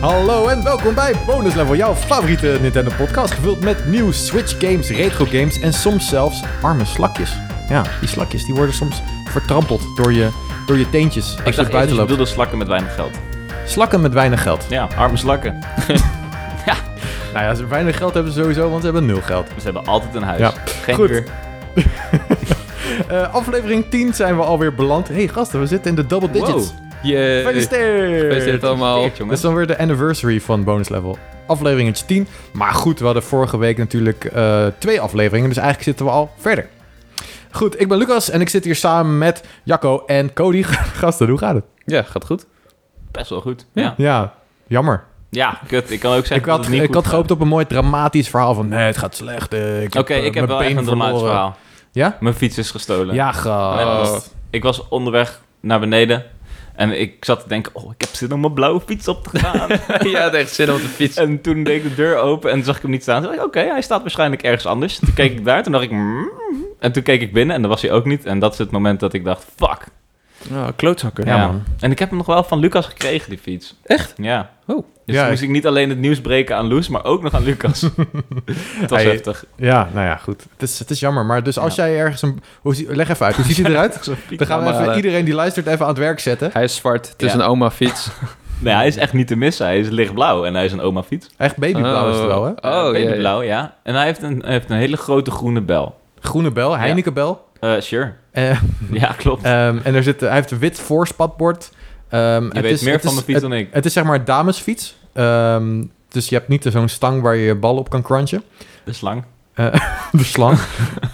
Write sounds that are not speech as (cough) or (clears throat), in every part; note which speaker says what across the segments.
Speaker 1: Hallo en welkom bij Bonus Level, jouw favoriete Nintendo podcast. Gevuld met nieuws, Switch games, retro games en soms zelfs arme slakjes. Ja, die slakjes die worden soms vertrampeld door je, door je teentjes als
Speaker 2: Ik
Speaker 1: je
Speaker 2: dacht eerst,
Speaker 1: buiten
Speaker 2: je
Speaker 1: loopt.
Speaker 2: bedoelde slakken met weinig geld.
Speaker 1: Slakken met weinig geld.
Speaker 2: Ja, arme slakken.
Speaker 1: Nou ja, ze weinig geld hebben ze sowieso, want ze hebben nul geld.
Speaker 2: Ze hebben altijd een huis.
Speaker 1: Ja.
Speaker 2: Geen
Speaker 1: Goed.
Speaker 2: huur.
Speaker 1: Eh, aflevering 10 zijn we alweer beland. hey, gasten, we zitten in de double digits.
Speaker 2: Wow.
Speaker 3: Jee.
Speaker 1: Gefeliciteerd!
Speaker 3: Gefeliciteerd allemaal.
Speaker 2: Gefeliciteerd,
Speaker 1: Dat is
Speaker 2: jongens.
Speaker 1: dan weer de anniversary van Bonus Level. Aflevering 10. Maar goed, we hadden vorige week natuurlijk eh, twee afleveringen. Dus eigenlijk zitten we al verder. Goed, ik ben Lucas en ik zit hier samen met Jacco en Cody. (laughs) Gasten, hoe gaat het?
Speaker 3: Ja, gaat goed.
Speaker 2: Best wel goed.
Speaker 3: Ja.
Speaker 2: Ja,
Speaker 1: Ja, jammer.
Speaker 2: ja kut. Ik kan ook zeggen
Speaker 1: Ik
Speaker 2: dat
Speaker 1: had,
Speaker 2: het niet
Speaker 1: ik
Speaker 2: goed
Speaker 1: had
Speaker 2: gaat.
Speaker 1: gehoopt op een mooi dramatisch verhaal van... Nee, het gaat slecht. eh, ik
Speaker 2: Oké, ik heb wel echt een dramatisch verhaal.
Speaker 1: Ja?
Speaker 2: Mijn fiets is gestolen.
Speaker 1: Ja, gast.
Speaker 2: Oh. Ik was onderweg naar beneden en ik zat te denken... Oh, ik heb zin om mijn blauwe fiets op te gaan.
Speaker 1: (laughs)
Speaker 3: ja, het echt zin om te
Speaker 2: (laughs)
Speaker 3: fietsen.
Speaker 2: en toen deed ik de deur open en zag ik hem niet staan. Toen dacht ik, oké, hij staat waarschijnlijk ergens anders. Toen keek ik daar, toen dacht ik... "Mm." En toen keek ik binnen en daar was hij ook niet. En dat is het moment dat ik dacht, fuck.
Speaker 3: Oh, klootzakken.
Speaker 1: Ja, man.
Speaker 2: En ik heb hem nog wel van Lucas gekregen, die fiets. Echt? Ja.
Speaker 3: Oh.
Speaker 1: Ja,
Speaker 2: Dus toen
Speaker 1: ik-
Speaker 2: moest ik niet alleen het nieuws breken aan Loes, maar ook nog aan Lucas.
Speaker 1: (laughs)
Speaker 2: Het was
Speaker 1: Hey.
Speaker 2: heftig.
Speaker 1: Ja, nou ja, goed. Het is, het is jammer, maar dus als jij ergens een... Hoe zie- leg even uit, hoe ziet hij eruit?
Speaker 2: (laughs)
Speaker 1: Dan gaan we
Speaker 3: Maar,
Speaker 1: even
Speaker 3: eh,
Speaker 1: iedereen die luistert even aan het werk zetten.
Speaker 3: Hij is zwart. Het is
Speaker 2: Ja.
Speaker 3: een oma fiets.
Speaker 2: Nee, hij is echt niet te missen. Hij is lichtblauw en hij is een oma fiets.
Speaker 1: Echt babyblauw is het wel, hè?
Speaker 3: Oh, ja, ja.
Speaker 2: Babyblauw, ja, En hij heeft, een, hij heeft een hele grote groene bel.
Speaker 1: Groene bel, Heinekenbel.
Speaker 2: Eh, sure.
Speaker 1: Eh,
Speaker 2: Ja,
Speaker 1: (laughs)
Speaker 2: klopt.
Speaker 1: ehm, en er zit, hij heeft een wit voorspatbord. Ehm,
Speaker 2: Je weet meer van mijn
Speaker 1: het,
Speaker 2: fiets dan ik.
Speaker 1: het is zeg maar damesfiets. Ehm, dus je hebt niet zo'n stang waar je je bal op kan
Speaker 2: (laughs)
Speaker 1: crunchen. (laughs)
Speaker 2: De slang.
Speaker 1: De slang. (laughs)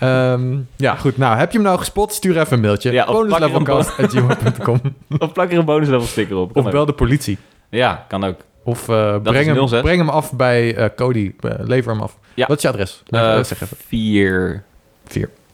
Speaker 1: Ehm, ja, goed. Nou, heb je hem nou gespot? Stuur even een mailtje.
Speaker 2: Ja, of plak er een (laughs)
Speaker 1: bonuslevelcast.gmail.com
Speaker 2: Of plak er een bonuslevel sticker op. Kan
Speaker 1: Of
Speaker 2: ook.
Speaker 1: bel de politie.
Speaker 2: Ja, kan ook.
Speaker 1: Of eh,
Speaker 2: is
Speaker 1: breng, hem,
Speaker 2: 06.
Speaker 1: breng hem af bij eh, Cody. Eh, lever hem af.
Speaker 2: Ja.
Speaker 1: Wat is je adres?
Speaker 2: Eh,
Speaker 1: Dat zeg even.
Speaker 2: Vier.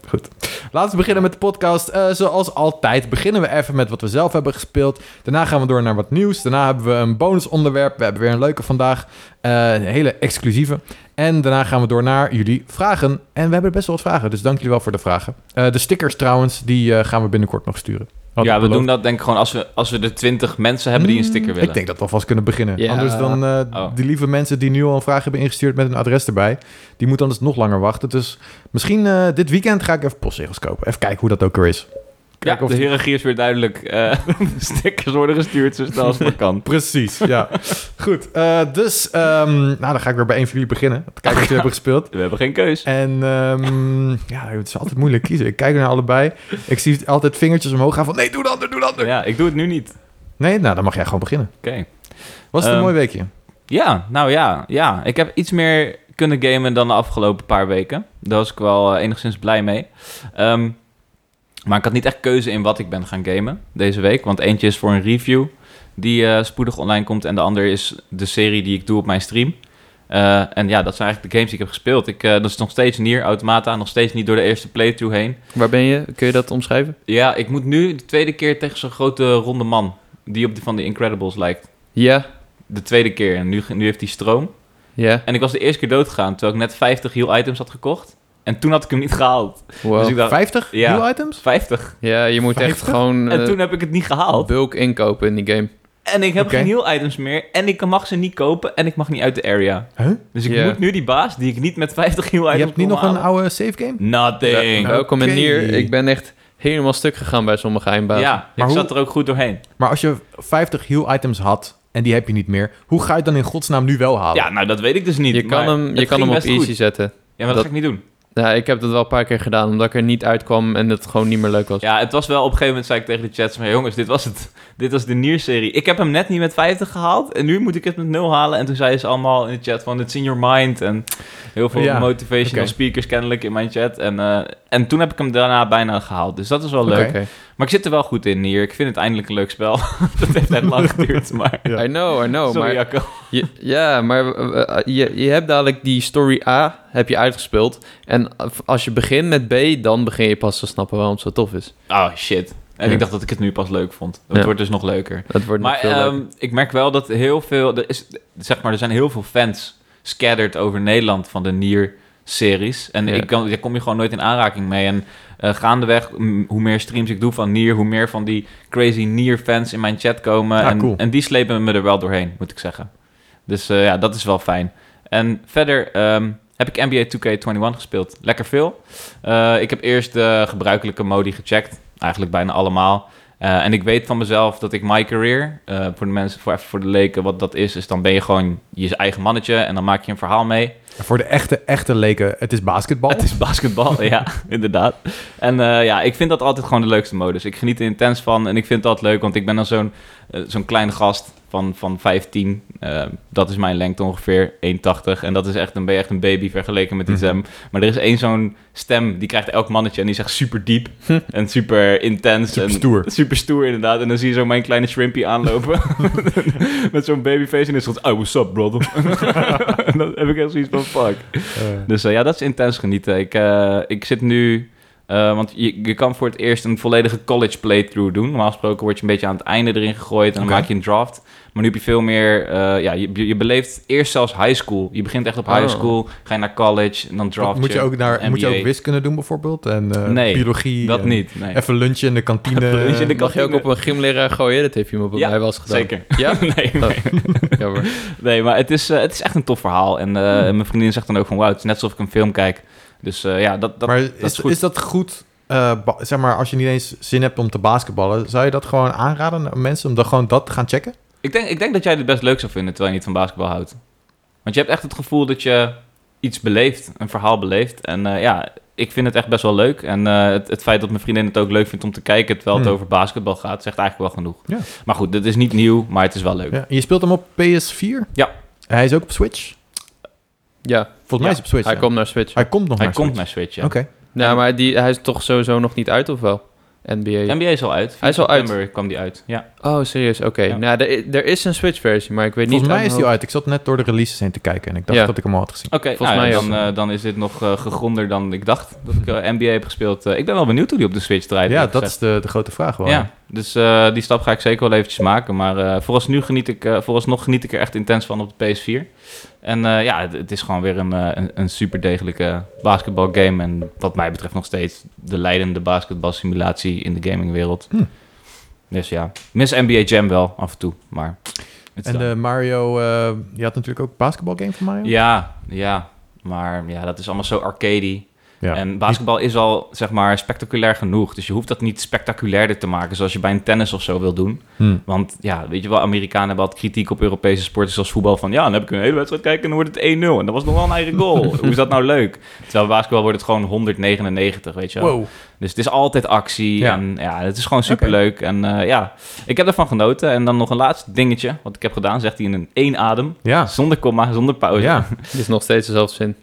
Speaker 1: Goed. Laten we beginnen met de podcast. Eh, zoals altijd beginnen we even met wat we zelf hebben gespeeld. Daarna gaan we door naar wat nieuws. Daarna hebben we een bonusonderwerp. We hebben weer een leuke vandaag. Eh, een hele exclusieve. En daarna gaan we door naar jullie vragen. En we hebben best wel wat vragen, dus dank jullie wel voor de vragen. Eh, de stickers trouwens, die eh, gaan we binnenkort nog sturen. Had
Speaker 2: ja,
Speaker 1: ik
Speaker 2: we
Speaker 1: beloofd.
Speaker 2: doen Oh, dat denk ik gewoon als we, als we de twintig mensen hebben die een sticker
Speaker 1: Hmm,
Speaker 2: willen.
Speaker 1: Ik denk dat we alvast kunnen beginnen.
Speaker 3: Ja.
Speaker 1: Anders dan eh,
Speaker 2: Oh.
Speaker 1: die lieve mensen die nu al een vraag hebben ingestuurd met een adres erbij. Die moeten anders nog langer wachten. Dus misschien eh, dit weekend ga ik even postzegels kopen. Even kijken hoe dat ook er is.
Speaker 2: Ja,
Speaker 1: Kijken of
Speaker 2: de
Speaker 1: die-
Speaker 2: hiërarchie is weer duidelijk. Eh, (laughs) de stickers worden gestuurd zo snel als maar kan.
Speaker 1: Precies, ja. (laughs) Goed, eh, dus ehm, nou, dan ga ik weer bij één van jullie beginnen. Om te Kijken wat jullie hebben gespeeld.
Speaker 2: We hebben geen keus.
Speaker 1: En ehm, ja, het is altijd moeilijk kiezen. Ik kijk naar allebei. Ik zie altijd vingertjes omhoog gaan van... Nee, doe dat, doe dat.
Speaker 2: Ja, ik doe het nu niet. Oké.
Speaker 1: Nee, nou, dan mag jij gewoon beginnen. Was het een
Speaker 2: Ehm,
Speaker 1: mooi weekje?
Speaker 2: Ja, nou ja, ja. Ik heb iets meer kunnen gamen dan de afgelopen paar weken. Daar was ik wel eh, enigszins blij mee. Ehm, maar ik had niet echt keuze in wat ik ben gaan gamen deze week. Want eentje is voor een review die eh, spoedig online komt. En de ander is de serie die ik doe op mijn stream. Eh, en ja, dat zijn eigenlijk de games die ik heb gespeeld. Ik, eh, dat is nog steeds Nier Automata. Nog steeds niet door de eerste playthrough heen.
Speaker 3: Waar ben je? Kun je dat omschrijven?
Speaker 2: Ja, ik moet nu de tweede keer tegen zo'n grote ronde man. Die op die van de Incredibles lijkt.
Speaker 3: Ja.
Speaker 2: De tweede keer. En nu, nu heeft hij stroom.
Speaker 3: Ja.
Speaker 2: En ik was de eerste keer doodgegaan. Terwijl ik net 50 heal items had gekocht. En toen had ik hem niet gehaald.
Speaker 3: Wow.
Speaker 2: Dus ik dacht,
Speaker 1: 50
Speaker 2: ja.
Speaker 1: nieuwe items?
Speaker 2: 50.
Speaker 3: ja, je moet echt
Speaker 1: 50?
Speaker 3: gewoon
Speaker 2: En
Speaker 3: eh,
Speaker 2: toen heb ik het niet gehaald.
Speaker 3: bulk inkopen in die game.
Speaker 2: En ik heb
Speaker 1: Oké.
Speaker 2: geen heal items meer. En ik mag ze niet kopen. En ik mag niet uit de area.
Speaker 1: Huh?
Speaker 2: Dus ik
Speaker 3: Ja.
Speaker 2: moet nu die baas die ik niet met 50 heal items
Speaker 1: Je hebt niet
Speaker 2: kon
Speaker 1: nog een
Speaker 2: halen.
Speaker 1: oude save game?
Speaker 2: Nothing.
Speaker 1: Ja,
Speaker 2: Ja,
Speaker 3: Welkom
Speaker 1: Oké.
Speaker 3: in Nier. Ik ben echt helemaal stuk gegaan bij sommige eindbazen.
Speaker 2: ik
Speaker 1: Maar hoe-
Speaker 2: zat er ook goed doorheen.
Speaker 1: Maar als je 50 heal items had en die heb je niet meer... hoe ga je het dan in godsnaam nu wel halen?
Speaker 2: Ja, nou dat weet ik dus niet.
Speaker 3: Je kan
Speaker 2: maar
Speaker 3: hem, je
Speaker 2: het
Speaker 3: kan
Speaker 2: ging
Speaker 3: hem op
Speaker 2: best
Speaker 3: easy
Speaker 2: goed.
Speaker 3: zetten.
Speaker 2: Ja, maar dat,
Speaker 3: Dat-
Speaker 2: ga ik niet doen.
Speaker 3: Nou, ik heb dat wel een paar keer gedaan, omdat ik er niet uitkwam en het gewoon niet meer leuk was.
Speaker 2: Ja, het was wel op een gegeven moment zei ik tegen de chats maar jongens, dit was het. (laughs) Dit was de Nier-serie. Ik heb hem net niet met 50 gehaald en nu moet ik het met 0 halen. En toen zeiden ze allemaal in de chat van, it's in your mind. En heel veel
Speaker 1: Ja,
Speaker 2: motivational
Speaker 1: oké.
Speaker 2: speakers kennelijk in mijn chat. En, eh, en toen heb ik hem daarna bijna gehaald. Dus dat is wel leuk.
Speaker 1: Oké.
Speaker 3: Oké.
Speaker 2: Maar ik zit er wel goed in, Nier. Ik vind het eindelijk een leuk spel. (laughs) dat heeft net lang geduurd, maar...
Speaker 1: Ja.
Speaker 3: I know, I know.
Speaker 2: Sorry,
Speaker 3: Oh, maar
Speaker 2: Jacco.
Speaker 3: Je- ja, maar eh, eh, je, je hebt dadelijk die story A heb je uitgespeeld. En af- als je begint met B, dan begin je pas te snappen waarom het zo tof is.
Speaker 2: Oh, shit. En
Speaker 3: Ja.
Speaker 2: ik dacht dat ik het nu pas leuk vond. Het
Speaker 3: Ja.
Speaker 2: wordt dus nog leuker.
Speaker 3: Dat wordt nog
Speaker 2: Maar
Speaker 3: veel
Speaker 2: ehm,
Speaker 3: leuker.
Speaker 2: ik merk wel dat heel veel... Er, is, zeg maar, er zijn heel veel fans scattered over Nederland van de Nier-series. En
Speaker 3: Ja.
Speaker 2: ik kan, daar kom je gewoon nooit in aanraking mee. En eh, gaandeweg, mm, hoe meer streams ik doe van Nier... hoe meer van die crazy Nier-fans in mijn chat komen.
Speaker 1: Ah,
Speaker 2: en,
Speaker 1: cool.
Speaker 2: en die slepen me er wel doorheen, moet ik zeggen. Dus eh, ja, dat is wel fijn. En verder ehm, heb ik NBA 2K21 gespeeld. Lekker veel. Eh, ik heb eerst de gebruikelijke modi gecheckt. Eigenlijk bijna allemaal. Eh, en ik weet van mezelf dat ik My Career, eh, voor de mensen, voor, even voor de leken, wat dat is, is dan ben je gewoon je eigen mannetje en dan maak je een verhaal mee.
Speaker 1: Voor de echte, echte leken, het is basketbal.
Speaker 2: Het is
Speaker 1: (laughs)
Speaker 2: basketbal, ja, inderdaad. En eh, ja, ik vind dat altijd gewoon de leukste modus. Ik geniet er intens van en ik vind dat leuk, want ik ben dan zo'n eh, zo'n klein gast van, van 15. Eh, dat is mijn lengte ongeveer, 1,80. En dat is echt, dan ben je echt een baby vergeleken met die
Speaker 1: Mhm.
Speaker 2: stem. Maar er is één zo'n stem, die krijgt elk mannetje en die zegt super
Speaker 1: (laughs)
Speaker 2: diep en super intens.
Speaker 1: Super
Speaker 2: en,
Speaker 1: stoer.
Speaker 2: Super stoer, inderdaad. En dan zie je zo mijn kleine shrimpy
Speaker 1: (laughs)
Speaker 2: aanlopen (laughs) met zo'n babyface en is het oh, what's up, brother? (laughs) en dan heb ik echt zoiets van, fuck.
Speaker 1: Eh,
Speaker 2: (laughs) Dus eh, ja, dat is intens genieten. Ik, eh, ik zit nu... eh, want je, je kan voor het eerst een volledige college playthrough doen. Normaal gesproken word je een beetje aan het einde erin gegooid... en dan
Speaker 1: Oké.
Speaker 2: maak je een draft. Maar nu heb je veel meer... eh, ja, je, je beleeft eerst zelfs high school. Je begint echt op high
Speaker 3: Oh.
Speaker 2: school, ga je naar college... en dan draft
Speaker 1: moet je ook, naar, moet je
Speaker 2: NBA.
Speaker 1: ook wiskunde doen bijvoorbeeld? En eh,
Speaker 2: Nee,
Speaker 1: biologie?
Speaker 2: Dat
Speaker 1: en
Speaker 2: niet, nee.
Speaker 1: Even lunchen in de kantine.
Speaker 2: Even lunchen in de
Speaker 3: Mag je ook op een gymleraar gooien? Dat heeft iemand bij
Speaker 2: Ja,
Speaker 3: mij wel eens gedaan.
Speaker 2: Zeker. (laughs)
Speaker 3: Ja?
Speaker 2: nee,
Speaker 3: Oh.
Speaker 2: nee.
Speaker 3: Jammer.
Speaker 2: Nee, maar het is, eh, het is echt een tof verhaal. En eh,
Speaker 1: Hmm.
Speaker 2: mijn vriendin zegt dan ook van... wauw, het is net alsof ik een film kijk. Dus eh, ja, dat, dat,
Speaker 1: maar
Speaker 2: dat
Speaker 1: is,
Speaker 2: is goed.
Speaker 1: is dat goed? eh, ba- zeg maar, als je niet eens zin hebt om te basketballen, zou je dat gewoon aanraden aan mensen om dan gewoon dat te gaan checken?
Speaker 2: Ik denk, ik denk dat jij dit best leuk zou vinden terwijl je niet van basketbal houdt. Want je hebt echt het gevoel dat je iets beleeft, een verhaal beleeft. En eh, ja, ik vind het echt best wel leuk. En eh, het, het feit dat mijn vriendin het ook leuk vindt om te kijken terwijl het
Speaker 1: Hmm.
Speaker 2: over basketbal gaat, zegt eigenlijk wel genoeg.
Speaker 1: Ja.
Speaker 2: Maar goed, dit is niet nieuw, maar het is wel leuk.
Speaker 1: Ja. Je speelt hem op PS4?
Speaker 2: Ja.
Speaker 1: En hij is ook op Switch?
Speaker 3: Ja,
Speaker 1: Volgens mij
Speaker 2: Ja,
Speaker 1: is hij op Switch.
Speaker 3: hij
Speaker 1: ja.
Speaker 3: komt naar Switch.
Speaker 1: hij komt nog
Speaker 2: Hij
Speaker 1: naar
Speaker 2: komt
Speaker 1: Switch.
Speaker 2: naar Switch, ja.
Speaker 1: Oké.
Speaker 3: Nou, maar die, hij is toch sowieso nog niet uit, of wel?
Speaker 2: De
Speaker 3: NBA.
Speaker 2: NBA is al uit.
Speaker 3: Hij is al uit.
Speaker 2: september kwam die uit, ja.
Speaker 3: Oh, serieus? Oké.
Speaker 2: Ja.
Speaker 3: Nou, er, i- er is een Switch-versie, maar ik weet
Speaker 1: Volgens
Speaker 3: niet...
Speaker 1: mij
Speaker 3: uit
Speaker 1: is hij
Speaker 3: mijn
Speaker 1: uit. Ik zat net door de releases heen te kijken en ik dacht
Speaker 3: Ja.
Speaker 1: dat ik hem al had gezien.
Speaker 2: Oké,
Speaker 3: Volgens
Speaker 2: nou ja,
Speaker 3: mij
Speaker 2: dan, eh, dan is dit nog eh, gegronder dan ik dacht dat ik eh, NBA heb gespeeld. Eh, ik ben wel benieuwd hoe die op de Switch draait.
Speaker 1: Ja,
Speaker 2: eerlijk
Speaker 1: dat
Speaker 2: gezegd.
Speaker 1: is de, de grote vraag wel.
Speaker 2: Ja, dus eh, die stap ga ik zeker wel eventjes maken. Maar eh, vooralsnu geniet ik, eh, vooralsnog geniet ik er echt intens van op de PS4. En eh, ja, het, het is gewoon weer een, eh, een, een super degelijke basketbalgame. En wat mij betreft nog steeds de leidende basketbalsimulatie in de gamingwereld.
Speaker 1: Hm.
Speaker 2: Dus ja, mis NBA Jam wel af en toe, maar... het is
Speaker 1: En eh,
Speaker 2: dan.
Speaker 1: de Mario, eh, je had natuurlijk ook basketbalgame van Mario?
Speaker 2: Ja, ja. Maar ja, dat is allemaal zo arcadey.
Speaker 1: Ja.
Speaker 2: En basketbal is al, zeg maar, spectaculair genoeg. Dus je hoeft dat niet spectaculairder te maken... zoals je bij een tennis of zo wil doen.
Speaker 1: Hm.
Speaker 2: Want ja, weet je wel, Amerikanen hebben altijd kritiek op Europese sporten zoals voetbal. Van ja, dan heb ik een hele wedstrijd kijken en dan wordt het 1-0. En dat was nog wel een eigen
Speaker 1: (laughs)
Speaker 2: goal. Hoe is dat nou leuk? Terwijl bij basketbal wordt het gewoon 199, weet je wel.
Speaker 1: Wow.
Speaker 2: Dus het is altijd actie
Speaker 1: Ja.
Speaker 2: en ja, het is gewoon superleuk. En eh, ja, ik heb ervan genoten. En dan nog een laatste dingetje wat ik heb gedaan, zegt hij in een één adem.
Speaker 1: Ja.
Speaker 2: Zonder komma, zonder pauze.
Speaker 1: Ah.
Speaker 2: (laughs)
Speaker 1: ja.
Speaker 3: hoofd. Het is nog steeds dezelfde zin.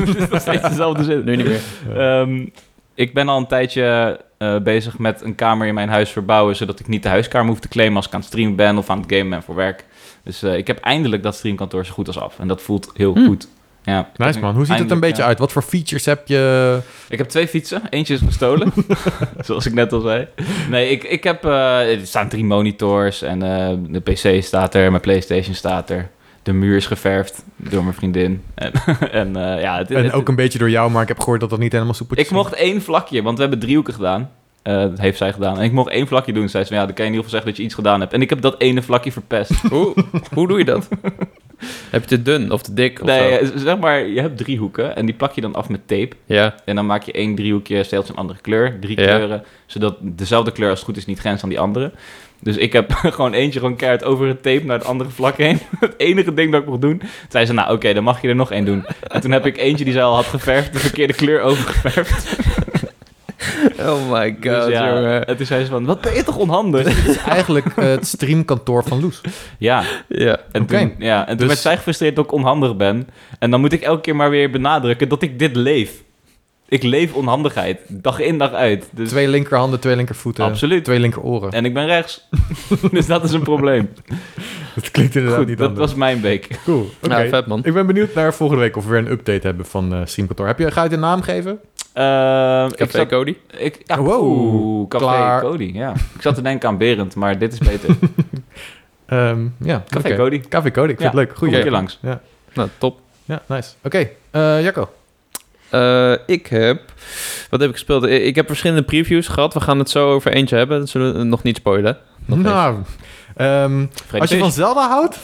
Speaker 2: het is nog steeds dezelfde zin.
Speaker 3: Nu niet
Speaker 2: (laughs)
Speaker 3: meer.
Speaker 2: Ehm, ik ben al een tijdje eh, bezig met een kamer in mijn huis verbouwen, zodat ik niet de huiskamer hoef te claimen als ik aan het streamen ben of aan het gamen ben voor werk. Dus eh, ik heb eindelijk dat streamkantoor zo goed als af. En dat voelt heel
Speaker 3: Hmm.
Speaker 2: goed. Ja, ik heb
Speaker 1: Nice
Speaker 2: nu
Speaker 1: man. Hoe ziet het een
Speaker 2: eindelijk,
Speaker 1: beetje
Speaker 2: ja.
Speaker 1: uit? Wat voor features heb je?
Speaker 2: Ik heb twee fietsen. Eentje is
Speaker 1: (laughs)
Speaker 2: gestolen, (laughs) zoals ik net al zei. Nee, ik, ik heb... eh, er staan drie monitors en eh, de PC staat er, mijn PlayStation staat er. De muur is geverfd door mijn vriendin. En, (laughs) en eh, ja... Het,
Speaker 1: En
Speaker 2: het-
Speaker 1: ook een beetje door jou, maar ik heb gehoord dat dat niet helemaal soepel is.
Speaker 2: Ik mocht één vlakje, want we hebben driehoeken gedaan. Eh, dat heeft zij gedaan. En ik mocht één vlakje doen. Zij zei van, ja, dan kan je in ieder geval zeggen dat je iets gedaan hebt. En ik heb dat ene vlakje
Speaker 3: (laughs)
Speaker 2: verpest.
Speaker 3: Hoe, hoe doe je
Speaker 2: (laughs)
Speaker 3: dat? Heb je te dun of te dik of zo?
Speaker 2: nee, eh, zeg maar, je hebt driehoeken en die plak je dan af met tape.
Speaker 3: Ja.
Speaker 2: En dan maak je één driehoekje steeds een andere kleur. Drie
Speaker 3: Ja.
Speaker 2: kleuren, zodat dezelfde kleur als het goed is niet grenst aan die andere. Dus ik heb (laughs) gewoon eentje gewoon keihard over het tape naar het andere vlak heen. (laughs) Het enige ding dat ik mocht doen. Toen zei ze, nou oké, dan mag je er nog één doen. En toen heb ik eentje die zij al had geverfd, de verkeerde kleur overgeverfd.
Speaker 3: Oh my (laughs) god,
Speaker 2: Dus ja,
Speaker 3: jongen.
Speaker 2: en toen zei ze van, wat ben je toch onhandig?
Speaker 3: (laughs)
Speaker 1: Het is
Speaker 2: (laughs)
Speaker 1: eigenlijk eh, het streamkantoor van Loes.
Speaker 2: Ja,
Speaker 3: Ja.
Speaker 2: en
Speaker 1: Oké.
Speaker 2: toen, ja, en toen
Speaker 1: Dus-
Speaker 2: werd zij gefrustreerd dat ik onhandig ben. En dan moet ik elke keer maar weer benadrukken dat ik dit leef. Ik leef onhandigheid, dag in dag uit. Dus
Speaker 1: Twee linkerhanden, twee linkervoeten,
Speaker 2: absoluut.
Speaker 1: twee linkeroren.
Speaker 2: En ik ben rechts, (laughs) dus dat is een probleem.
Speaker 1: (laughs) Dat klinkt inderdaad
Speaker 2: Goed,
Speaker 1: niet
Speaker 2: dat
Speaker 1: anders.
Speaker 2: was mijn week.
Speaker 1: Cool. Oké.
Speaker 3: Nou, vet man.
Speaker 1: ik ben benieuwd naar volgende week of we weer een update hebben van eh, streamkantoor. Heb je, ga je het een naam geven?
Speaker 2: Ehm, ik
Speaker 3: Café
Speaker 2: zat-
Speaker 3: Cody.
Speaker 2: ik, ja,
Speaker 1: Ah, Wow,
Speaker 2: oeh, Café
Speaker 1: klaar.
Speaker 2: Cody, ja. Ik zat te denken aan Berend, maar dit is
Speaker 1: (laughs)
Speaker 2: beter.
Speaker 1: Ehm, ja.
Speaker 2: Café
Speaker 1: oké.
Speaker 2: Cody,
Speaker 1: Café Code, ik vind
Speaker 2: Ja.
Speaker 1: het leuk.
Speaker 2: kom
Speaker 1: Goeie.
Speaker 2: een keer langs.
Speaker 3: Nou, top.
Speaker 1: Ja, nice. Oké, eh, Jacco.
Speaker 3: Eh, ik heb... Wat heb ik gespeeld? I- Ik heb verschillende previews gehad. We gaan het zo over eentje hebben. Dat zullen we nog niet spoilen. Nog
Speaker 1: nou, ehm,
Speaker 2: Vrede
Speaker 1: als je van
Speaker 2: feest.
Speaker 1: Zelda houdt...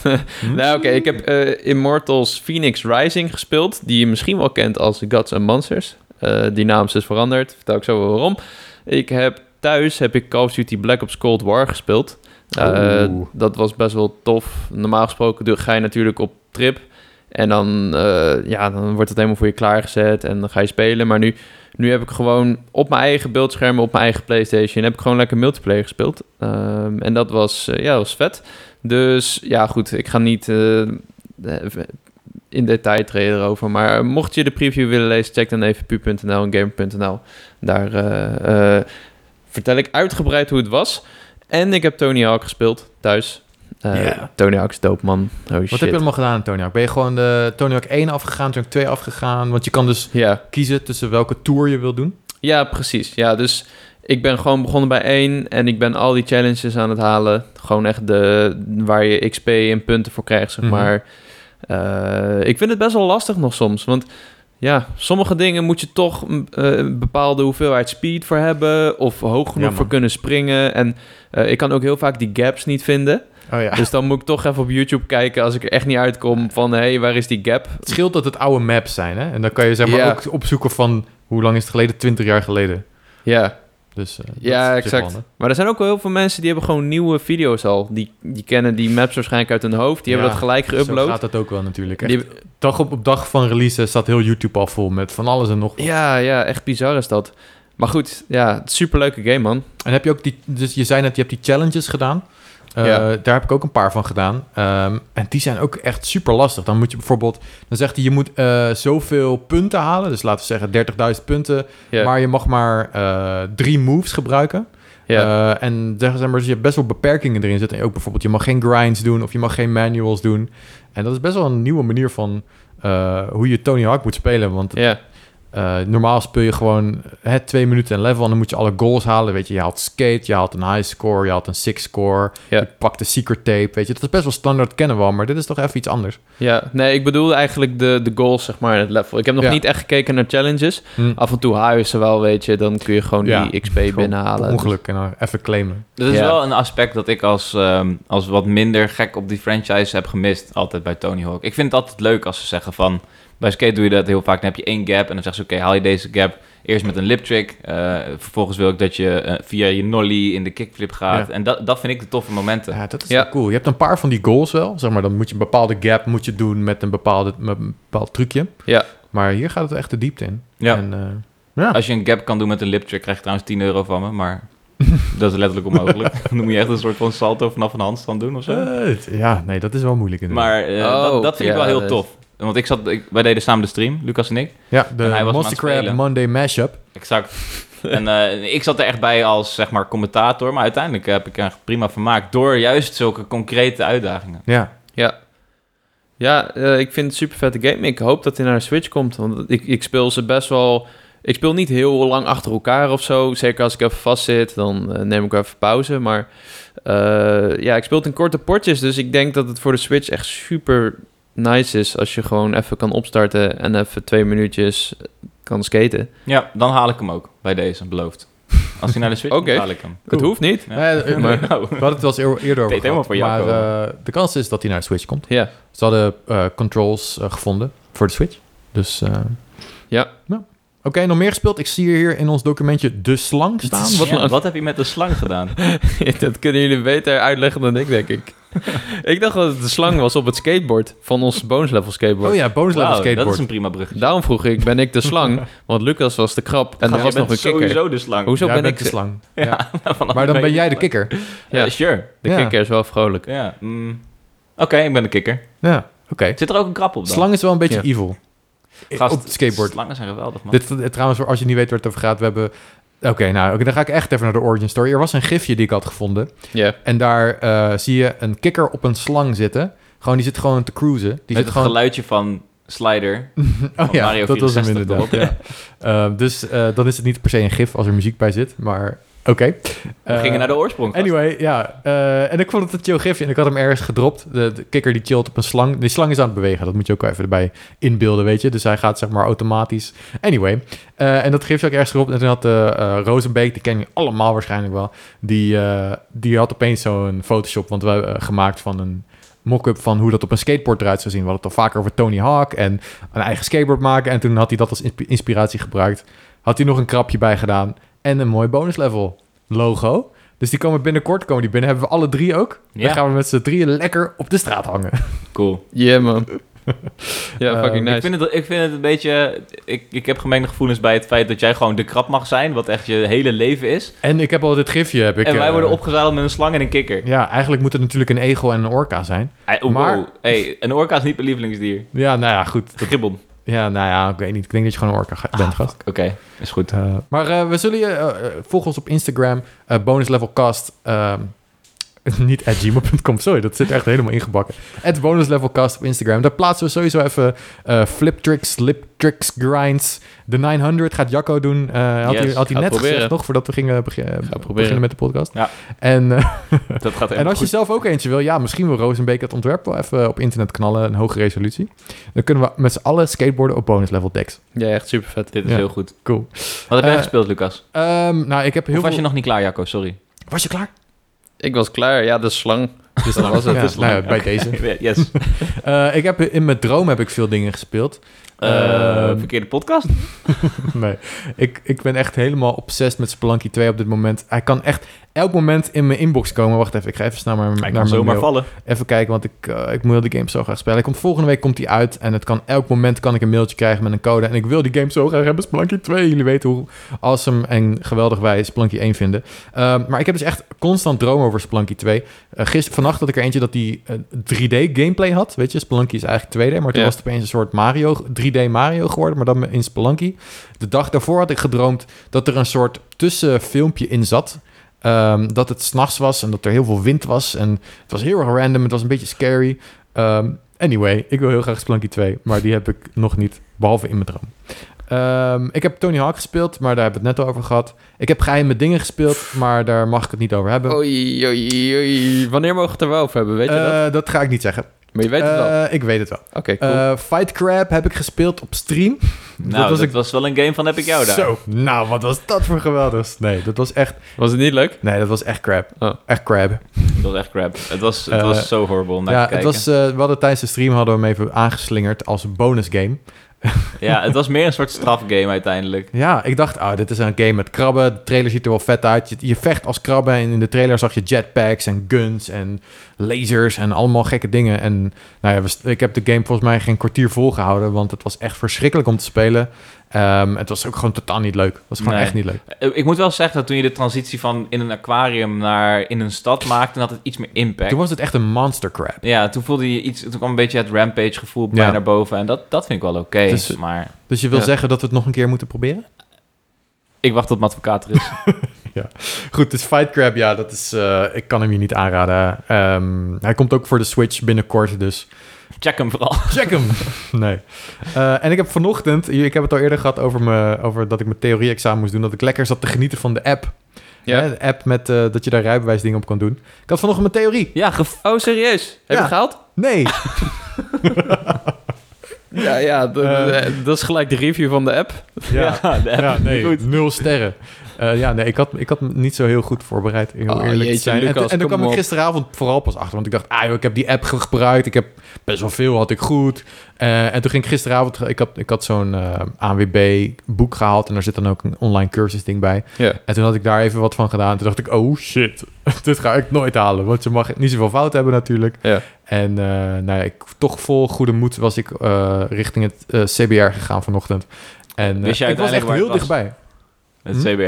Speaker 3: Nou, oké. Ik heb eh, Immortals Phoenix Rising gespeeld. Die je misschien wel kent als Gods and Monsters. Eh, die naam is dus veranderd. Vertel ik zo wel waarom. Ik heb thuis heb ik Call of Duty Black Ops Cold War gespeeld. Eh,
Speaker 1: Oeh.
Speaker 3: dat was best wel tof. Normaal gesproken doe- ga je natuurlijk op trip. En dan, eh, ja, dan wordt het helemaal voor je klaargezet. En dan ga je spelen. Maar nu, nu heb ik gewoon op mijn eigen beeldscherm, op mijn eigen PlayStation, heb ik gewoon lekker multiplayer gespeeld. Ehm, en dat was, eh, ja, dat was vet. Dus ja, goed, ik ga niet eh, in detail treden erover. Maar mocht je de preview willen lezen, check dan even pu.nl en gamer.nl. Daar eh, eh, vertel ik uitgebreid hoe het was. En ik heb Tony Hawk gespeeld thuis. Eh,
Speaker 1: Ja.
Speaker 3: Tony Hawk is dope, man. Holy
Speaker 1: Wat
Speaker 3: shit.
Speaker 1: heb je allemaal gedaan, Tony Hawk? Ben je gewoon eh, de Tony Hawk 1 afgegaan, Tony Hawk 2 afgegaan? Want je kan dus
Speaker 3: Ja.
Speaker 1: kiezen tussen welke tour je wil doen.
Speaker 3: ja, precies. Ja, dus ik ben gewoon begonnen bij één. En ik ben al die challenges aan het halen. Gewoon echt de, waar je XP en punten voor krijgt, zeg
Speaker 1: Mhm.
Speaker 3: maar. Eh, ik vind het best wel lastig nog soms. Want ja, sommige dingen moet je toch mm, eh, een bepaalde hoeveelheid speed voor hebben. Of hoog genoeg
Speaker 1: man.
Speaker 3: voor kunnen springen. En eh, ik kan ook heel vaak die gaps niet vinden.
Speaker 1: Oh ja.
Speaker 3: Dus dan moet ik toch even op YouTube kijken als ik er echt niet uitkom van... hé, hey, waar is die gap?
Speaker 1: Het scheelt dat het oude maps zijn, hè? En dan kan je zeg maar
Speaker 3: Ja.
Speaker 1: ook opzoeken van hoe lang is het geleden? 20 jaar geleden.
Speaker 3: Ja,
Speaker 1: Dus, eh, dat is
Speaker 3: ja
Speaker 1: op zich wel
Speaker 3: exact.
Speaker 1: handig.
Speaker 3: Maar er zijn ook wel heel veel mensen die hebben gewoon nieuwe video's al. Die, die kennen die maps waarschijnlijk uit hun hoofd. Die hebben
Speaker 1: Ja,
Speaker 3: dat gelijk
Speaker 1: Dus Zo gaat
Speaker 3: geüpload.
Speaker 1: dat ook wel natuurlijk. Echt.
Speaker 3: Die-
Speaker 1: Dag op, op dag van release eh, staat heel YouTube al vol met van alles en nog wat.
Speaker 3: Ja, ja, echt bizar is dat. Maar goed, ja, superleuke game, man.
Speaker 1: En heb je ook die... Dus je zei net, je hebt die challenges gedaan. Eh,
Speaker 3: Ja.
Speaker 1: Daar heb ik ook een paar van gedaan. Ehm, en die zijn ook echt super lastig. Dan moet je bijvoorbeeld... Dan zegt hij, je moet eh, zoveel punten halen. Dus laten we zeggen 30.000 punten.
Speaker 3: Ja,
Speaker 1: Maar je mag maar eh, drie moves gebruiken.
Speaker 3: ja.
Speaker 1: Eh, en zeggen ze maar, dus je hebt best wel beperkingen erin zitten. En ook bijvoorbeeld, je mag geen grinds doen of je mag geen manuals doen. En dat is best wel een nieuwe manier van eh, hoe je Tony Hawk moet spelen. Want
Speaker 3: ja.
Speaker 1: eh, normaal speel je gewoon het twee minuten en level. En dan moet je alle goals halen. Weet je, je haalt skate, je haalt een high score, je haalt een six score.
Speaker 3: Ja.
Speaker 1: Je pakt de secret tape. Weet je, dat is best wel standaard kennen we al. Maar dit is toch even iets anders.
Speaker 3: Ja, nee, ik bedoelde eigenlijk de, de goals, zeg maar, het level. Ik heb nog
Speaker 1: Ja.
Speaker 3: niet echt gekeken naar challenges.
Speaker 1: Hm.
Speaker 3: Af en toe haaien ze wel, weet je. Dan kun je gewoon
Speaker 1: Ja,
Speaker 3: die XP
Speaker 1: gewoon
Speaker 3: binnenhalen.
Speaker 1: Ongeluk en dan even claimen.
Speaker 2: Dat Dus is
Speaker 3: Ja.
Speaker 2: wel een aspect dat ik als, ehm, als wat minder gek op die franchise heb gemist. Altijd bij Tony Hawk. Ik vind het altijd leuk als ze zeggen van... Bij skate doe je dat heel vaak. Dan heb je één gap en dan zeggen ze... Oké, haal je deze gap eerst met een lip trick. Eh, vervolgens wil ik dat je eh, via je nollie in de kickflip gaat. En dat, dat vind ik de toffe momenten.
Speaker 1: Ja, dat is
Speaker 3: Ja.
Speaker 1: wel cool. Je hebt een paar van die goals wel. Zeg maar, dan moet je een bepaalde gap moet je doen met een, bepaalde, met een bepaald trucje.
Speaker 3: Ja.
Speaker 1: Maar hier gaat het echt de diepte in.
Speaker 2: Ja.
Speaker 1: En, eh, ja.
Speaker 2: Als je een gap kan doen met een lip trick... krijg je trouwens 10 euro van me, maar... (laughs) Dat is letterlijk onmogelijk. (laughs) Dan moet je echt een soort van salto vanaf een handstand doen of zo.
Speaker 1: Eh, het- ja, nee, dat is wel moeilijk inderdaad.
Speaker 2: Maar eh,
Speaker 3: Oh,
Speaker 2: dat, dat vind ik
Speaker 3: ja,
Speaker 2: wel heel
Speaker 3: dat-
Speaker 2: tof. Want ik zat, ik, wij deden samen de stream, Lucas en ik.
Speaker 1: ja,
Speaker 2: en hij
Speaker 1: de Monster
Speaker 2: was maar aan het
Speaker 1: Crab
Speaker 2: spelen.
Speaker 1: Monday mashup. (laughs)
Speaker 2: Exact. en eh, ik zat er echt bij als zeg maar commentator, maar uiteindelijk heb ik er echt prima vermaakt door juist zulke concrete uitdagingen.
Speaker 1: Ja.
Speaker 3: Ja, eh, ik vind het super vette game. Ik hoop dat hij naar de Switch komt. Want ik, ik speel ze best wel... Ik speel niet heel lang achter elkaar of zo. Zeker als ik even vastzit, dan eh, neem ik wel even pauze. Maar eh, ja, ik speel het in korte potjes. Dus ik denk dat het voor de Switch echt super nice is... als je gewoon even kan opstarten en even twee minuutjes kan skaten.
Speaker 2: Ja, dan haal ik hem ook bij deze, beloofd. Als hij naar de
Speaker 1: (laughs)
Speaker 2: Switch
Speaker 3: Oké.
Speaker 2: komt, haal ik hem.
Speaker 1: Cool.
Speaker 3: Het hoeft niet.
Speaker 2: Ja.
Speaker 1: Nou ja,
Speaker 2: (laughs) Maar-
Speaker 1: we hadden het wel eens eer- eerder over
Speaker 2: Deed helemaal
Speaker 1: gehad,
Speaker 2: voor jou
Speaker 1: Maar
Speaker 2: komen.
Speaker 1: eh, de kans is dat hij naar de Switch komt.
Speaker 3: Ja. (laughs)
Speaker 1: Ze hadden eh, controls eh, gevonden voor de Switch. Dus... eh,
Speaker 3: Ja.
Speaker 1: Oké, nog meer gespeeld. Ik zie hier in ons documentje de slang staan.
Speaker 2: Wat,
Speaker 1: Wat
Speaker 2: ja, wat heb je met de slang
Speaker 1: (laughs)
Speaker 2: gedaan?
Speaker 3: dat kunnen jullie beter uitleggen dan ik, denk ik. ik dacht dat het de slang was op het skateboard van ons bonus level skateboard.
Speaker 1: Oh ja, bonus level
Speaker 2: Wauw, dat
Speaker 1: skateboard.
Speaker 2: is een prima brug.
Speaker 3: Daarom vroeg ik, ben ik de
Speaker 1: (laughs)
Speaker 3: slang? Want Lucas was de krab en er was nog een kikker.
Speaker 2: sowieso de slang.
Speaker 3: Hoezo
Speaker 1: Jij
Speaker 3: ben
Speaker 1: bent
Speaker 3: ik
Speaker 1: de
Speaker 3: de-
Speaker 1: slang.
Speaker 2: (laughs) Ja,
Speaker 1: Ja.
Speaker 2: Vanaf
Speaker 1: Maar
Speaker 2: nu
Speaker 1: dan ben
Speaker 2: je
Speaker 1: jij de
Speaker 2: slang.
Speaker 1: kikker.
Speaker 2: (laughs) Ja,
Speaker 3: Ja.
Speaker 2: sure.
Speaker 3: De
Speaker 1: Ja.
Speaker 3: kikker is wel vrolijk.
Speaker 2: Ja, mm. Oké, ik ben de kikker.
Speaker 1: Ja, oké.
Speaker 2: Zit er ook een krap op dan?
Speaker 1: Slang is wel een beetje
Speaker 3: Ja.
Speaker 1: evil.
Speaker 2: Gast,
Speaker 1: op het skateboard.
Speaker 2: Slangen zijn geweldig, man.
Speaker 1: Dit, dit- trouwens, voor als je niet weet waar het over gaat, we hebben... Oké, nou, oké, dan ga ik echt even naar de origin story. Er was een gifje die ik had gevonden.
Speaker 3: Ja.
Speaker 1: En daar eh, zie je een kikker op een slang zitten. Gewoon, die zit gewoon te cruisen. Die
Speaker 2: Met het
Speaker 1: zit gewoon...
Speaker 2: geluidje van Slider.
Speaker 1: (laughs) oh
Speaker 2: van
Speaker 1: ja,
Speaker 2: Mario
Speaker 1: dat was hem
Speaker 2: 64
Speaker 1: inderdaad. Ja. Eh, dus eh, dan is het niet per se een gif als er muziek bij zit. Maar Oké. Eh,
Speaker 2: We gingen naar de oorsprong. gast.
Speaker 1: Anyway, ja. eh, en ik vond het een chill gifje en ik had hem ergens gedropt. De, de kikker die chillt op een slang. Die slang is aan het bewegen. Dat moet je ook wel even erbij inbeelden, weet je. Dus hij gaat zeg maar automatisch. Anyway. eh, en dat gifje had ik ergens gedropt. En toen had eh eh, Rozenbeek, die ken je allemaal waarschijnlijk wel. Die, eh, die had opeens zo'n Photoshop. Want we hebben eh, gemaakt van een mock-up van hoe dat op een skateboard eruit zou zien. We hadden het al vaker over Tony Hawk en een eigen skateboard maken. En toen had hij dat als insp- inspiratie gebruikt. Had hij nog een krapje bij gedaan. En een mooi bonuslevel logo. Dus die komen binnenkort, komen die binnen. Hebben we alle drie ook. Dan
Speaker 2: Ja.
Speaker 1: gaan we met z'n drieën lekker op de straat hangen. (laughs)
Speaker 2: Cool.
Speaker 3: Yeah, man. ja,
Speaker 1: Eh,
Speaker 3: fucking
Speaker 2: Ik
Speaker 3: nice.
Speaker 2: vind, het, ik vind het een beetje... Ik, ik heb gemengde gevoelens bij het feit dat jij gewoon de krap mag zijn... wat echt je hele leven is.
Speaker 1: En ik heb al dit gifje. Heb ik,
Speaker 2: en wij
Speaker 1: eh,
Speaker 2: worden opgezadeld met een slang en een kikker.
Speaker 1: Ja, eigenlijk moet het natuurlijk een egel en een orka zijn.
Speaker 2: Hey, oh,
Speaker 1: Maar-
Speaker 2: wow. Hey, een orka is niet mijn lievelingsdier.
Speaker 1: Ja, nou ja, goed.
Speaker 2: Gibbon.
Speaker 1: Ja, nou ja, ik weet niet. Ik denk dat je gewoon een orka ga- bent, gast.
Speaker 2: Oké, is goed.
Speaker 1: Eh, maar eh, we zullen je... eh, eh, volg ons op Instagram. eh bonuslevelcast. ehm, (laughs) niet at gmail.com, sorry, dat zit er echt helemaal ingebakken. At bonuslevelcast op Instagram. Daar plaatsen we sowieso even eh fliptricks, liptricks, grinds. De 900 gaat Jacco doen. Eh, had
Speaker 2: Yes,
Speaker 1: hij, had hij
Speaker 3: ga
Speaker 1: net
Speaker 3: proberen.
Speaker 1: gezegd nog, voordat we gingen beg- eh,
Speaker 3: proberen.
Speaker 1: beginnen met de podcast.
Speaker 2: Ja.
Speaker 1: En, eh,
Speaker 2: (laughs) Dat gaat
Speaker 1: en
Speaker 2: helemaal
Speaker 1: als je
Speaker 2: goed.
Speaker 1: zelf ook eentje wil, ja, misschien wil Rozenbeek het ontwerp wel even op internet knallen, een hoge resolutie. Dan kunnen we met z'n allen skateboarden op bonus level decks.
Speaker 3: Ja, echt super vet.
Speaker 2: Dit is
Speaker 1: Ja.
Speaker 2: heel goed.
Speaker 1: Cool.
Speaker 2: Wat heb jij
Speaker 1: Eh,
Speaker 2: gespeeld, Lucas?
Speaker 1: Ehm, nou, ik heb heel
Speaker 2: Of was
Speaker 1: veel...
Speaker 2: je nog niet klaar, Jacco? Sorry.
Speaker 1: Was je klaar?
Speaker 3: Ik was klaar. Ja, de slang.
Speaker 1: Dus
Speaker 2: dan was het.
Speaker 1: Ja,
Speaker 2: Dus dan-
Speaker 1: nou ja, bij
Speaker 2: (laughs)
Speaker 1: deze. (laughs)
Speaker 2: Yes.
Speaker 1: Eh, ik heb, in mijn droom heb ik veel dingen gespeeld. Ehm,
Speaker 2: Eh, (laughs) verkeerde podcast?
Speaker 1: Nee, ik, ik ben echt helemaal obsessed met Spelunky 2 op dit moment. Hij kan echt elk moment in mijn inbox komen. Wacht even, ik ga even snel naar, mijn-
Speaker 2: Hij
Speaker 1: naar
Speaker 2: kan
Speaker 1: mijn
Speaker 2: zomaar
Speaker 1: mail.
Speaker 2: vallen.
Speaker 1: Even kijken, want ik, eh, ik wil die game zo graag spelen. Hij komt, volgende week komt hij uit en het kan, elk moment kan ik een mailtje krijgen met een code. En ik wil die game zo graag hebben, Spelunky 2. Jullie weten hoe awesome en geweldig wij Spelunky 1 vinden. Ehm, maar ik heb dus echt constant dromen over Spelunky 2. Eh gisteren, vannacht had ik er eentje dat die eh, 3D gameplay had. Weet je, Spelunky is eigenlijk 2D, maar toen
Speaker 3: Ja.
Speaker 1: was het opeens een soort Mario, 3D Mario geworden, maar dan in Spelunky. De dag daarvoor had ik gedroomd dat er een soort tussenfilmpje in zat. Ehm, dat het s'nachts was en dat er heel veel wind was. En het was heel erg random, het was een beetje scary. Ehm, anyway, ik wil heel graag Spelunky 2, maar die heb ik nog niet, behalve in mijn droom. Ehm, ik heb Tony Hawk gespeeld, maar daar hebben we het net over gehad. Ik heb geheime dingen gespeeld, maar daar mag ik het niet over
Speaker 2: Oh,
Speaker 1: hebben.
Speaker 3: Oei, oei, oei. Wanneer mogen we het er wel over hebben? Weet je dat?
Speaker 1: Eh, dat ga ik niet zeggen.
Speaker 3: Maar je weet het wel.
Speaker 1: Eh, ik weet het wel.
Speaker 3: Oké, cool.
Speaker 1: Eh, Fight Crab heb ik gespeeld op stream.
Speaker 2: (laughs) Nou, dat was, wel een game van heb ik jou daar.
Speaker 1: Zo, nou, wat was dat voor geweldig? Nee, dat was echt...
Speaker 3: Was het niet leuk?
Speaker 1: Nee, dat was echt crap.
Speaker 3: Oh.
Speaker 1: Echt crap.
Speaker 2: Dat was echt crap. Het was, het
Speaker 1: Eh,
Speaker 2: was zo horrible om naar
Speaker 1: ja,
Speaker 2: te
Speaker 1: het
Speaker 2: kijken.
Speaker 1: was, eh, we hadden tijdens de stream hadden we hem even aangeslingerd als bonus game.
Speaker 2: Ja, het was meer een soort strafgame uiteindelijk.
Speaker 1: Ja, ik dacht, ah, dit is een game met krabben. De trailer ziet er wel vet uit. Je, je vecht als krabben en in de trailer zag je jetpacks en guns en lasers en allemaal gekke dingen. En nou ja, we st- ik heb de game volgens mij geen kwartier volgehouden, want het was echt verschrikkelijk om te spelen. Ehm, het was ook gewoon totaal niet leuk. Het was gewoon
Speaker 2: Nee.
Speaker 1: echt niet leuk.
Speaker 2: Eh, Ik moet wel zeggen dat toen je de transitie van in een aquarium naar in een stad maakte, dan had het iets meer impact.
Speaker 1: Toen was het echt een monster crap.
Speaker 2: Ja, toen voelde je iets, toen kwam een beetje het rampage gevoel bij
Speaker 1: Ja.
Speaker 2: mij naar boven en dat, dat vind ik wel oké.
Speaker 1: Dus-
Speaker 2: maar
Speaker 1: Dus je wil
Speaker 3: Ja.
Speaker 1: zeggen dat we het nog een keer moeten proberen?
Speaker 2: ik wacht tot mijn advocaat er
Speaker 1: (laughs)
Speaker 2: is.
Speaker 1: Goed, dus Fight Crab, ja, dat is... eh, ik kan hem je niet aanraden. Ehm, hij komt ook voor de Switch binnenkort, dus...
Speaker 2: Check hem vooral.
Speaker 1: Check hem! (laughs) nee. Eh, en ik heb vanochtend, ik heb het al eerder gehad over, me, over dat ik mijn theorie-examen moest doen, dat ik lekker zat te genieten van de app.
Speaker 3: Ja.
Speaker 1: Hè, de app met, eh, dat je daar rijbewijsdingen op kan doen. Ik had vanochtend mijn theorie.
Speaker 2: Ja, gev-
Speaker 3: Oh, serieus? Heb je
Speaker 1: Ja.
Speaker 3: het gehaald?
Speaker 1: Nee.
Speaker 3: Ja, ja. d-
Speaker 1: Eh.
Speaker 3: d- dat is gelijk de review van de app.
Speaker 1: (laughs) Ja,
Speaker 2: de app
Speaker 1: ja,
Speaker 2: is
Speaker 1: nee.
Speaker 2: niet goed.
Speaker 1: Nul sterren. Eh, ja, nee, ik had, ik had me niet zo heel goed voorbereid, heel
Speaker 3: Oh,
Speaker 1: eerlijk te
Speaker 3: jeetje,
Speaker 1: zijn. En-
Speaker 3: Lucas,
Speaker 1: en toen
Speaker 3: kom
Speaker 1: kwam ik
Speaker 3: op.
Speaker 1: gisteravond vooral pas achter, want ik dacht, ah joh, ik heb die app ge- gebruikt, ik heb best wel veel, had ik goed. Eh, en toen ging ik gisteravond, ik had, ik had zo'n eh, ANWB boek gehaald en daar zit dan ook een online cursus ding bij.
Speaker 3: Ja.
Speaker 1: En toen had ik daar even wat van gedaan. Toen dacht ik, oh shit, (laughs) dit ga ik nooit halen. Want je mag niet zoveel fout hebben natuurlijk.
Speaker 3: Ja.
Speaker 1: En eh, nou ja, ik, toch vol goede moed was ik eh, richting het eh, CBR gegaan vanochtend. En eh,
Speaker 2: Wist jij
Speaker 1: ik was
Speaker 2: uiteindelijk
Speaker 1: echt
Speaker 2: waar
Speaker 1: heel
Speaker 2: het was?
Speaker 1: dichtbij. Hm?
Speaker 2: Het CBR.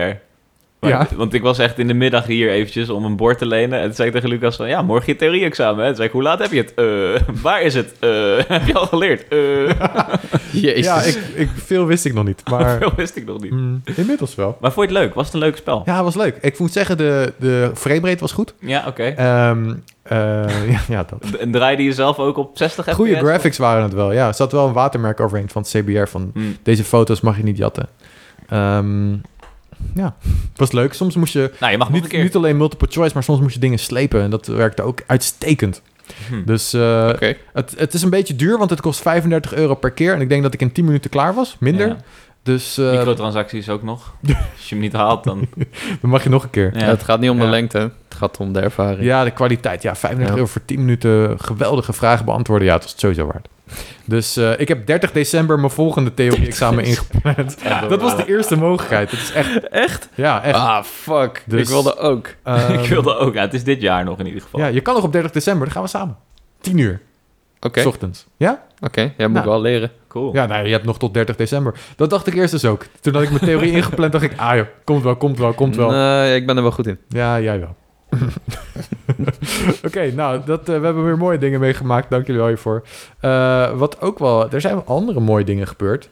Speaker 2: Maar-
Speaker 1: Ja.
Speaker 2: Want ik was echt in de middag hier eventjes om een bord te lenen. En toen zei ik tegen Lucas van, ja, morgen je theorie-examen. hè. Toen zei ik, hoe laat heb je het? Eh, waar is het? Eh, (laughs) heb je al geleerd? (laughs) Eh,
Speaker 3: Jezus.
Speaker 1: Ja, ik, ik, veel wist ik nog
Speaker 2: (laughs)
Speaker 1: niet. Maar
Speaker 2: veel wist ik nog niet.
Speaker 1: mm, inmiddels wel.
Speaker 2: Maar vond je het leuk? Was het een leuk spel?
Speaker 1: Ja, het was leuk. Ik moet zeggen, de, de frame rate was goed.
Speaker 2: Ja, oké.
Speaker 1: Ehm, eh, (laughs) ja, ja, dat.
Speaker 2: En draaide je zelf ook op 60 FPS?
Speaker 1: Goede graphics waren het wel. Ja, er zat wel een watermerk overheen van het CBR van
Speaker 2: Hm.
Speaker 1: deze foto's mag je niet jatten. Ehm, Het (laughs) was leuk. Soms moest je
Speaker 2: Nou, je mag nog een
Speaker 1: niet,
Speaker 2: keer.
Speaker 1: niet alleen multiple choice, maar soms moest je dingen slepen. En dat werkte ook uitstekend.
Speaker 2: Hm.
Speaker 1: Dus eh,
Speaker 3: Oké.
Speaker 1: het, het is een beetje duur, want het kost 35 euro per keer. En ik denk dat ik in 10 minuten klaar was. Minder.
Speaker 2: Ja.
Speaker 1: Dus eh,
Speaker 2: Microtransacties ook nog. Als je hem niet haalt, dan...
Speaker 1: dan mag je nog een keer.
Speaker 2: Ja.
Speaker 3: Het gaat niet om
Speaker 1: (laughs)
Speaker 3: de
Speaker 1: Ja.
Speaker 3: lengte, het gaat om de ervaring.
Speaker 1: Ja, de kwaliteit. Ja, 35
Speaker 3: Ja.
Speaker 1: euro voor 10 minuten geweldige vragen beantwoorden. Ja, het was het sowieso waard. Dus eh, ik heb 30 december mijn volgende
Speaker 2: (laughs)
Speaker 1: theorie-examen ingepland. Dat was de eerste mogelijkheid. Het is echt... Echt? Ja, echt.
Speaker 3: Ah, fuck.
Speaker 1: Dus-
Speaker 3: Ik wilde ook.
Speaker 1: Ehm,
Speaker 2: Ah, (laughs) ik wilde ook. Ja, het is dit jaar nog in ieder geval.
Speaker 1: Ja, je kan nog op 30 december. Dan gaan we samen. 10 uur,
Speaker 3: Oké,
Speaker 1: s ochtends. Ja?
Speaker 3: oké. Jij moet
Speaker 1: Nou.
Speaker 3: wel leren.
Speaker 2: Cool.
Speaker 1: Ja, nou, je hebt nog tot 30 december. Dat dacht ik eerst dus ook. Toen had ik mijn
Speaker 2: (laughs)
Speaker 1: theorie ingepland, dacht ik... Ah joh, komt wel, komt wel, komt wel.
Speaker 3: Nee, ik ben er wel goed in.
Speaker 1: Ja, jij wel. (laughs) Oké, nou, dat, eh, we hebben weer mooie dingen meegemaakt. Dank jullie wel hiervoor. Eh, wat ook wel... Er zijn wel andere mooie dingen gebeurd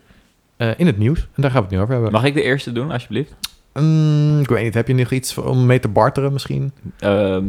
Speaker 1: eh, in het nieuws. En daar gaan we het nu over hebben.
Speaker 2: Mag ik de eerste doen, alsjeblieft?
Speaker 1: Mm, ik weet niet, heb je nog iets om mee te barteren misschien?
Speaker 2: Ehm,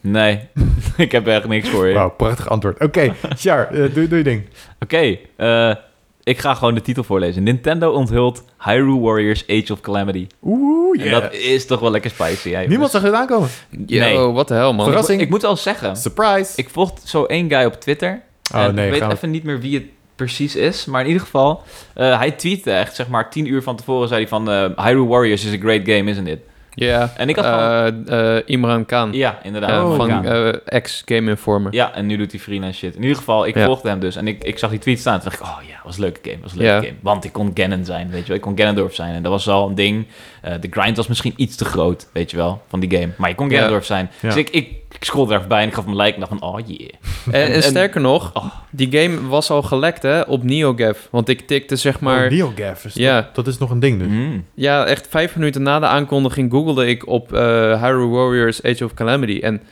Speaker 2: nee, (laughs) ik heb echt niks voor je.
Speaker 1: Wauw, prachtig antwoord.
Speaker 2: (laughs)
Speaker 1: Oké, Sjaar, eh, doe, doe je ding.
Speaker 2: Oké, eh, ik ga gewoon de titel voorlezen. Nintendo onthult Hyrule Warriors Age of Calamity.
Speaker 1: Oeh,
Speaker 2: En dat is toch wel lekker spicy. Hè, jongens?
Speaker 1: Niemand zag het aankomen.
Speaker 3: Yo,
Speaker 2: Nee.
Speaker 3: wat de hel, man.
Speaker 1: Verras-
Speaker 2: Ik,
Speaker 1: Verrassing.
Speaker 2: ik moet wel zeggen,
Speaker 1: Surprise.
Speaker 2: ik volg zo één guy op Twitter.
Speaker 1: oh
Speaker 2: En
Speaker 1: nee,
Speaker 2: ik weet
Speaker 1: gaan we...
Speaker 2: even niet meer wie het precies is. Maar in ieder geval, eh, hij tweette echt, zeg maar, tien uur van tevoren zei hij van... eh, Hyrule Warriors is a great game, isn't it?
Speaker 3: Ja.
Speaker 2: En ik had
Speaker 3: Eh, eh, Imran Khan.
Speaker 2: Ja, inderdaad.
Speaker 3: Eh,
Speaker 1: Oh,
Speaker 3: van
Speaker 2: Ja.
Speaker 3: eh, ex-Game Informer.
Speaker 2: Ja, en nu doet hij vrienden en shit. In ieder geval, ik
Speaker 3: Ja.
Speaker 2: volgde hem dus. En ik, ik zag die tweet staan. Toen dacht ik, oh ja, was een leuke game. Was een leuke
Speaker 3: Ja.
Speaker 2: game. Want ik kon Ganon zijn, weet je wel. Ik kon Ganondorf zijn. En dat was al een ding. Eh, de grind was misschien iets te groot, weet je wel, van die game. Maar je kon
Speaker 3: Ja.
Speaker 2: Ganondorf zijn.
Speaker 1: Ja.
Speaker 2: Dus ik, ik, ik scrollde daar voorbij en ik gaf hem een like. En dacht van, oh yeah.
Speaker 3: En,
Speaker 2: en-
Speaker 3: en sterker nog,
Speaker 2: Oh.
Speaker 3: die game was al gelekt hè, op NeoGAF. Want ik tikte zeg maar...
Speaker 1: Oh, NeoGAF is
Speaker 3: Ja.
Speaker 1: dat, dat is nog een ding dus.
Speaker 2: Mm.
Speaker 3: Ja, echt vijf minuten na de aankondiging googelde ik op eh, Hyrule Warriors Age of Calamity. En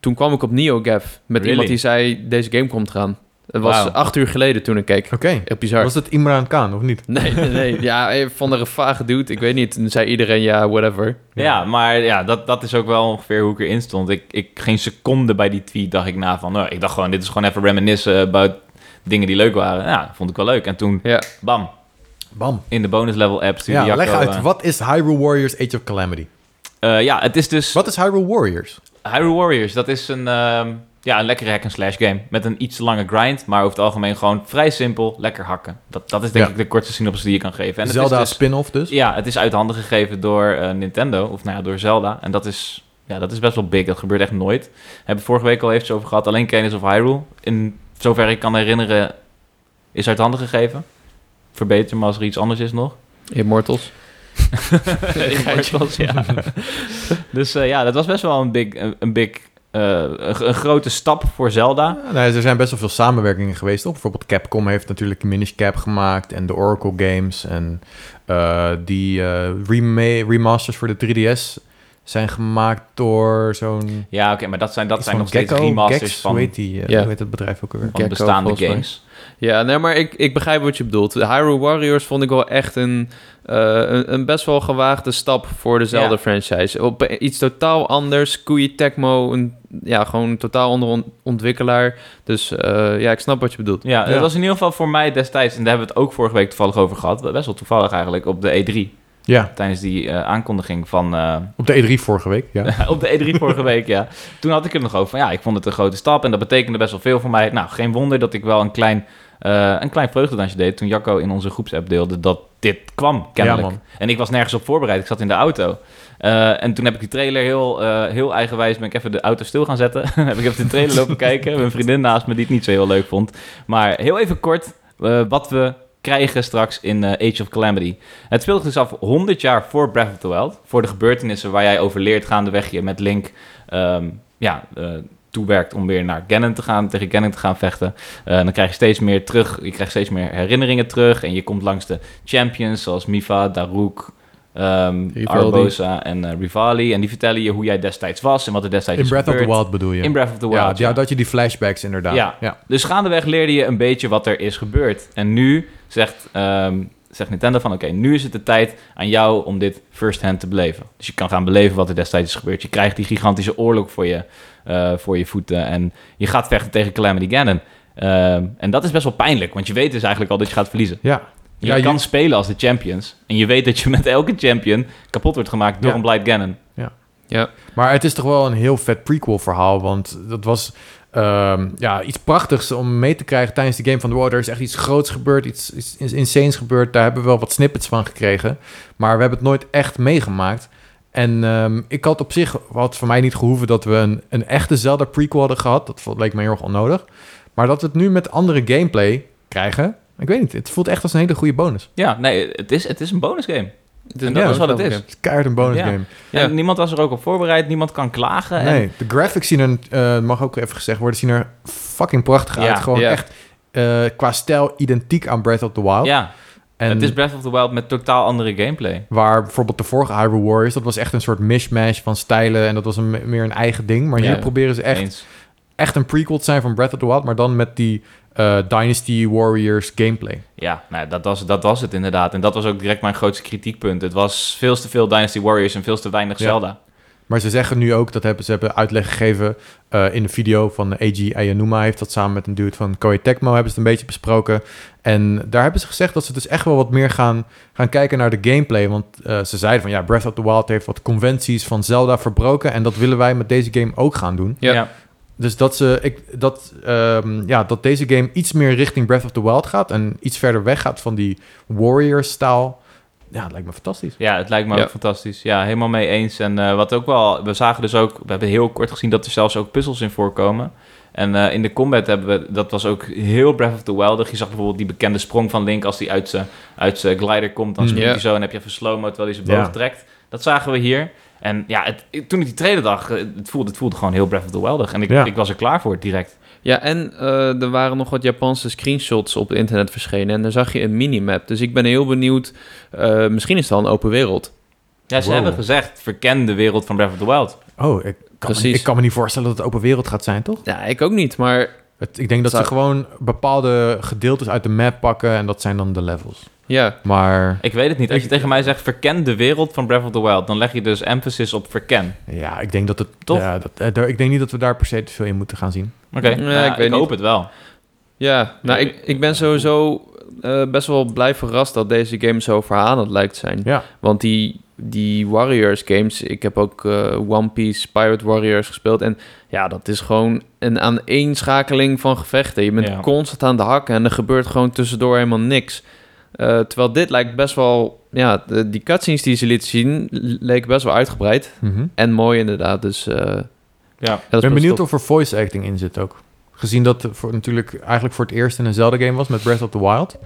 Speaker 3: toen kwam ik op NeoGAF met
Speaker 2: Really?
Speaker 3: iemand die zei, deze game komt eraan. Het was
Speaker 2: Wauw.
Speaker 3: acht uur geleden toen ik keek.
Speaker 1: Oké.
Speaker 3: Echt bizar.
Speaker 1: Was het Imran Khan of niet?
Speaker 3: Nee, nee, nee. Ja, eh, van de vage dude. Ik weet niet. Toen zei iedereen, ja, whatever.
Speaker 2: Ja, maar ja, dat, dat is ook wel ongeveer hoe ik erin stond. Ik, ik geen seconde bij die tweet dacht ik na van... nou ik dacht gewoon, dit is gewoon even reminiscen about dingen die leuk waren. Ja, vond ik wel leuk. En toen,
Speaker 3: Ja.
Speaker 2: bam,
Speaker 1: Bam.
Speaker 2: in de bonus level app stuurde
Speaker 1: Ja,
Speaker 2: Jacco,
Speaker 1: leg uit.
Speaker 2: eh,
Speaker 1: Wat is Hyrule Warriors Age of Calamity?
Speaker 2: eh, ja, het is dus...
Speaker 1: Wat is Hyrule Warriors?
Speaker 2: Hyrule Warriors, dat is een, ehm, ja, een lekkere hack-and-slash game. Met een iets lange grind, maar over het algemeen gewoon vrij simpel, lekker hakken. Dat, dat is denk
Speaker 1: Ja.
Speaker 2: ik de kortste synopsis die je kan geven. En het
Speaker 1: Zelda
Speaker 2: is dus-
Speaker 1: spin-off dus?
Speaker 2: ja, het is uit handen gegeven door eh, Nintendo, of nou ja, door Zelda. En dat is, ja, dat is best wel big, dat gebeurt echt nooit. We hebben vorige week al even over gehad, alleen Kennis of Hyrule. In zover ik kan herinneren, is uit handen gegeven. Verbeter me als er iets anders is nog.
Speaker 3: Immortals.
Speaker 2: Immortals, (laughs) ja. dus eh, ja, dat was best wel een big, een, een big eh, een, een grote stap voor Zelda.
Speaker 1: Ja, nee, er zijn best wel veel samenwerkingen geweest. Toch? Bijvoorbeeld Capcom heeft natuurlijk Minish Cap gemaakt en de Oracle Games. En eh, die eh, rema- remasters voor de 3DS zijn gemaakt door zo'n...
Speaker 2: Ja, oké, maar dat zijn, dat
Speaker 1: iets
Speaker 2: zijn
Speaker 1: van
Speaker 2: nog steeds
Speaker 1: Gecko,
Speaker 2: remasters
Speaker 1: Gex,
Speaker 2: van,
Speaker 1: Hoe heet, die, eh,
Speaker 3: Ja.
Speaker 1: hoe heet dat bedrijf ook alweer?
Speaker 2: van
Speaker 3: Gecko,
Speaker 2: bestaande
Speaker 3: volgens mij.
Speaker 2: games.
Speaker 3: Ja, nee, maar ik, ik begrijp wat je bedoelt. De Hyrule Warriors vond ik wel echt een, eh, een, een best wel gewaagde stap voor de Zelda-franchise. Op iets totaal anders. Koei Tecmo, een, ja, gewoon totaal onder on- ontwikkelaar. Dus eh, ja, ik snap wat je bedoelt.
Speaker 2: Ja, dat
Speaker 1: Ja.
Speaker 2: was in ieder geval voor mij destijds, en daar hebben we het ook vorige week toevallig over gehad, best wel toevallig eigenlijk, op de E3,
Speaker 1: Ja,
Speaker 2: tijdens die eh, aankondiging van... eh,
Speaker 1: op de E3 vorige week.
Speaker 2: (laughs)
Speaker 1: Ja. (laughs)
Speaker 2: op de E3 vorige week, ja. Toen had ik het nog over van ja, ik vond het een grote stap en dat betekende best wel veel voor mij. Nou, geen wonder dat ik wel een klein, eh een klein vreugdedansje deed toen Jacco in onze groepsapp deelde dat dit kwam, kennelijk.
Speaker 1: Ja, man.
Speaker 2: en ik was nergens op voorbereid, ik zat in de auto. Eh, en toen heb ik die trailer heel, eh, heel eigenwijs, ben ik even de auto stil gaan zetten. (laughs) heb ik even de trailer
Speaker 1: (laughs)
Speaker 2: lopen kijken, mijn vriendin naast me die het niet zo heel leuk vond. Maar heel even kort, eh, wat we krijgen straks in eh, Age of Calamity. Het speelt dus af 100 jaar voor Breath of the Wild. Voor de gebeurtenissen waar jij over leert gaandeweg je met Link ehm, ja, eh, toewerkt om weer naar Ganon te gaan, tegen Ganon te gaan vechten. Eh, dan krijg je steeds meer terug, je krijgt steeds meer herinneringen terug. En je komt langs de champions zoals Mifa, Daruk, ehm
Speaker 3: Rivali.
Speaker 2: Arbosa en eh, Rivali. En die vertellen je hoe jij destijds was en wat er destijds
Speaker 1: In
Speaker 2: is
Speaker 1: Breath of the
Speaker 2: gebeurd.
Speaker 1: Wild bedoel je?
Speaker 2: In Breath of the Wild.
Speaker 1: ja, ja,
Speaker 2: ja.
Speaker 1: dat je die flashbacks inderdaad.
Speaker 2: Ja.
Speaker 1: ja.
Speaker 2: Dus gaandeweg leerde je een beetje wat er is gebeurd. En nu zegt, ehm, zegt Nintendo van... oké, nu is het de tijd aan jou om dit first-hand te beleven. Dus je kan gaan beleven wat er destijds is gebeurd. Je krijgt die gigantische oorlog voor je, eh, voor je voeten... en je gaat vechten tegen Calamity Ganon. Ehm, en dat is best wel pijnlijk, want je weet dus eigenlijk al dat je gaat verliezen.
Speaker 1: Ja.
Speaker 2: Je
Speaker 1: Ja,
Speaker 2: kan
Speaker 1: je-
Speaker 2: spelen als de champions. En je weet dat je met elke champion kapot wordt gemaakt door
Speaker 1: Ja.
Speaker 2: een Blight Ganon.
Speaker 1: Maar het is toch wel een heel vet prequel verhaal. Want dat was ehm, ja, iets prachtigs om mee te krijgen tijdens de game van de War. Er is echt iets groots gebeurd, iets, iets insanes gebeurd. Daar hebben we wel wat snippets van gekregen. Maar we hebben het nooit echt meegemaakt. En ehm, ik had op zich, had voor mij niet gehoeven dat we een, een echte Zelda prequel hadden gehad. Dat vo- leek me heel erg onnodig. Maar dat we het nu met andere gameplay krijgen. Ik weet niet, het voelt echt als een hele goede bonus.
Speaker 2: Ja, nee, het is, het is een bonusgame. En dat
Speaker 1: ja,
Speaker 2: is wat het is.
Speaker 1: Het is keihard een bonus
Speaker 2: Ja.
Speaker 1: game.
Speaker 3: Ja.
Speaker 2: En niemand was er ook op voorbereid. Niemand kan klagen. Eh, En
Speaker 1: Nee, de graphics zien er, eh, mag ook even gezegd worden, zien er fucking prachtig
Speaker 2: Ja,
Speaker 1: uit. Gewoon
Speaker 3: ja.
Speaker 1: echt eh, qua stijl identiek aan Breath of the Wild.
Speaker 2: Ja,
Speaker 1: en
Speaker 2: het is Breath of the Wild met totaal andere gameplay.
Speaker 1: waar bijvoorbeeld de vorige Hyrule Warriors, dat was echt een soort mishmash van stijlen en dat was een, meer een eigen ding. Maar
Speaker 3: Ja.
Speaker 1: hier proberen ze echt,
Speaker 2: Eens.
Speaker 1: echt een prequel te zijn van Breath of the Wild, maar dan met die eh, Dynasty Warriors gameplay.
Speaker 2: Ja, nou, dat, was, dat was het inderdaad. En dat was ook direct mijn grootste kritiekpunt. Het was veel te veel Dynasty Warriors en veel te weinig
Speaker 1: Ja.
Speaker 2: Zelda.
Speaker 1: Maar ze zeggen nu ook, dat hebben ze hebben uitleg gegeven eh, in een video van Eiji Ayanuma. Heeft dat samen met een dude van Koei Tecmo hebben ze het een beetje besproken. En daar hebben ze gezegd dat ze dus echt wel wat meer gaan, gaan kijken naar de gameplay. Want eh, ze zeiden van ja, Breath of the Wild heeft wat conventies van Zelda verbroken. En dat willen wij met deze game ook gaan doen.
Speaker 3: Ja.
Speaker 1: Dus dat, ze, ik, dat, ehm, ja, dat deze game iets meer richting Breath of the Wild gaat. En iets verder weg gaat van die warrior-stijl. Ja, dat lijkt me fantastisch.
Speaker 2: Ja, het lijkt me
Speaker 3: Ja.
Speaker 2: ook fantastisch. Ja, helemaal mee eens. En eh, wat ook wel, we zagen dus ook, we hebben heel kort gezien dat er zelfs ook puzzels in voorkomen. En eh, in de combat hebben we, dat was ook heel Breath of the Wild. Je zag bijvoorbeeld die bekende sprong van Link als die uit zijn uit zijn glider komt. Dan
Speaker 1: Mm.
Speaker 2: springt
Speaker 3: Ja.
Speaker 2: hij zo en heb je even slow-mo terwijl hij zijn boog
Speaker 1: Ja.
Speaker 2: trekt. Dat zagen we hier. En ja, het, toen ik die trailer dag, het voelde, het voelde gewoon heel Breath of the Wildig. En ik,
Speaker 1: Ja.
Speaker 2: ik was er klaar voor direct.
Speaker 3: Ja, en eh, er waren nog wat Japanse screenshots op het internet verschenen. En daar zag je een minimap. Dus ik ben heel benieuwd. eh, misschien is het al een open wereld.
Speaker 2: Ja, ze
Speaker 1: Wow.
Speaker 2: hebben gezegd, verken de wereld van Breath of the Wild.
Speaker 1: Oh, ik kan, me,
Speaker 3: Precies.
Speaker 1: ik kan me niet voorstellen dat het open wereld gaat zijn, toch?
Speaker 3: Ja, ik ook niet. Maar
Speaker 1: Het- ik denk dat
Speaker 3: Zou-
Speaker 1: ze gewoon bepaalde gedeeltes uit de map pakken en dat zijn dan de levels.
Speaker 3: ja,
Speaker 1: Maar
Speaker 2: Ik weet het niet. Als je
Speaker 1: Ik-
Speaker 2: tegen mij zegt verken de wereld van Breath of the Wild, dan leg je dus emphasis op verken.
Speaker 1: ja, ik denk dat het
Speaker 2: Toch?
Speaker 1: Ja, dat, eh, daar- ik denk niet dat we daar per se te veel in moeten gaan zien.
Speaker 2: Oké,
Speaker 3: Ja,
Speaker 2: nou ja,
Speaker 3: ik
Speaker 2: ik,
Speaker 3: weet niet.
Speaker 2: hoop het wel.
Speaker 3: ja. Nou,
Speaker 2: Ja,
Speaker 3: ik, ik ben sowieso eh, best wel blij verrast dat deze game zo verhalend lijkt te zijn.
Speaker 1: Ja.
Speaker 3: Want die, die Warriors games, ik heb ook eh, One Piece Pirate Warriors gespeeld. En ja, dat is gewoon een aaneenschakeling van gevechten. Je bent
Speaker 2: Ja.
Speaker 3: constant aan de hakken en er gebeurt gewoon tussendoor helemaal niks. Eh, terwijl dit lijkt best wel... Ja, de- die cutscenes die ze lieten zien, leken best wel uitgebreid. En mooi inderdaad, dus... eh,
Speaker 2: Ja.
Speaker 1: Ik Mhm.
Speaker 3: dat is
Speaker 1: ben
Speaker 3: best
Speaker 1: benieuwd of
Speaker 3: tof.
Speaker 1: er voice acting in zit ook. Gezien dat het voor, natuurlijk eigenlijk voor het eerst in een Zelda-game was met Breath of the Wild.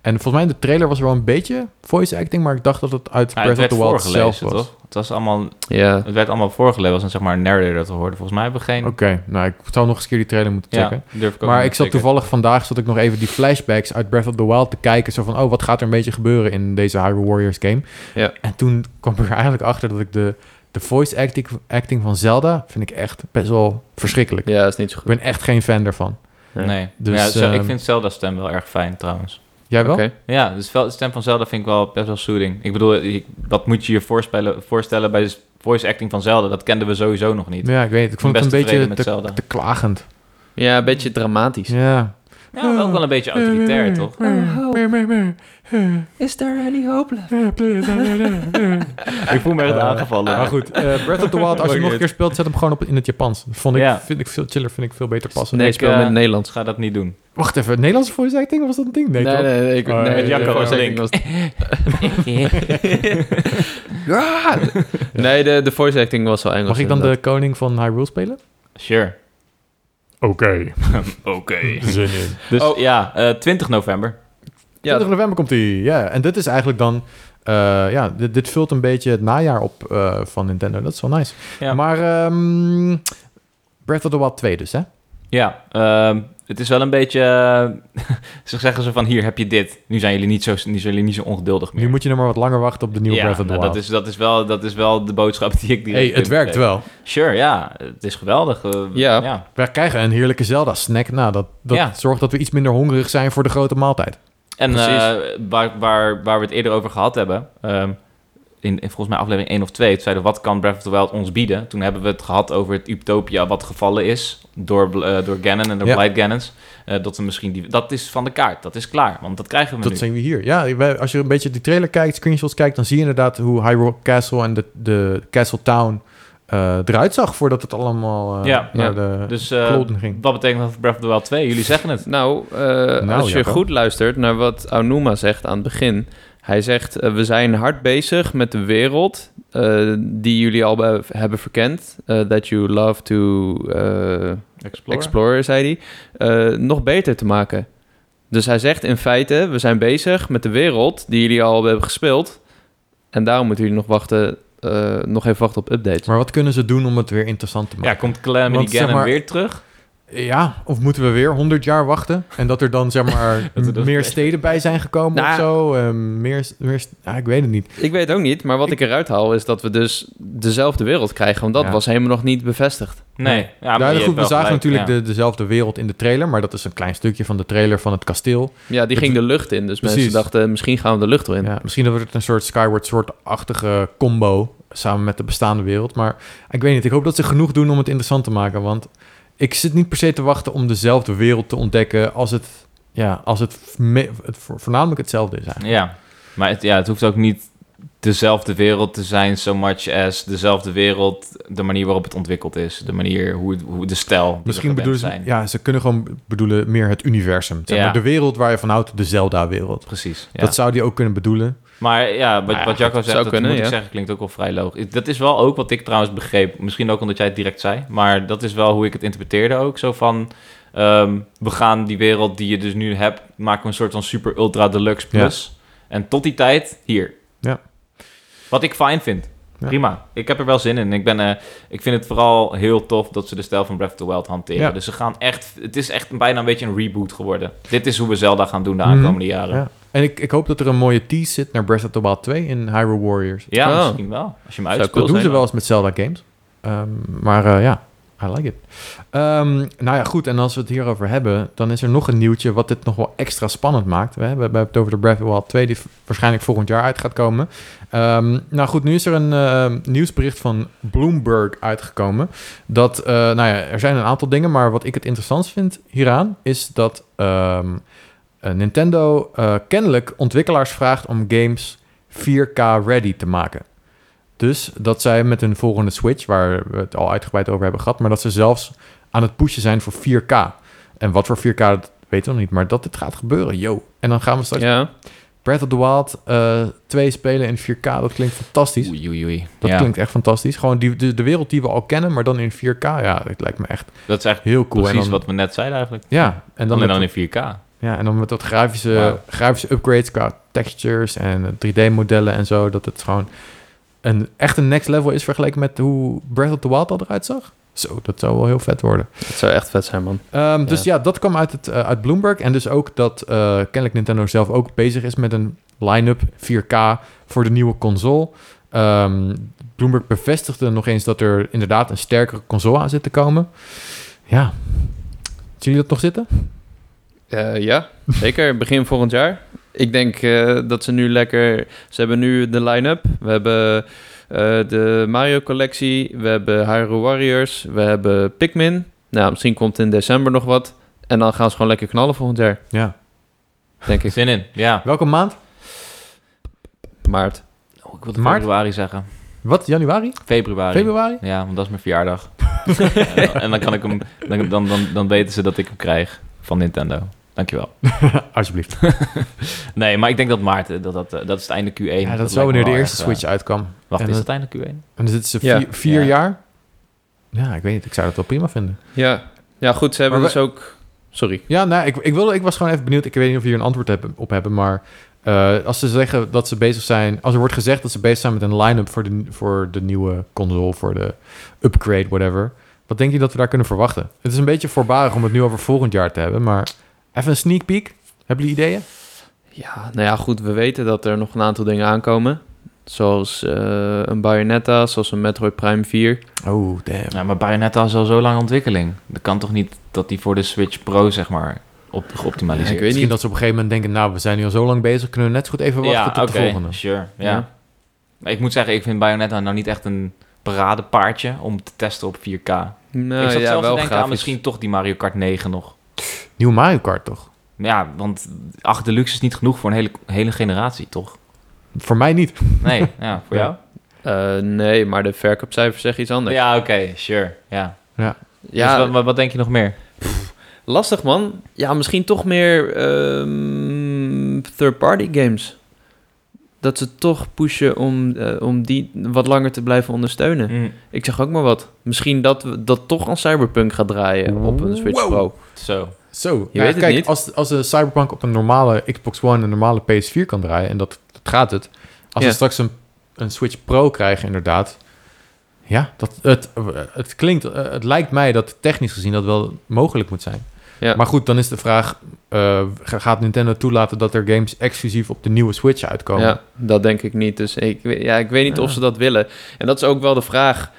Speaker 1: En volgens mij in de trailer was er wel een beetje voice acting, maar ik dacht dat het uit
Speaker 2: Ja,
Speaker 1: Breath
Speaker 2: het
Speaker 1: of
Speaker 2: werd
Speaker 1: the Wild zelf
Speaker 2: voorgelezen,
Speaker 1: was.
Speaker 2: toch? Het, was allemaal,
Speaker 3: Ja,
Speaker 2: het werd allemaal voorgelezen. Het was een zeg maar een narrator dat we hoorden. Volgens mij hebben we geen...
Speaker 1: Oké, nou ik zou nog eens een keer die trailer moeten checken.
Speaker 2: ja, durf ik ook
Speaker 1: Maar
Speaker 2: niet
Speaker 1: ik
Speaker 2: te
Speaker 1: zat
Speaker 2: checken.
Speaker 1: toevallig vandaag zat ik nog even die flashbacks uit Breath of the Wild te kijken. Zo van, oh, wat gaat er een beetje gebeuren in deze Hyrule Warriors game?
Speaker 3: Ja.
Speaker 1: En toen kwam ik er eigenlijk achter dat ik de, de voice acting, acting van Zelda... vind ik echt best wel verschrikkelijk.
Speaker 3: ja, is niet zo
Speaker 1: Ik
Speaker 3: goed.
Speaker 1: ben echt geen fan daarvan.
Speaker 2: Nee,
Speaker 1: Dus,
Speaker 2: Ja, zo- ik
Speaker 1: ehm,
Speaker 2: vind Zelda's stem wel erg fijn trouwens.
Speaker 1: Jij wel?
Speaker 3: Oké.
Speaker 2: Ja, dus wel- de stem van Zelda vind ik wel best wel soothing. Ik bedoel, ik- wat moet je je voorspellen, voorstellen bij de voice acting van Zelda? Dat kenden we sowieso nog niet.
Speaker 1: Ja, ik weet het. Ik vond
Speaker 2: ben
Speaker 1: het een
Speaker 2: best tevreden
Speaker 1: beetje
Speaker 2: met
Speaker 1: te,
Speaker 2: Zelda.
Speaker 1: te klagend.
Speaker 3: Ja, een beetje dramatisch.
Speaker 1: Ja.
Speaker 2: Ja, wel ook wel een beetje autoritair, toch?
Speaker 3: Is there any hope left?
Speaker 2: Ik voel me echt
Speaker 1: Eh,
Speaker 2: aangevallen.
Speaker 1: Maar goed, eh, Breath of the Wild, als je hem nog een keer speelt, zet hem gewoon op in het Japans. Vond ik,
Speaker 2: Ja.
Speaker 1: vind ik veel chiller, vind ik veel beter passen.
Speaker 3: Nee,
Speaker 2: Ik,
Speaker 3: speel
Speaker 2: eh,
Speaker 3: met Nederlands.
Speaker 2: Ga dat niet doen.
Speaker 1: Wacht even, Nederlandse voice acting? Was dat een ding? Nee, toch?
Speaker 3: nee,
Speaker 1: ik- nee,
Speaker 2: Ah, met Jacco als link.
Speaker 3: (laughs) nee, de, de voice acting was wel Engels.
Speaker 1: Mag ik dan de koning van Hyrule spelen?
Speaker 2: Sure.
Speaker 1: Oké,
Speaker 2: Oké.
Speaker 1: zin in.
Speaker 2: Dus
Speaker 3: Oh.
Speaker 2: ja, eh, 20 november.
Speaker 3: inderdaad.
Speaker 1: 20 november komt die. Ja, en dit is eigenlijk dan... eh, ja, dit, dit vult een beetje het najaar op eh, van Nintendo. Dat is wel nice.
Speaker 2: Ja.
Speaker 1: Maar ehm, Breath of the Wild 2 dus, hè?
Speaker 2: Ja, ehm, het is wel een beetje... eh, (laughs) ze zeggen ze van, hier heb je dit. Nu zijn jullie niet zo, nu zijn jullie niet zo ongeduldig meer.
Speaker 1: Nu moet je nog maar wat langer wachten op de nieuwe
Speaker 2: ja,
Speaker 1: Breath of the
Speaker 2: nou,
Speaker 1: Wild.
Speaker 2: dat, is, dat, is wel, dat is wel de boodschap die ik direct
Speaker 1: hey, het
Speaker 2: vind.
Speaker 1: werkt wel.
Speaker 2: Sure, ja. Het is geweldig. eh,
Speaker 3: Ja.
Speaker 2: ja.
Speaker 1: We krijgen een heerlijke Zelda-snack. Nou, dat, dat
Speaker 2: Ja.
Speaker 1: zorgt dat we iets minder hongerig zijn voor de grote maaltijd.
Speaker 2: En
Speaker 3: Precies.
Speaker 2: eh, waar, waar, waar we het eerder over gehad hebben... ehm, in, in volgens mij aflevering 1 of 2, toen zeiden we, wat kan Breath of the Wild ons bieden? Toen hebben we het gehad over het Utopia wat gevallen is door, Bl- eh, door Ganon en door
Speaker 1: Ja.
Speaker 2: Blight Ganons. Eh, dat, we misschien die, dat is van de kaart, dat is klaar, want dat krijgen we nu.
Speaker 1: Dat zijn we hier. Ja, wij- als je een beetje die trailer kijkt, screenshots kijkt, dan zie je inderdaad hoe Hyrule Castle en de, de Castle Town eh, eruit zag voordat het allemaal eh
Speaker 2: Ja,
Speaker 1: naar
Speaker 3: ja.
Speaker 1: de
Speaker 2: Dus eh,
Speaker 1: kloten ging.
Speaker 2: wat betekent dat voor Breath of the Wild 2? Jullie zeggen het.
Speaker 3: Nou, eh, als je
Speaker 1: Jacco.
Speaker 3: goed luistert naar wat Aonuma zegt aan het begin. Hij zegt, eh, we zijn hard bezig met de wereld eh, die jullie al be- hebben verkend. eh, that you love to eh,
Speaker 2: Explorer.
Speaker 3: explore, zei hij. eh, nog beter te maken. Dus hij zegt in feite, we zijn bezig met de wereld die jullie al hebben gespeeld. En daarom moeten jullie nog wachten, eh, nog even wachten op updates.
Speaker 1: Maar wat kunnen ze doen om het weer interessant te
Speaker 2: ja,
Speaker 1: maken?
Speaker 2: komt Calamity
Speaker 1: Want, zeg
Speaker 2: Ganon
Speaker 1: maar-
Speaker 2: weer terug?
Speaker 1: Ja, of moeten we weer 100 jaar wachten? En dat er dan zeg maar
Speaker 2: (laughs) Dat er dan-
Speaker 1: meer steden bij zijn gekomen
Speaker 3: Nou,
Speaker 1: of zo? Eh, meer, meer, ah, ik weet het niet.
Speaker 3: Ik weet ook niet, maar wat ik eruit haal is dat we dus dezelfde wereld krijgen. Want dat
Speaker 1: Ja.
Speaker 3: was helemaal nog niet bevestigd.
Speaker 2: Nee. Ja, maar
Speaker 1: Ja,
Speaker 2: je
Speaker 1: Nou, goed,
Speaker 2: hebt
Speaker 1: we
Speaker 2: wel
Speaker 1: zagen
Speaker 2: gelijk,
Speaker 1: natuurlijk
Speaker 2: ja.
Speaker 1: de, dezelfde wereld in de trailer, maar dat is een klein stukje van de trailer van het kasteel.
Speaker 3: Ja, die
Speaker 1: Dat-
Speaker 3: ging de lucht in. Dus
Speaker 1: Precies.
Speaker 3: mensen dachten, misschien gaan we de lucht wel in.
Speaker 1: Ja, misschien wordt het een soort Skyward Sword-achtige combo samen met de bestaande wereld. Maar ik weet niet, ik hoop dat ze genoeg doen om het interessant te maken. Want ik zit niet per se te wachten om dezelfde wereld te ontdekken als het, ja, als het, me- het vo- voornamelijk hetzelfde is eigenlijk.
Speaker 2: Ja, maar het, ja, het hoeft ook niet dezelfde wereld te zijn, so much as dezelfde wereld, de manier waarop het ontwikkeld is, de manier hoe, het- hoe de stijl. die
Speaker 1: Misschien
Speaker 2: er gewend
Speaker 1: bedoelen ze,
Speaker 2: zijn.
Speaker 1: ja, ze kunnen gewoon bedoelen meer het universum. Zeg
Speaker 2: Ja.
Speaker 1: maar de wereld waar je van houdt, de Zelda-wereld.
Speaker 2: Precies. Ja.
Speaker 1: Dat zou die ook kunnen bedoelen.
Speaker 2: Maar ja, wat,
Speaker 3: Nou ja,
Speaker 2: wat Jacco
Speaker 3: dat
Speaker 2: zegt,
Speaker 3: zou
Speaker 2: dat
Speaker 3: kunnen,
Speaker 2: moet ik
Speaker 3: ja.
Speaker 2: zeggen, klinkt ook wel vrij logisch. Dat is wel ook wat ik trouwens begreep. Misschien ook omdat jij het direct zei. Maar dat is wel hoe ik het interpreteerde ook. Zo van, ehm, we gaan die wereld die je dus nu hebt, maken we een soort van super ultra deluxe plus. En tot die tijd, hier.
Speaker 1: Ja.
Speaker 2: Wat ik fijn vind.
Speaker 1: Ja.
Speaker 2: Prima. Ik heb er wel zin in. Ik, ben, eh, ik vind het vooral heel tof dat ze de stijl van Breath of the Wild hanteren.
Speaker 1: Ja.
Speaker 2: Dus ze gaan echt... Het is echt bijna een beetje een reboot geworden. Dit is hoe we Zelda gaan doen de
Speaker 1: Mhm.
Speaker 2: aankomende jaren.
Speaker 1: Ja. En ik, ik hoop dat er een mooie tease zit naar Breath of the Wild 2 in Hyrule Warriors.
Speaker 2: Ja,
Speaker 3: Oh.
Speaker 2: misschien wel. Als je hem
Speaker 3: Zou
Speaker 2: uitspeelt.
Speaker 3: cool
Speaker 1: dat doen ze
Speaker 3: zijn.
Speaker 1: wel eens met Zelda games. Ehm, maar eh, ja, I like it. Ehm, nou ja, goed. En als we het hierover hebben, dan is er nog een nieuwtje wat dit nog wel extra spannend maakt. We hebben, we hebben het over de Breath of the Wild 2, die v- waarschijnlijk volgend jaar uit gaat komen. Ehm, nou goed, nu is er een eh, nieuwsbericht van Bloomberg uitgekomen. Dat, eh, nou ja, er zijn een aantal dingen, maar wat ik het interessant vind hieraan, is dat ehm, eh, Nintendo eh, kennelijk ontwikkelaars vraagt om games 4K ready te maken. Dus dat zij met hun volgende Switch, waar we het al uitgebreid over hebben gehad, maar dat ze zelfs aan het pushen zijn voor 4K. En wat voor 4K, dat weten we nog niet, maar dat dit gaat gebeuren, yo. En dan gaan we straks
Speaker 3: Ja.
Speaker 1: Breath of the Wild eh 2 spelen in 4K. Dat klinkt fantastisch.
Speaker 2: Oei, oei, oei.
Speaker 1: Dat
Speaker 2: ja,
Speaker 1: klinkt echt fantastisch. Gewoon die, de, de wereld die we al kennen, maar dan in 4K. Ja, dat lijkt me echt
Speaker 2: dat is echt
Speaker 1: heel cool.
Speaker 2: precies
Speaker 1: en dan,
Speaker 2: wat we net zeiden eigenlijk.
Speaker 1: Ja, en dan,
Speaker 2: Alleen
Speaker 1: met,
Speaker 2: dan in 4K.
Speaker 1: ja, en dan met wat grafische,
Speaker 2: Wauw.
Speaker 1: grafische upgrades qua textures en eh, 3D-modellen en zo. Dat het gewoon een, echt een next level is vergeleken met hoe Breath of the Wild al eruit zag. Zo, dat zou wel heel vet worden.
Speaker 3: Dat zou echt vet zijn, man.
Speaker 1: Ehm, Dus ja, dat kwam uit, het, eh, uit Bloomberg. En dus ook dat eh, kennelijk Nintendo zelf ook bezig is met een line-up 4K voor de nieuwe console. Ehm, Bloomberg bevestigde nog eens dat er inderdaad een sterkere console aan zit te komen. Ja. Zien jullie dat nog zitten?
Speaker 3: Eh, ja, zeker. Begin volgend jaar. Ik denk eh, dat ze nu lekker... Ze hebben nu de line-up. We hebben eh, de Mario collectie. We hebben Hyrule Warriors. We hebben Pikmin. Nou, misschien komt in december nog wat. En dan gaan ze gewoon lekker knallen volgend jaar,
Speaker 1: Ja.
Speaker 3: denk ik. (laughs)
Speaker 2: Zin in, ja.
Speaker 1: Welke maand?
Speaker 3: Maart.
Speaker 2: Oh, ik wilde
Speaker 1: Maart?
Speaker 2: februari zeggen.
Speaker 1: Wat? Januari?
Speaker 2: Februari.
Speaker 1: Februari?
Speaker 2: Ja, want dat is mijn (laughs) verjaardag. Ja, en dan kan ik hem... Dan, dan, dan, dan weten ze dat ik hem krijg van Nintendo. Dankjewel.
Speaker 1: (laughs) Alsjeblieft.
Speaker 2: Nee, maar ik denk dat maart... eh, Dat, dat, eh, dat is het einde Q1.
Speaker 1: Ja, dat is
Speaker 2: lijkt
Speaker 1: wel
Speaker 2: me
Speaker 1: wanneer de eerste
Speaker 2: echt, eh,
Speaker 1: Switch uitkwam.
Speaker 2: Wacht,
Speaker 1: en
Speaker 2: is
Speaker 1: dat-
Speaker 2: het einde Q1?
Speaker 1: En dan zitten ze
Speaker 3: Ja.
Speaker 1: vier, vier
Speaker 2: Ja.
Speaker 1: jaar. Ja, ik weet niet. Ik zou dat wel prima vinden.
Speaker 3: Ja. ja, goed. Ze hebben
Speaker 1: Maar
Speaker 3: dus ook... Sorry.
Speaker 1: Ja, nou, ik, ik, wilde, ik was gewoon even benieuwd. Ik weet niet of jullie een antwoord hebben, op hebben, maar... eh, als ze zeggen dat ze bezig zijn... Als er wordt gezegd dat ze bezig zijn met een line-up voor de, voor de nieuwe console... voor de upgrade, whatever. Wat denk je dat we daar kunnen verwachten? Het is een beetje voorbarig om het nu over volgend jaar te hebben, maar... Even een sneak peek. Hebben jullie ideeën?
Speaker 3: Ja, nou ja, goed. We weten dat er nog een aantal dingen aankomen. Zoals eh, een Bayonetta, zoals een Metroid Prime 4.
Speaker 1: Oh, damn.
Speaker 2: Ja, maar Bayonetta is al zo lang ontwikkeling. Dat kan toch niet dat die voor de Switch Pro, zeg maar, op, geoptimaliseerd
Speaker 3: Ik weet
Speaker 1: Misschien
Speaker 3: niet.
Speaker 1: dat ze op een gegeven moment denken... Nou, we zijn nu al zo lang bezig. Kunnen we net zo goed even wachten
Speaker 2: Ja,
Speaker 1: tot
Speaker 2: oké,
Speaker 1: de volgende?
Speaker 2: sure. Ja.
Speaker 3: Ja.
Speaker 2: Maar ik moet zeggen, ik vind Bayonetta nou niet echt een paradepaardje om te testen op 4K.
Speaker 3: Nou,
Speaker 2: ik zat
Speaker 3: ja,
Speaker 2: zelfs
Speaker 3: wel
Speaker 2: te denken aan
Speaker 3: grafisch.
Speaker 2: misschien toch die Mario Kart 9 nog.
Speaker 1: Nieuw Mario Kart, toch?
Speaker 2: Ja, want 8 Deluxe is niet genoeg voor een hele, hele generatie, toch?
Speaker 1: Voor mij niet.
Speaker 2: Nee, ja, voor
Speaker 1: Ja.
Speaker 2: jou?
Speaker 3: Eh, nee, maar de verkoopcijfers zeggen iets anders.
Speaker 2: Ja, oké, sure. Ja.
Speaker 3: Ja,
Speaker 2: Dus wat- wat, wat denk je nog meer?
Speaker 3: lastig man. Ja, misschien toch meer ehm, third-party games. Dat ze toch pushen om, eh, om die wat langer te blijven ondersteunen.
Speaker 2: Mm,
Speaker 3: Ik zeg ook maar wat. Misschien dat we- dat toch aan Cyberpunk gaat draaien op een Switch
Speaker 1: Wow.
Speaker 3: Pro.
Speaker 2: zo.
Speaker 1: Zo, Nou ja,
Speaker 3: weet het
Speaker 1: kijk,
Speaker 3: niet.
Speaker 1: Als, als de Cyberpunk op een normale Xbox One en een normale PS4 kan draaien, en dat, dat gaat het. Als
Speaker 3: Ja.
Speaker 1: we straks een, een Switch Pro krijgen, inderdaad. Ja, dat, het, het klinkt, eh, het lijkt mij dat technisch gezien dat wel mogelijk moet zijn.
Speaker 3: Ja.
Speaker 1: Maar goed, dan is de vraag, eh, ga- gaat Nintendo toelaten dat er games exclusief op de nieuwe Switch uitkomen?
Speaker 3: Ja, dat denk ik niet. Dus ik, we- ja, ik weet niet of
Speaker 1: Ja.
Speaker 3: ze dat willen. En dat is ook wel de vraag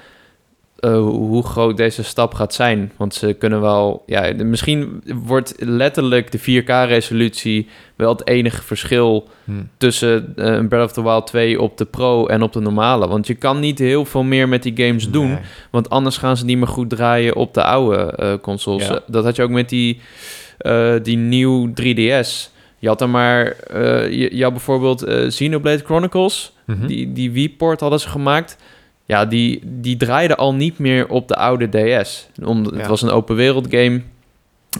Speaker 3: eh, hoe groot deze stap gaat zijn. Want ze kunnen wel... Ja, de- misschien wordt letterlijk de 4K-resolutie wel het enige verschil...
Speaker 1: Hm.
Speaker 3: tussen eh, een Breath of the Wild 2 op de Pro en op de normale. Want je kan niet heel veel meer met die games doen...
Speaker 1: Nee.
Speaker 3: Want anders gaan ze niet meer goed draaien op de oude eh, consoles.
Speaker 2: Ja.
Speaker 3: Eh, Dat had je ook met die, eh, die nieuw 3DS. Je had dan maar... eh, je, je had bijvoorbeeld eh, Xenoblade Chronicles.
Speaker 1: Mhm.
Speaker 3: Die, die Wii-port hadden ze gemaakt. Ja, die, die draaide al niet meer op de oude DS. Om,
Speaker 1: Ja.
Speaker 3: Het was een open wereld game.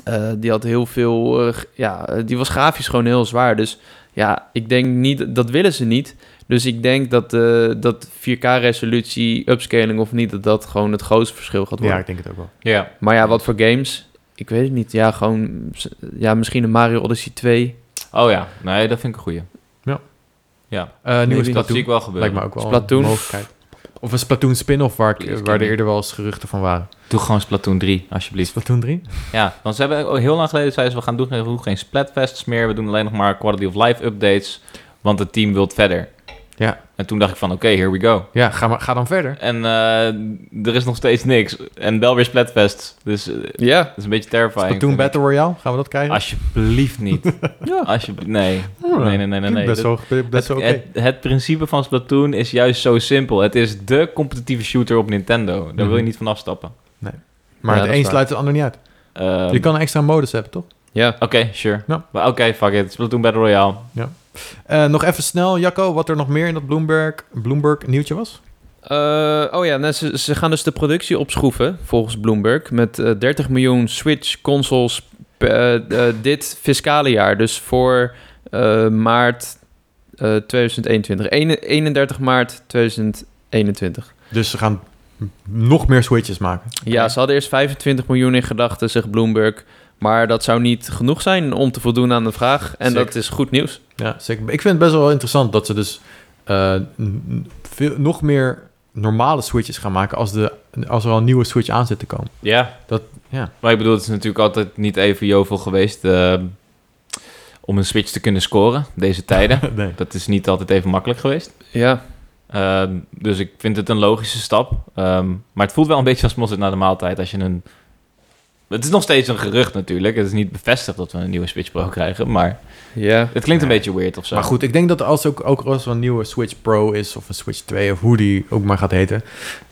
Speaker 3: Eh, die had heel veel... eh, g- ja, eh, die was grafisch gewoon heel zwaar. Dus ja, ik denk niet... Dat willen ze niet. Dus ik denk dat, eh, dat 4K-resolutie, upscaling of niet... dat dat gewoon het grootste verschil gaat worden.
Speaker 1: Ja, ik denk het ook wel.
Speaker 2: Ja.
Speaker 3: Maar ja, wat voor games? Ik weet het niet. Ja, gewoon... Ja, misschien een Mario Odyssey 2.
Speaker 2: Oh ja, nee, dat vind ik een goeie.
Speaker 1: Eh, nieuwe
Speaker 2: Dat zie ik
Speaker 1: Splatoon
Speaker 2: wel gebeuren.
Speaker 1: lijkt me ook wel
Speaker 3: Splatoon.
Speaker 1: een mogelijkheid. Of een Splatoon spin-off waar, ik-
Speaker 2: Die is
Speaker 1: waar er
Speaker 2: kinder.
Speaker 1: eerder wel eens geruchten van waren.
Speaker 2: Doe gewoon Splatoon 3, alsjeblieft.
Speaker 1: Splatoon 3?
Speaker 2: Ja, want ze hebben ook heel lang geleden zeiden ze... we gaan doen, we doen geen splatfests meer... we doen alleen nog maar quality of life updates... want het team wil verder.
Speaker 1: Ja.
Speaker 2: En toen dacht ik van, oké, here we go.
Speaker 1: Ja, ga, maar, ga dan verder.
Speaker 2: En eh, er is nog steeds niks. En wel weer splatfests. Dus eh, dat
Speaker 3: Ja.
Speaker 2: is een beetje terrifying.
Speaker 1: Splatoon
Speaker 2: vind ik.
Speaker 1: Battle Royale, gaan we dat krijgen?
Speaker 2: Alsjeblieft
Speaker 1: (laughs)
Speaker 2: niet. Alsjeblieft, nee. Nee, nee, nee, nee. nee.
Speaker 1: Oh, Best
Speaker 2: Dat-
Speaker 1: wel, best wel
Speaker 2: het,
Speaker 1: oké.
Speaker 2: het, het principe van Splatoon is juist zo simpel. Het is de competitieve shooter op Nintendo. Daar wil je
Speaker 1: Mhm.
Speaker 2: niet van afstappen.
Speaker 1: Maar
Speaker 3: Ja,
Speaker 1: de
Speaker 3: dat
Speaker 1: een
Speaker 3: is waar.
Speaker 1: sluit het ander niet uit.
Speaker 2: Ehm,
Speaker 1: Je kan een extra modus hebben, toch?
Speaker 3: Ja.
Speaker 2: Oké, sure.
Speaker 1: Ja.
Speaker 2: Maar Oké, fuck it. Splatoon Battle Royale.
Speaker 1: Eh, nog even snel, Jacco, wat er nog meer in dat Bloomberg, Bloomberg nieuwtje was?
Speaker 3: Eh, oh ja, nou, ze, ze gaan dus de productie opschroeven, volgens Bloomberg, met eh, 30 miljoen Switch-consoles eh, dit fiscale jaar. Dus voor eh, maart eh, 2021. Ene- 31 maart 2021.
Speaker 1: Dus ze gaan m- nog meer switches maken.
Speaker 3: Ja, ze hadden eerst 25 miljoen in gedachten, zegt Bloomberg. Maar dat zou niet genoeg zijn om te voldoen aan de vraag. En
Speaker 1: Zeker.
Speaker 3: dat is goed nieuws.
Speaker 1: Ja, zeker. Ik vind het best wel interessant dat ze dus eh, n- veel, nog meer normale switches gaan maken als, de, als er al een nieuwe switch aan zit te komen.
Speaker 2: Ja.
Speaker 1: Dat- ja.
Speaker 2: Maar ik bedoel, het is natuurlijk altijd niet even jovel geweest ehm, om een Switch te kunnen scoren deze tijden.
Speaker 1: (laughs) nee.
Speaker 2: Dat is niet altijd even makkelijk geweest.
Speaker 3: Ja,
Speaker 2: Ehm, dus ik vind het een logische stap. Ehm, maar het voelt wel een beetje als mosterd naar de maaltijd als je een... Het is nog steeds een gerucht natuurlijk. Het is niet bevestigd dat we een nieuwe Switch Pro krijgen, maar
Speaker 3: ja.
Speaker 2: het klinkt een
Speaker 1: Nee.
Speaker 2: beetje weird of zo.
Speaker 1: Maar goed, ik denk dat als ook, ook als er een nieuwe Switch Pro is of een Switch 2 of hoe die ook maar gaat heten.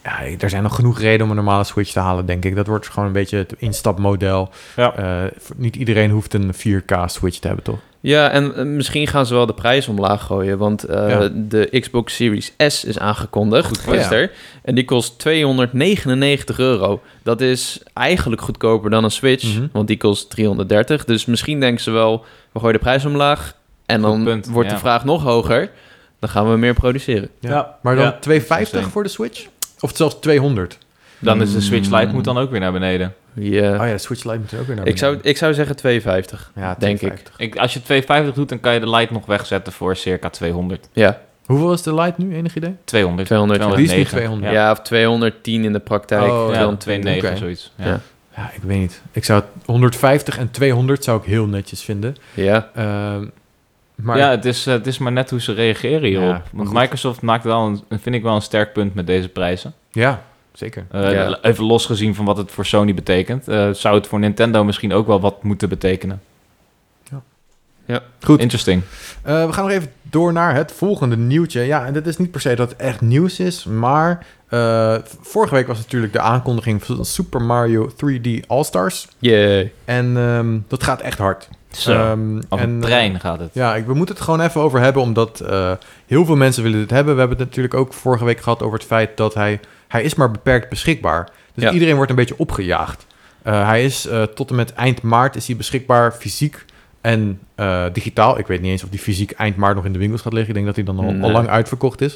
Speaker 1: Ja, er zijn nog genoeg redenen om een normale Switch te halen, denk ik. Dat wordt gewoon een beetje het instapmodel.
Speaker 2: Ja.
Speaker 1: Eh, voor- niet iedereen hoeft een 4K Switch te hebben, toch?
Speaker 3: Ja, en eh, misschien gaan ze wel de prijs omlaag gooien. Want eh,
Speaker 1: Ja.
Speaker 3: de Xbox Series S is aangekondigd
Speaker 1: voor je.
Speaker 3: gisteren. En die kost 299 euro. Dat is eigenlijk goedkoper dan een Switch.
Speaker 1: Mhm.
Speaker 3: Want die kost 330. Dus misschien denken ze wel, we gooien de prijs omlaag. En
Speaker 2: Goed
Speaker 3: dan
Speaker 2: punt,
Speaker 3: wordt
Speaker 2: ja.
Speaker 3: de vraag nog hoger. Dan gaan we meer produceren.
Speaker 1: Ja.
Speaker 2: Ja.
Speaker 1: Maar dan
Speaker 2: Ja.
Speaker 1: 250 voor de Switch? Of zelfs 200?
Speaker 2: Dan is de Switch Lite
Speaker 3: Mm.
Speaker 2: moet dan ook weer naar beneden.
Speaker 3: Ja.
Speaker 1: Oh ja, de Switch Lite moet er ook weer naar
Speaker 3: eh, ik, zou, ik zou zeggen 250.
Speaker 1: beneden. ja,
Speaker 3: denk
Speaker 1: 250.
Speaker 2: Ik, als je 250 doet, dan kan je de Lite nog wegzetten voor circa 200.
Speaker 3: Ja.
Speaker 1: Hoeveel is de Lite nu? Enig idee?
Speaker 2: 200.
Speaker 3: 200,
Speaker 1: Die is nu
Speaker 2: 209.
Speaker 1: 200.
Speaker 3: Ja. of 210 in de praktijk.
Speaker 1: Oh,
Speaker 2: Ja,
Speaker 1: ja,
Speaker 2: 209
Speaker 1: oké.
Speaker 2: zoiets. Ja.
Speaker 3: Ja.
Speaker 1: Ja, ik weet niet. Ik zou het 150 en 200 zou ik heel netjes vinden.
Speaker 3: ja.
Speaker 1: Ehm, maar
Speaker 2: ja, het is, eh, het is maar net hoe ze reageren hierop.
Speaker 1: Ja, maar
Speaker 2: Want
Speaker 1: goed.
Speaker 2: Microsoft maakt wel een, vind ik wel een sterk punt met deze prijzen.
Speaker 1: ja, zeker.
Speaker 2: Eh,
Speaker 3: Ja.
Speaker 2: Even losgezien van wat het voor Sony betekent, eh, zou het voor Nintendo misschien ook wel wat moeten betekenen.
Speaker 1: Goed.
Speaker 2: Interesting.
Speaker 1: Eh, we gaan nog even door naar het volgende nieuwtje. Ja, en dit is niet per se dat het echt nieuws is, maar eh, vorige week was natuurlijk de aankondiging van Super Mario 3D All-Stars.
Speaker 3: Yay.
Speaker 1: En ehm, dat gaat echt hard.
Speaker 2: Zo.
Speaker 1: Ehm,
Speaker 2: Als
Speaker 1: en,
Speaker 2: een trein gaat Eh, het.
Speaker 1: Ja, ik, we moeten het gewoon even over hebben, omdat eh, heel veel mensen willen dit hebben. We hebben het natuurlijk ook vorige week gehad over het feit dat hij... Hij is maar beperkt beschikbaar. Dus
Speaker 3: Ja.
Speaker 1: iedereen wordt een beetje opgejaagd. Eh, hij is eh, tot en met eind maart is hij beschikbaar fysiek en eh, digitaal. Ik weet niet eens of die fysiek eind maart nog in de winkels gaat liggen. Ik denk dat hij dan al, al
Speaker 3: Nee.
Speaker 1: lang uitverkocht is.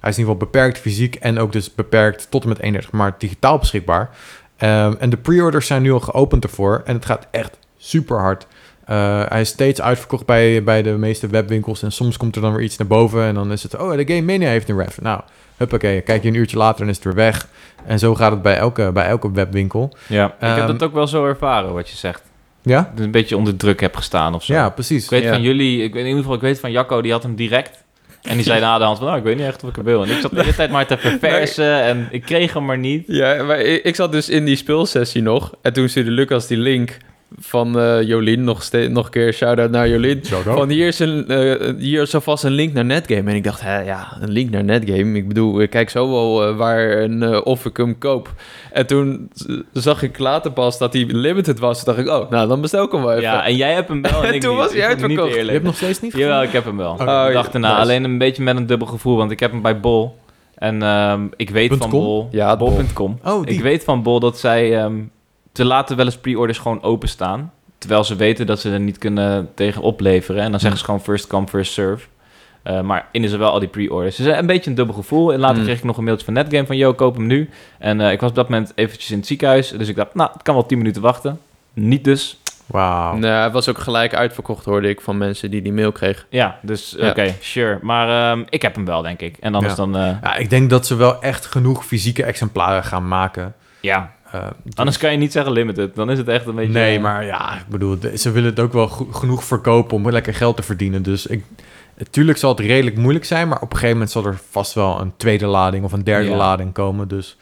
Speaker 1: Hij is in ieder geval beperkt fysiek en ook dus beperkt tot en met 31 maart digitaal beschikbaar. Ehm, en de pre-orders zijn nu al geopend ervoor. En het gaat echt super hard. Eh, hij is steeds uitverkocht bij, bij de meeste webwinkels. En soms komt er dan weer iets naar boven. En dan is het, oh, de Game Mania heeft een ref. Nou, huppakee. Kijk je een uurtje later en is het weer weg. En zo gaat het bij elke, bij elke webwinkel.
Speaker 2: Ja. Ik heb
Speaker 1: Ehm,
Speaker 2: dat ook wel zo ervaren, wat je zegt.
Speaker 1: Ja?
Speaker 2: Dat ik een beetje onder druk heb gestaan of zo.
Speaker 1: Ja, precies.
Speaker 2: Ik weet
Speaker 3: Ja.
Speaker 2: van jullie, ik weet in ieder geval, ik weet van Jacco, die had hem direct. En die
Speaker 1: (laughs)
Speaker 2: zei na de hand van, nou, ik weet niet echt of ik hem wil. En ik zat de hele tijd maar te verversen en ik kreeg hem maar niet.
Speaker 3: Ja, maar ik, ik zat dus in die speelsessie nog. En toen stuurde Lucas die link van eh, Jolien. Nog, ste- nog een keer shout-out naar Jolien.
Speaker 1: Zo dan.
Speaker 3: Van hier is, een, eh, hier is alvast een link naar Netgame. En ik dacht, hè, ja, een link naar Netgame. Ik bedoel, ik kijk zo wel eh, waar en eh, of ik hem koop. En toen z- zag ik later pas dat hij limited was. Toen dacht ik, oh, nou, dan bestel ik hem wel even.
Speaker 2: Ja, en jij hebt hem
Speaker 3: (laughs)
Speaker 2: wel en ik
Speaker 3: Toen
Speaker 2: niet.
Speaker 3: was hij
Speaker 2: Ik vond het niet
Speaker 3: uitverkocht.
Speaker 1: Je
Speaker 2: eerlijk.
Speaker 1: hebt nog steeds niet
Speaker 2: Jawel, ik heb hem wel.
Speaker 1: Oh,
Speaker 2: de
Speaker 3: ja.
Speaker 2: dag daarna.
Speaker 3: Nice.
Speaker 2: Alleen een beetje met een dubbel gevoel, want ik heb hem bij Bol. En ehm, ik weet
Speaker 1: Punt
Speaker 2: van
Speaker 1: com?
Speaker 2: Bol.
Speaker 3: Ja, Bol.
Speaker 2: Bol.com.
Speaker 1: Oh, die.
Speaker 2: Ik weet van Bol dat zij ehm, te laten wel eens pre-orders gewoon openstaan. Terwijl ze weten dat ze er niet kunnen tegen opleveren. En dan zeggen ze gewoon first come, first serve. Eh, maar in is er wel al die pre-orders. Dus eh, een beetje een dubbel gevoel. En later
Speaker 3: Mm.
Speaker 2: kreeg ik nog een mailtje van Netgame van... yo, koop hem nu. En eh, ik was op dat moment eventjes in het ziekenhuis. Dus ik dacht, nou, het kan wel 10 minuten wachten. Niet dus.
Speaker 1: Wauw.
Speaker 3: Nou, hij was ook gelijk uitverkocht, hoorde ik, van mensen die die mail kregen.
Speaker 2: Ja, dus
Speaker 3: Ja.
Speaker 2: oké, sure. Maar ehm, ik heb hem wel, denk ik. En anders
Speaker 1: Ja.
Speaker 2: dan... eh,
Speaker 1: Ja, ik denk dat ze wel echt genoeg fysieke exemplaren gaan maken.
Speaker 2: ja,
Speaker 1: Eh,
Speaker 2: anders kan je niet zeggen limited. Dan is het echt een beetje...
Speaker 1: nee, maar ja, ik bedoel, de- ze willen het ook wel go- genoeg verkopen om lekker geld te verdienen. Dus ik, natuurlijk zal het redelijk moeilijk zijn, maar op een gegeven moment zal er vast wel een tweede lading of een derde
Speaker 2: Ja.
Speaker 1: lading komen. Dus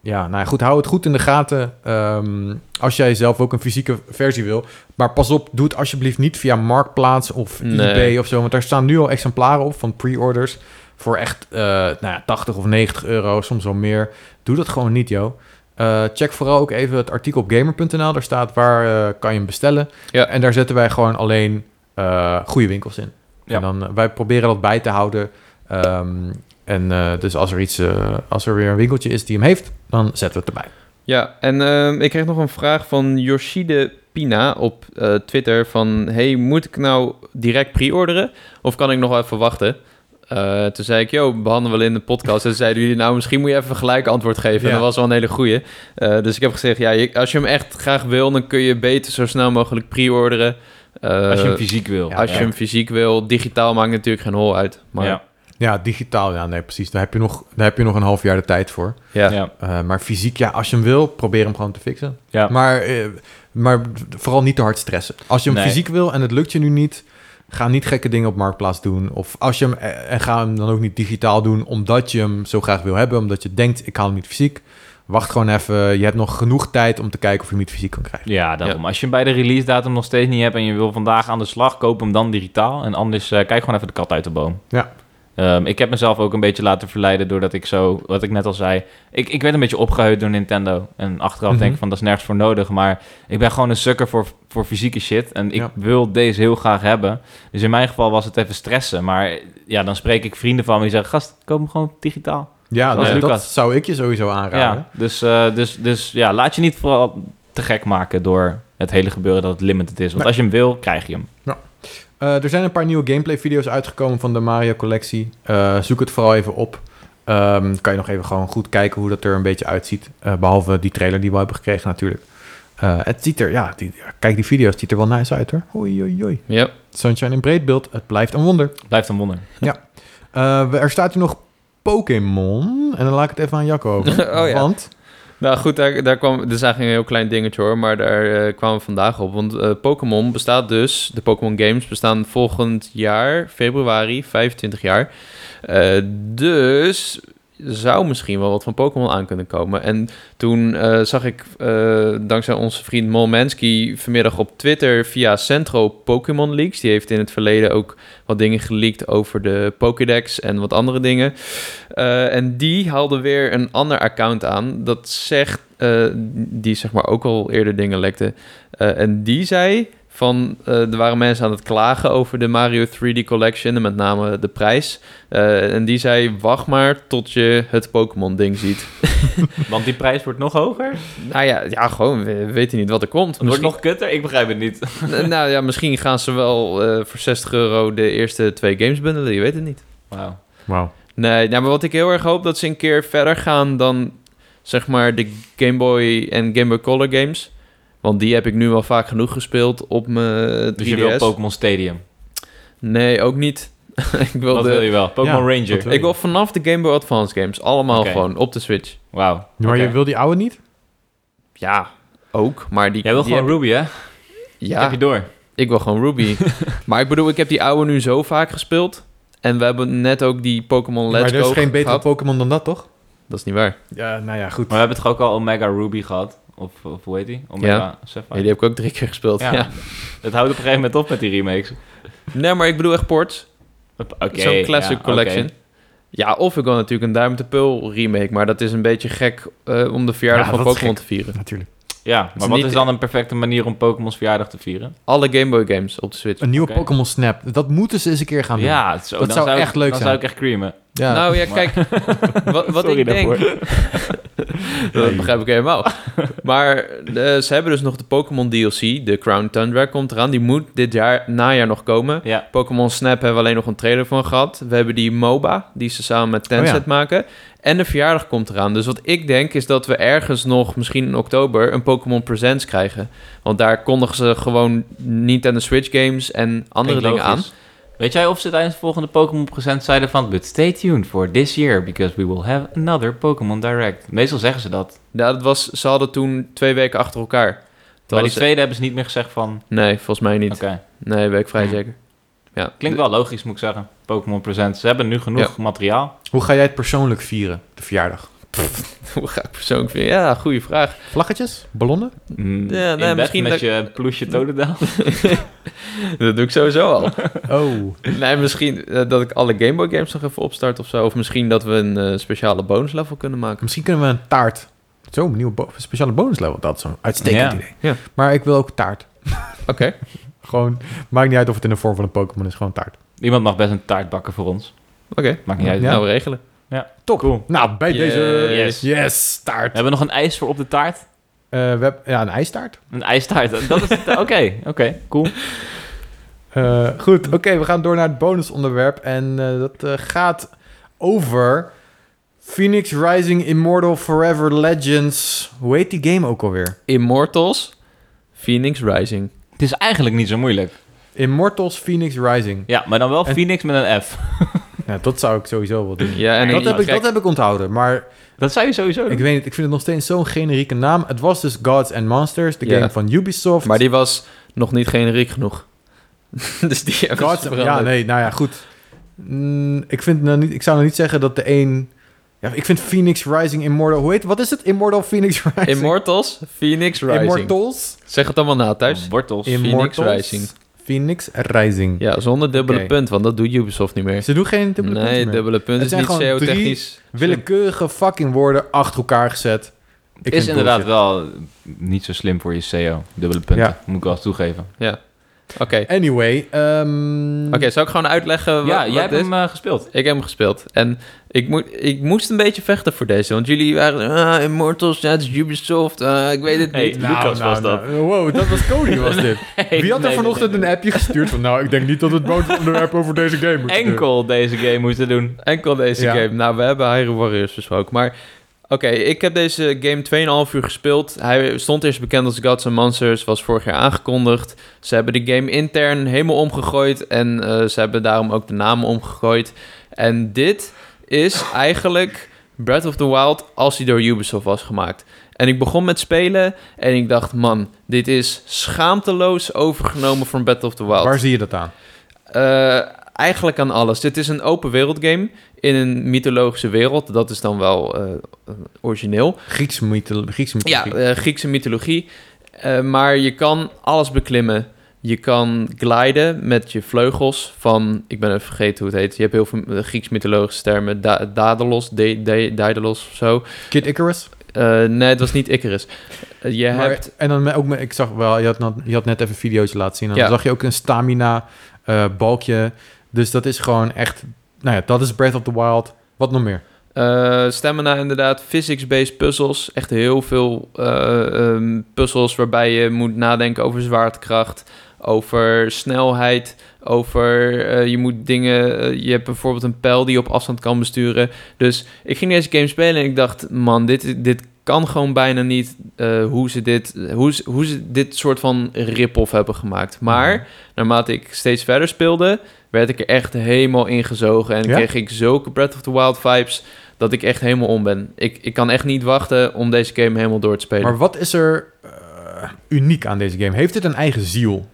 Speaker 1: ja, nou ja, goed, hou het goed in de gaten. Ehm, als jij zelf ook een fysieke versie wil. Maar pas op, doe het alsjeblieft niet via Marktplaats of
Speaker 3: Nee.
Speaker 1: eBay of zo. Want daar staan nu al exemplaren op van pre-orders voor echt eh, nou ja, 80 of 90 euro, soms wel meer. Doe dat gewoon niet, joh. Eh, check vooral ook even het artikel op gamer.nl. Daar staat waar eh, kan je hem bestellen.
Speaker 3: Ja.
Speaker 1: En daar zetten wij gewoon alleen eh, goede winkels in.
Speaker 2: Ja.
Speaker 1: En dan, eh, wij proberen dat bij te houden. Ehm, en eh, dus als er, iets, eh, als er weer een winkeltje is die hem heeft, dan zetten we het erbij.
Speaker 3: Ja, en ehm, ik kreeg nog een vraag van Yoshide Pina op eh, Twitter van... Hey, moet ik nou direct pre-orderen of kan ik nog wel even wachten? Eh, toen zei ik, yo, behandelen we in de podcast. En toen zeiden jullie, nou, misschien moet je even een gelijk antwoord geven. En
Speaker 1: Ja.
Speaker 3: dat was wel een hele goeie. Eh, dus ik heb gezegd, ja, je- als je hem echt graag wil... dan kun je beter zo snel mogelijk pre-orderen. Eh,
Speaker 2: Als je hem fysiek wil.
Speaker 1: Ja,
Speaker 3: als je
Speaker 2: Ja.
Speaker 3: hem fysiek wil. Digitaal maakt natuurlijk geen hol uit. Maar,
Speaker 2: ja.
Speaker 1: Ja, digitaal, ja, nee, precies. Daar heb je nog, daar heb je nog een half jaar de tijd voor.
Speaker 3: ja.
Speaker 2: ja.
Speaker 1: Eh, maar fysiek, ja, als je hem wil, probeer hem gewoon te fixen.
Speaker 2: Ja.
Speaker 1: Maar, eh, maar vooral niet te hard stressen. Als je hem
Speaker 2: Nee.
Speaker 1: fysiek wil en het lukt je nu niet, ga niet gekke dingen op Marktplaats doen. Of als je hem, eh, en ga hem dan ook niet digitaal doen, omdat je hem zo graag wil hebben. Omdat je denkt, ik haal hem niet fysiek. Wacht gewoon even. Je hebt nog genoeg tijd om te kijken of je hem niet fysiek kan krijgen.
Speaker 2: Ja, daarom. Als je hem bij de release datum nog steeds niet hebt en je wil vandaag aan de slag, koop hem dan digitaal. En anders eh, kijk gewoon even de kat uit de boom.
Speaker 1: Ja.
Speaker 2: Ehm, ik heb mezelf ook een beetje laten verleiden doordat ik zo, wat ik net al zei, ik, ik werd een beetje opgehuid door Nintendo. En achteraf
Speaker 1: Mhm.
Speaker 2: denk ik van, dat is nergens voor nodig. Maar ik ben gewoon een sukker voor, voor fysieke shit. En ik
Speaker 1: Ja.
Speaker 2: wil deze heel graag hebben. Dus in mijn geval was het even stressen. Maar ja, dan spreek ik vrienden van me die zeggen, gast, koop hem gewoon digitaal.
Speaker 1: Ja,
Speaker 2: Zoals
Speaker 1: dat, dat
Speaker 2: Lucas.
Speaker 1: zou ik je sowieso aanraden.
Speaker 2: Ja, dus, eh, dus, dus ja, laat je niet vooral te gek maken door het hele gebeuren dat het limited is. Want
Speaker 1: Nee.
Speaker 2: als je hem wil, krijg je hem.
Speaker 1: Eh, er zijn een paar nieuwe gameplay-video's uitgekomen van de Mario-collectie. Eh, zoek het vooral even op. Ehm, kan je nog even gewoon goed kijken hoe dat er een beetje uitziet. Eh, behalve die trailer die we hebben gekregen natuurlijk. Eh, het ziet er, ja, die, ja, kijk die video's, het ziet er wel nice uit hoor. Hoi, hoi, hoi.
Speaker 3: ja.
Speaker 1: Sunshine in breedbeeld, het blijft een wonder.
Speaker 2: Blijft een wonder.
Speaker 1: Eh, we- er staat hier nog Pokémon. En dan laat ik het even aan Jacco over.
Speaker 3: (laughs) Oh ja.
Speaker 1: Want,
Speaker 3: Nou goed, daar, daar kwam, dat is eigenlijk een heel klein dingetje hoor, maar daar eh, kwamen we vandaag op. Want eh, Pokémon bestaat dus, de Pokémon Games bestaan volgend jaar, februari, 25 jaar. Eh, dus zou misschien wel wat van Pokémon aan kunnen komen. En toen eh, zag ik, eh, dankzij onze vriend Molmansky, vanmiddag op Twitter via Centro Pokémon Leaks. Die heeft in het verleden ook wat dingen geleakt over de Pokédex en wat andere dingen. Eh, en die haalde weer een ander account aan. Dat zegt, eh, die zeg maar ook al eerder dingen lekte. Eh, en die zei van, eh, er waren mensen aan het klagen over de Mario 3D Collection en met name de prijs. Eh, en die zei, wacht maar tot je het Pokémon ding ziet.
Speaker 2: Want die prijs wordt nog hoger. Het
Speaker 3: nou ja, ja gewoon, we weten niet wat er komt.
Speaker 2: wordt nog kutter. Ik begrijp het niet.
Speaker 3: Misschien- (laughs) nou ja, misschien gaan ze wel eh, voor 60 euro de eerste twee games bundelen, je weet het niet.
Speaker 2: Wauw.
Speaker 1: Wauw.
Speaker 3: Nee, nou, maar wat ik heel erg hoop dat ze een keer verder gaan dan zeg maar de Game Boy en Game Boy Color games. Want die heb ik nu wel vaak genoeg gespeeld op mijn 3DS.
Speaker 2: Dus je wil Pokémon Stadium.
Speaker 3: Nee, ook niet. (laughs) ik wil,
Speaker 2: dat
Speaker 3: de-
Speaker 2: wil je wel. Pokémon
Speaker 1: Ja, dat
Speaker 2: Ranger.
Speaker 1: wil
Speaker 3: ik wil vanaf de Game Boy Advance games allemaal
Speaker 2: Oké.
Speaker 3: gewoon op de Switch.
Speaker 2: Wauw.
Speaker 1: Maar
Speaker 2: Oké.
Speaker 1: je wil die oude niet?
Speaker 3: Ja, ook, maar die
Speaker 2: Jij wil
Speaker 3: die
Speaker 2: gewoon Ruby, hè?
Speaker 3: heb-
Speaker 2: Ja. Heb
Speaker 3: Ja,
Speaker 2: je door.
Speaker 3: ik wil gewoon
Speaker 2: (laughs)
Speaker 3: Ruby. maar ik bedoel, ik heb die oude nu zo vaak gespeeld en we hebben net ook die Pokémon Let's
Speaker 1: maar er
Speaker 3: Go
Speaker 1: is geen betere
Speaker 3: gehad.
Speaker 1: Pokémon dan dat, toch?
Speaker 3: Dat is niet waar.
Speaker 2: Oh.
Speaker 1: Ja, nou ja, goed.
Speaker 2: Maar we hebben toch ook al Omega Ruby gehad? Of, of hoe heet die? Omega Sapphire.
Speaker 3: Ja, die heb ik ook drie keer gespeeld.
Speaker 2: Ja.
Speaker 3: Ja.
Speaker 2: Het houdt op een gegeven moment op met die remakes.
Speaker 3: (laughs) Nee, maar ik bedoel echt ports.
Speaker 2: Oké.
Speaker 3: Zo'n classic
Speaker 2: ja, oké.
Speaker 3: collection. Ja, of ik wil natuurlijk een Diamond and Pearl remake, maar dat is een beetje gek eh, om de verjaardag
Speaker 1: Ja,
Speaker 3: van
Speaker 1: dat is
Speaker 3: Pokémon
Speaker 1: gek.
Speaker 3: te vieren.
Speaker 1: Natuurlijk.
Speaker 2: Ja,
Speaker 3: is
Speaker 2: maar wat
Speaker 3: niet-
Speaker 2: is dan een perfecte manier om Pokémon's verjaardag te vieren?
Speaker 3: Alle Game Boy games op de Switch.
Speaker 1: Een nieuwe
Speaker 2: Oké.
Speaker 1: Pokémon Snap. Dat moeten ze eens een keer gaan doen.
Speaker 2: Ja, zo,
Speaker 1: Dat
Speaker 2: dan
Speaker 1: zou
Speaker 2: ik-
Speaker 1: echt leuk
Speaker 2: dan
Speaker 1: zijn.
Speaker 2: zou ik echt creamen.
Speaker 1: Ja.
Speaker 3: nou ja,
Speaker 2: maar- (laughs)
Speaker 3: kijk, wat, wat
Speaker 2: Sorry
Speaker 3: ik denk...
Speaker 2: daarvoor.
Speaker 3: (laughs) Dat begrijp ik helemaal. maar eh, ze hebben dus nog de Pokémon DLC, de Crown Tundra komt eraan. Die moet dit jaar, najaar nog komen.
Speaker 2: (laughs) Ja.
Speaker 3: Pokémon Snap hebben we alleen nog een trailer van gehad. We hebben die MOBA, die ze samen met
Speaker 1: ja.
Speaker 2: Oh
Speaker 3: Tencent maken. En de verjaardag komt eraan. Dus wat ik denk is dat we ergens nog, misschien in oktober, een Pokémon Presents krijgen. Want daar kondigen ze gewoon Nintendo Switch games en andere
Speaker 2: Klinkt
Speaker 3: dingen aan.
Speaker 2: logisch. Weet jij of ze tijdens de volgende Pokémon present zeiden van... But stay tuned for this year, because we will have another Pokémon Direct. Meestal zeggen ze dat.
Speaker 3: Ja, dat was, ze hadden toen twee weken achter elkaar.
Speaker 2: maar
Speaker 3: Terwijl
Speaker 2: die
Speaker 3: ze-
Speaker 2: tweede hebben ze niet meer gezegd van...
Speaker 3: Nee, volgens mij niet.
Speaker 2: Oké,
Speaker 3: Nee, ben ik vrij
Speaker 2: Hmm.
Speaker 3: zeker. Ja. (laughs)
Speaker 2: klinkt wel logisch moet ik zeggen. Pokémon present. Ze hebben nu genoeg materiaal.
Speaker 1: Hoe ga jij het persoonlijk vieren, de verjaardag?
Speaker 3: Hoe ga ik persoonlijk vinden? Ja, goede vraag. (laughs)
Speaker 1: Vlaggetjes? Ballonnen?
Speaker 2: Mm,
Speaker 3: Ja,
Speaker 2: in
Speaker 3: nee,
Speaker 2: bed
Speaker 3: misschien
Speaker 2: met
Speaker 3: dat-
Speaker 2: je ploesje Totodile.
Speaker 3: Dat doe ik sowieso al.
Speaker 1: Oh.
Speaker 3: nee, misschien eh, dat ik alle Game Boy games nog even opstart of zo. Of misschien dat we een eh, speciale bonus level kunnen maken.
Speaker 1: Misschien kunnen we een taart. Zo, een nieuwe bo- speciale bonuslevel. Dat is zo'n uitstekend
Speaker 2: Ja.
Speaker 1: idee.
Speaker 3: Ja.
Speaker 1: Maar ik wil ook taart.
Speaker 3: Oké.
Speaker 1: Gewoon, maakt niet uit of het in de vorm van een Pokémon is, gewoon taart.
Speaker 2: (laughs) Iemand mag best een taart bakken voor ons.
Speaker 3: Oké.
Speaker 2: Maakt niet uit.
Speaker 1: Ja.
Speaker 3: Nou, we regelen.
Speaker 1: Top.
Speaker 2: Cool.
Speaker 1: Nou, bij
Speaker 3: Yes.
Speaker 1: deze...
Speaker 2: Yes.
Speaker 1: Yes, taart.
Speaker 2: Hebben we nog een ijs voor op de taart?
Speaker 1: Eh, we hebben, ja, een ijstaart.
Speaker 2: Een ijstaart.
Speaker 1: (laughs)
Speaker 2: Dat is het. Oké, oké. cool.
Speaker 1: Eh, goed, oké, we gaan door naar het bonusonderwerp. En eh, dat eh, gaat over Phoenix Rising Immortal Forever Legends. Hoe heet die game ook alweer?
Speaker 3: Immortals, Phoenix Rising.
Speaker 2: Het is eigenlijk niet zo moeilijk.
Speaker 1: Immortals Phoenix Rising.
Speaker 2: Ja, maar dan wel
Speaker 1: En-
Speaker 2: Phoenix met een F.
Speaker 1: Nou, dat zou ik sowieso wel doen. Hm.
Speaker 3: Ja, (clears throat) en
Speaker 1: Dat
Speaker 3: ik,
Speaker 1: heb, ik, dat heb ik onthouden, maar
Speaker 2: Dat zou je sowieso
Speaker 1: ik
Speaker 2: doen.
Speaker 1: weet niet, ik vind het nog steeds zo'n generieke naam. Het was dus Gods and Monsters, de
Speaker 3: Ja.
Speaker 1: game van Ubisoft.
Speaker 3: Maar die was nog niet generiek genoeg. (laughs) dus die hebben
Speaker 1: Gods,
Speaker 3: ze
Speaker 1: ja,
Speaker 3: veranderd.
Speaker 1: nee, nou ja, goed. Mm, ik, vind nou niet, ik zou nou niet zeggen dat de een... Ja, ik vind Phoenix Rising Immortal... Hoe heet, wat is het? Immortal Phoenix (laughs) Rising?
Speaker 3: Immortals, Phoenix Rising.
Speaker 1: Immortals.
Speaker 3: Zeg het allemaal na thuis.
Speaker 2: Wortels.
Speaker 3: Phoenix
Speaker 1: Immortals.
Speaker 3: Rising.
Speaker 1: Phoenix Rising.
Speaker 3: Ja, zonder dubbele
Speaker 1: Oké.
Speaker 3: punt, want dat doet Ubisoft niet meer.
Speaker 1: Ze doen geen dubbele
Speaker 3: nee,
Speaker 1: punten meer.
Speaker 3: dubbele punt
Speaker 1: Het
Speaker 3: is
Speaker 1: zijn
Speaker 3: niet
Speaker 1: gewoon drie
Speaker 3: CO-technisch.
Speaker 1: Willekeurige fucking woorden achter elkaar gezet. Ik
Speaker 2: is
Speaker 1: vind
Speaker 2: inderdaad
Speaker 1: bullshit.
Speaker 2: wel niet zo slim voor je CEO. Dubbele punten.
Speaker 1: Ja.
Speaker 2: Moet ik wel toegeven.
Speaker 3: Ja. Oké.
Speaker 1: Anyway, ehm
Speaker 3: Oké, zou ik gewoon uitleggen wat,
Speaker 2: ja, jij
Speaker 3: wat
Speaker 2: hebt
Speaker 3: dit
Speaker 2: hem eh,
Speaker 3: (laughs)
Speaker 2: gespeeld.
Speaker 3: Ik heb hem gespeeld. En ik, moet, ik moest een beetje vechten voor deze. Want jullie waren... Ah, Immortals, ja, het is Ubisoft. ah, ik weet het
Speaker 2: Hey,
Speaker 3: niet.
Speaker 2: Lucas was dat.
Speaker 1: nou, wow, dat was Cody was dit. Wie had er vanochtend een appje gestuurd van... nou, ik denk niet dat het bonusonderwerp over deze game moet zijn.
Speaker 2: enkel deze game moeten doen?
Speaker 3: (laughs) Enkel deze
Speaker 1: Ja.
Speaker 3: game. Nou, we hebben Hyrule Warriors besproken. Maar oké, ik heb deze game 2,5 uur gespeeld. Hij stond eerst bekend als Gods and Monsters. Was vorig jaar aangekondigd. Ze hebben de game intern helemaal omgegooid. En eh, ze hebben daarom ook de namen omgegooid. En dit is eigenlijk Breath of the Wild als hij door Ubisoft was gemaakt. En ik begon met spelen en ik dacht, man, dit is schaamteloos overgenomen van Breath of the Wild.
Speaker 1: Waar zie je dat aan?
Speaker 3: Eh, eigenlijk aan alles. Dit is een open wereld game in een mythologische wereld. Dat is dan wel eh, origineel.
Speaker 1: Griekse mythologie. Griekse
Speaker 3: Ja,
Speaker 1: mythologie.
Speaker 3: eh, Griekse mythologie. Eh, maar je kan alles beklimmen. Je kan gliden met je vleugels van... Ik ben even vergeten hoe het heet. Je hebt heel veel eh, Grieks mythologische termen. Da Daedalus, de de Daedalus of zo.
Speaker 1: Kid Icarus.
Speaker 3: Eh, nee, het was niet Icarus. Eh, je
Speaker 1: Maar-
Speaker 3: hebt...
Speaker 1: En dan ook, met- ik zag wel, je had, nog- je had net even video's laten zien. En
Speaker 3: Ja.
Speaker 1: dan zag je ook een stamina eh, balkje. Dus dat is gewoon echt, nou ja, dat is Breath of the Wild. Wat nog meer?
Speaker 3: eh stamina inderdaad, physics-based puzzels. Echt heel veel eh, ehm, puzzels waarbij je moet nadenken over zwaartekracht, over snelheid, over eh, je moet dingen... eh, je hebt bijvoorbeeld een pijl die je op afstand kan besturen. Dus ik ging deze game spelen en ik dacht, man, dit, dit kan gewoon bijna niet eh, hoe, ze dit, hoe, ze- hoe ze dit soort van rip-off hebben gemaakt. Maar naarmate ik steeds verder speelde, werd ik er echt helemaal ingezogen. En
Speaker 1: Ja?
Speaker 3: kreeg ik zulke Breath of the Wild vibes dat ik echt helemaal om ben. Ik, ik kan echt niet wachten om deze game helemaal door te spelen.
Speaker 1: Maar wat is er eh, uniek aan deze game? Heeft dit een eigen ziel?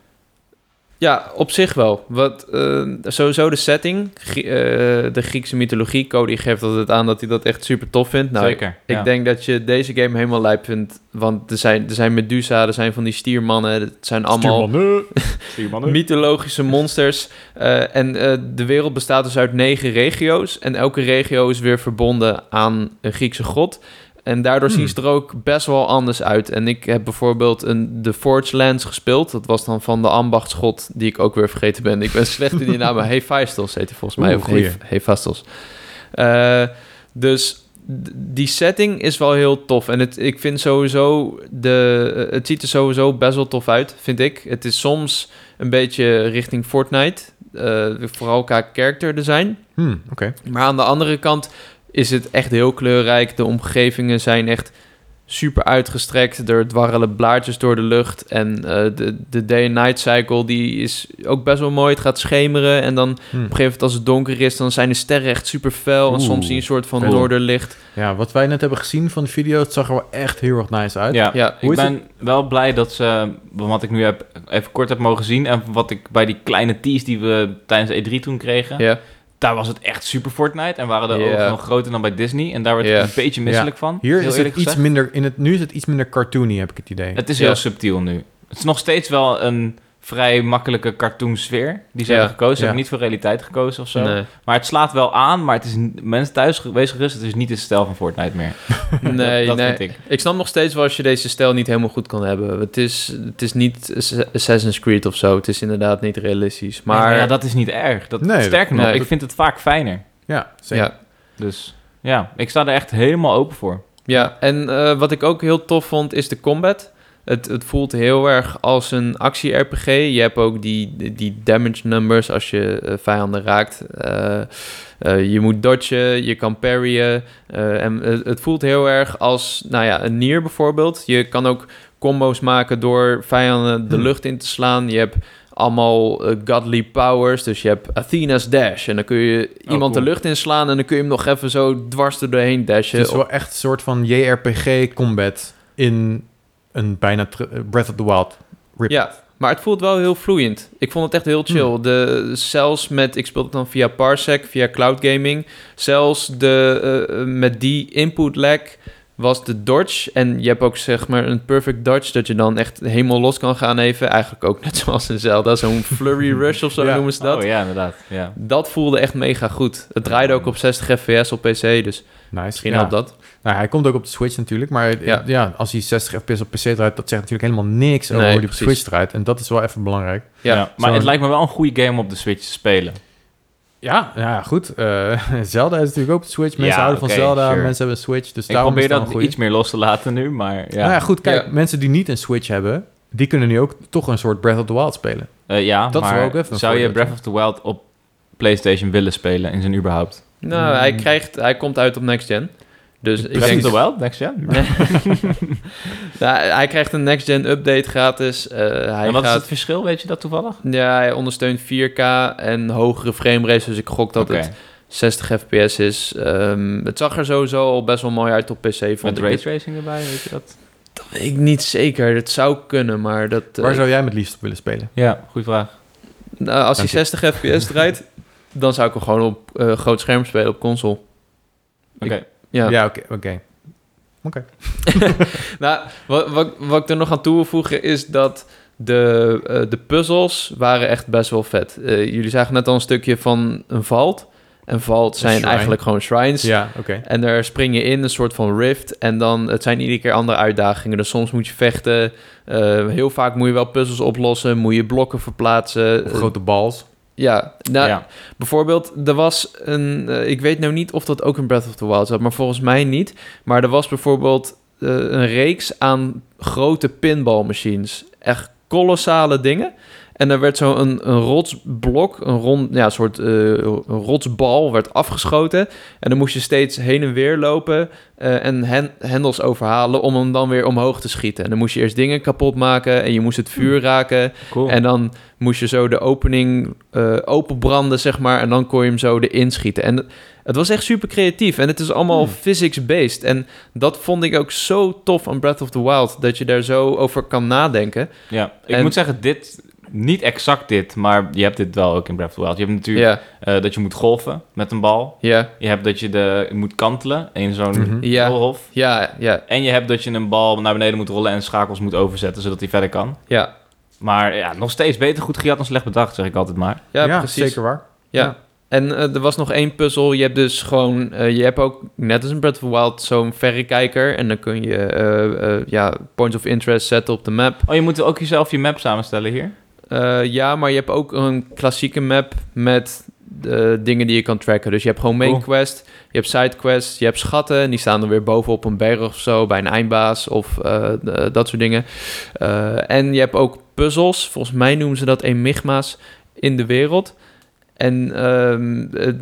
Speaker 3: Ja, op zich wel. Wat, eh, sowieso de setting, Grie- eh, de Griekse mythologie. Cody geeft altijd aan dat hij dat echt super tof vindt. Nou,
Speaker 2: Zeker.
Speaker 3: Ik
Speaker 2: ja.
Speaker 3: denk dat je deze game helemaal lijp vindt. Want er zijn, er zijn Medusa, er zijn van die stiermannen. Het zijn allemaal
Speaker 1: Stuurman, eh.
Speaker 3: mythologische monsters. Eh, en eh, de wereld bestaat dus uit negen regio's. En elke regio is weer verbonden aan een Griekse god. En daardoor
Speaker 1: Hmm.
Speaker 3: zien ze er ook best wel anders uit. En ik heb bijvoorbeeld een The Forge Lands gespeeld. Dat was dan van de ambachtsgod, die ik ook weer vergeten ben. Ik ben slecht in die namen. Hephaestus heet hij volgens mij.
Speaker 1: Oeh,
Speaker 3: of
Speaker 1: goeie.
Speaker 3: Hef- Hephaestus. Eh, dus d- die setting is wel heel tof. En het, ik vind sowieso... De, eh, het ziet er sowieso best wel tof uit, vind ik. Het is soms een beetje richting Fortnite. eh, vooral qua character design.
Speaker 1: Hmm, Oké.
Speaker 3: Maar aan de andere kant is het echt heel kleurrijk. De omgevingen zijn echt super uitgestrekt. Er dwarrelen blaadjes door de lucht. En eh, de, de day-night cycle die is ook best wel mooi. Het gaat schemeren. En dan op
Speaker 1: Hmm.
Speaker 3: een gegeven moment als het donker is... dan zijn de sterren echt super fel. En
Speaker 2: Oeh,
Speaker 3: soms zie je een soort van
Speaker 2: vet.
Speaker 3: noorderlicht.
Speaker 1: Ja, wat wij net hebben gezien van de video, het zag er wel echt heel erg nice uit.
Speaker 2: Ja,
Speaker 3: Ja,
Speaker 1: hoe
Speaker 2: ik
Speaker 1: is
Speaker 2: ben wel blij dat ze, wat ik nu heb, even kort heb mogen zien en wat ik bij die kleine tease die we tijdens E3 toen kregen,
Speaker 3: Ja,
Speaker 2: daar was het echt super Fortnite en waren de
Speaker 3: Ja.
Speaker 2: ogen nog groter dan bij Disney en daar werd
Speaker 3: Ja.
Speaker 2: ik een beetje misselijk van.
Speaker 1: Hier
Speaker 2: heel
Speaker 1: is het
Speaker 2: eerlijk
Speaker 1: iets
Speaker 2: gezegd.
Speaker 1: minder, in het, nu is het iets minder cartoony, heb ik het idee.
Speaker 2: Het is
Speaker 3: Ja.
Speaker 2: heel subtiel nu. Het is nog steeds wel een vrij makkelijke cartoon sfeer die ze
Speaker 3: Ja.
Speaker 2: hebben gekozen. Ze
Speaker 1: Ja.
Speaker 2: hebben niet voor realiteit gekozen of zo.
Speaker 3: nee.
Speaker 2: Maar het slaat wel aan, maar het is n- mensen thuis ge- wees gerust, het is niet de stijl van Fortnite meer. (laughs)
Speaker 3: Nee,
Speaker 2: dat
Speaker 3: nee.
Speaker 2: vind ik.
Speaker 3: Ik snap nog steeds wel als je deze stijl niet helemaal goed kan hebben. Het is, het is niet Assassin's Creed of zo. Het is inderdaad niet realistisch.
Speaker 2: Maar
Speaker 3: Maar
Speaker 2: ja, dat is niet erg. Dat,
Speaker 1: Nee,
Speaker 2: sterker nog,
Speaker 3: nee.
Speaker 2: ik vind het vaak fijner.
Speaker 1: Ja, zeker.
Speaker 3: ja,
Speaker 2: Dus ja, ik sta er echt helemaal open voor.
Speaker 3: Ja, en eh, wat ik ook heel tof vond is de combat. Het, het voelt heel erg als een actie-RPG. Je hebt ook die, die- die damage numbers als je eh, vijanden raakt. Eh, eh, je moet dodgen, je kan parryen. eh, en het, het voelt heel erg als, nou ja, een nier bijvoorbeeld. Je kan ook combo's maken door vijanden de
Speaker 1: Hmm.
Speaker 3: lucht in te slaan. Je hebt allemaal eh, godly powers. Dus je hebt Athena's dash. En dan kun je
Speaker 2: Oh,
Speaker 3: iemand
Speaker 2: cool.
Speaker 3: de lucht inslaan... en dan kun je hem nog even zo dwars er doorheen dashen.
Speaker 1: Het is wel echt een soort van JRPG-combat in een bijna tr- eh, Breath of the Wild. Rip. Hmm.
Speaker 3: Ja, maar het voelt wel heel vloeiend. Ik vond het echt heel chill. De, zelfs met, ik speelde het dan via Parsec, via cloud gaming. Zelfs de, eh, eh, met die input lag was de dodge. En je hebt ook zeg maar een perfect dodge, dat je dan echt helemaal los kan gaan even. Eigenlijk ook net (laughs) zoals in Zelda, zo'n
Speaker 1: (laughs)
Speaker 3: flurry rush of zo
Speaker 1: Ja.
Speaker 3: noemen ze dat.
Speaker 2: Oh ja, inderdaad. Ja.
Speaker 3: Dat voelde echt mega goed. Het draaide ook op 60 fps op PC, dus
Speaker 1: Nice.
Speaker 3: misschien
Speaker 1: ja.
Speaker 3: helpt dat.
Speaker 1: Nou, hij komt ook op de Switch natuurlijk, maar ja.
Speaker 3: Ja.
Speaker 1: Ja, als hij 60 fps op PC draait, dat zegt natuurlijk helemaal niks over
Speaker 3: Nee,
Speaker 1: hoe die op
Speaker 3: precies.
Speaker 1: Switch draait. En dat is wel even belangrijk.
Speaker 3: Ja,
Speaker 2: Ja, maar
Speaker 1: zo-
Speaker 2: het lijkt me wel een goede game om op de Switch te spelen.
Speaker 1: Ja, nou ja, goed. Eh, (laughs) Zelda is natuurlijk ook op de Switch. Mensen
Speaker 2: Ja,
Speaker 1: houden
Speaker 2: oké,
Speaker 1: van Zelda,
Speaker 2: sure.
Speaker 1: mensen hebben een Switch. Dus
Speaker 2: Ik
Speaker 1: daarom
Speaker 2: probeer
Speaker 1: is het
Speaker 2: dat
Speaker 1: wel een goeie.
Speaker 2: iets meer los te laten nu, maar ja.
Speaker 1: Nou ja, goed, kijk,
Speaker 3: Ja.
Speaker 1: mensen die niet een Switch hebben, die kunnen nu ook toch een soort Breath of the Wild spelen.
Speaker 2: Eh, ja
Speaker 1: dat is
Speaker 2: maar
Speaker 1: wel ook even een
Speaker 2: zou je
Speaker 1: voordeel.
Speaker 2: Breath of the Wild op PlayStation willen spelen in zijn überhaupt?
Speaker 3: Nou, hij, krijgt, hij komt uit op next gen. Dus ik
Speaker 1: Precies.
Speaker 3: denk
Speaker 2: Breath of the Wild, next gen?
Speaker 3: (laughs) Nou, hij krijgt een next-gen update gratis. Eh, hij
Speaker 2: en wat is
Speaker 3: gaat,
Speaker 2: het verschil, weet je dat toevallig?
Speaker 3: ja, hij ondersteunt 4K en hogere frame rates. Dus ik gok dat
Speaker 2: Oké.
Speaker 3: het 60 fps is. Ehm, het zag er sowieso al best wel mooi uit op PC. Vond
Speaker 2: Met
Speaker 3: ik.
Speaker 2: raytracing erbij, weet je dat?
Speaker 3: Dat weet ik niet zeker. Dat zou kunnen, maar dat, eh,
Speaker 1: Waar zou jij hem het liefst op willen spelen?
Speaker 2: Ja, goede vraag.
Speaker 3: nou, als hij
Speaker 1: Dank je.
Speaker 3: 60 fps draait, dan zou ik hem gewoon op eh, groot scherm spelen, op console.
Speaker 2: Oké.
Speaker 3: Ja.
Speaker 1: Ja, oké. oké.
Speaker 3: Nou, wat, wat, wat ik er nog aan toe wil voegen is dat de, eh, de puzzels waren echt best wel vet. Eh, jullie zagen net al een stukje van een vault. En vault zijn
Speaker 1: shrine.
Speaker 3: eigenlijk gewoon shrines.
Speaker 1: Ja, oké.
Speaker 3: En daar spring je in, een soort van rift. En dan, het zijn iedere keer andere uitdagingen. Dus soms moet je vechten. Eh, heel vaak moet je wel puzzels oplossen. Moet je blokken verplaatsen.
Speaker 1: Of
Speaker 3: Eh,
Speaker 1: grote bals.
Speaker 3: ja, nou,
Speaker 2: ja.
Speaker 3: Bijvoorbeeld, er was een. eh, ik weet nou niet of dat ook in Breath of the Wild zat, maar volgens mij niet. Maar er was bijvoorbeeld eh, een reeks aan grote pinballmachines. Echt kolossale dingen. En er werd zo'n een, een rotsblok, een rond, ja, soort eh, een rotsbal, werd afgeschoten. En dan moest je steeds heen en weer lopen eh, en hen- hendels overhalen om hem dan weer omhoog te schieten. En dan moest je eerst dingen kapot maken en je moest het vuur raken.
Speaker 2: Cool.
Speaker 3: En dan moest je zo de opening eh, openbranden, zeg maar. En dan kon je hem zo erin schieten. En het was echt super creatief. En het is allemaal
Speaker 2: Hmm.
Speaker 3: physics-based. En dat vond ik ook zo tof aan Breath of the Wild. Dat je daar zo over kan nadenken.
Speaker 2: ja. Ik
Speaker 3: en-
Speaker 2: moet zeggen, dit... Niet exact dit, maar je hebt dit wel ook in Breath of the Wild. Je hebt natuurlijk
Speaker 3: Ja,
Speaker 2: eh, dat je moet golven met een bal.
Speaker 3: ja,
Speaker 2: Je hebt dat je de, je moet kantelen in zo'n
Speaker 1: Mhm.
Speaker 3: Ja.
Speaker 2: rolhof.
Speaker 3: ja, ja,
Speaker 2: En je hebt dat je een bal naar beneden moet rollen en schakels moet overzetten, zodat hij verder kan.
Speaker 3: ja.
Speaker 2: Maar ja, nog steeds beter goed gejat dan slecht bedacht, zeg ik altijd maar.
Speaker 3: Ja, precies.
Speaker 1: zeker waar.
Speaker 3: Ja.
Speaker 1: Ja.
Speaker 3: En eh, er was nog één puzzel. Je hebt dus gewoon, eh, je hebt ook net als in Breath of the Wild zo'n verrekijker. En dan kun je eh, eh, ja, points of interest zetten op de map.
Speaker 2: Oh, je moet ook jezelf je map samenstellen hier?
Speaker 3: Eh, ja, maar je hebt ook een klassieke map met eh, dingen die je kan tracken. Dus je hebt gewoon main
Speaker 2: Cool.
Speaker 3: quest, je hebt side quest, je hebt schatten. En die staan er weer bovenop een berg of zo, bij een eindbaas of eh, d- dat soort dingen. Eh, en je hebt ook puzzels. Volgens mij noemen ze dat enigma's in de wereld. En ehm, eh,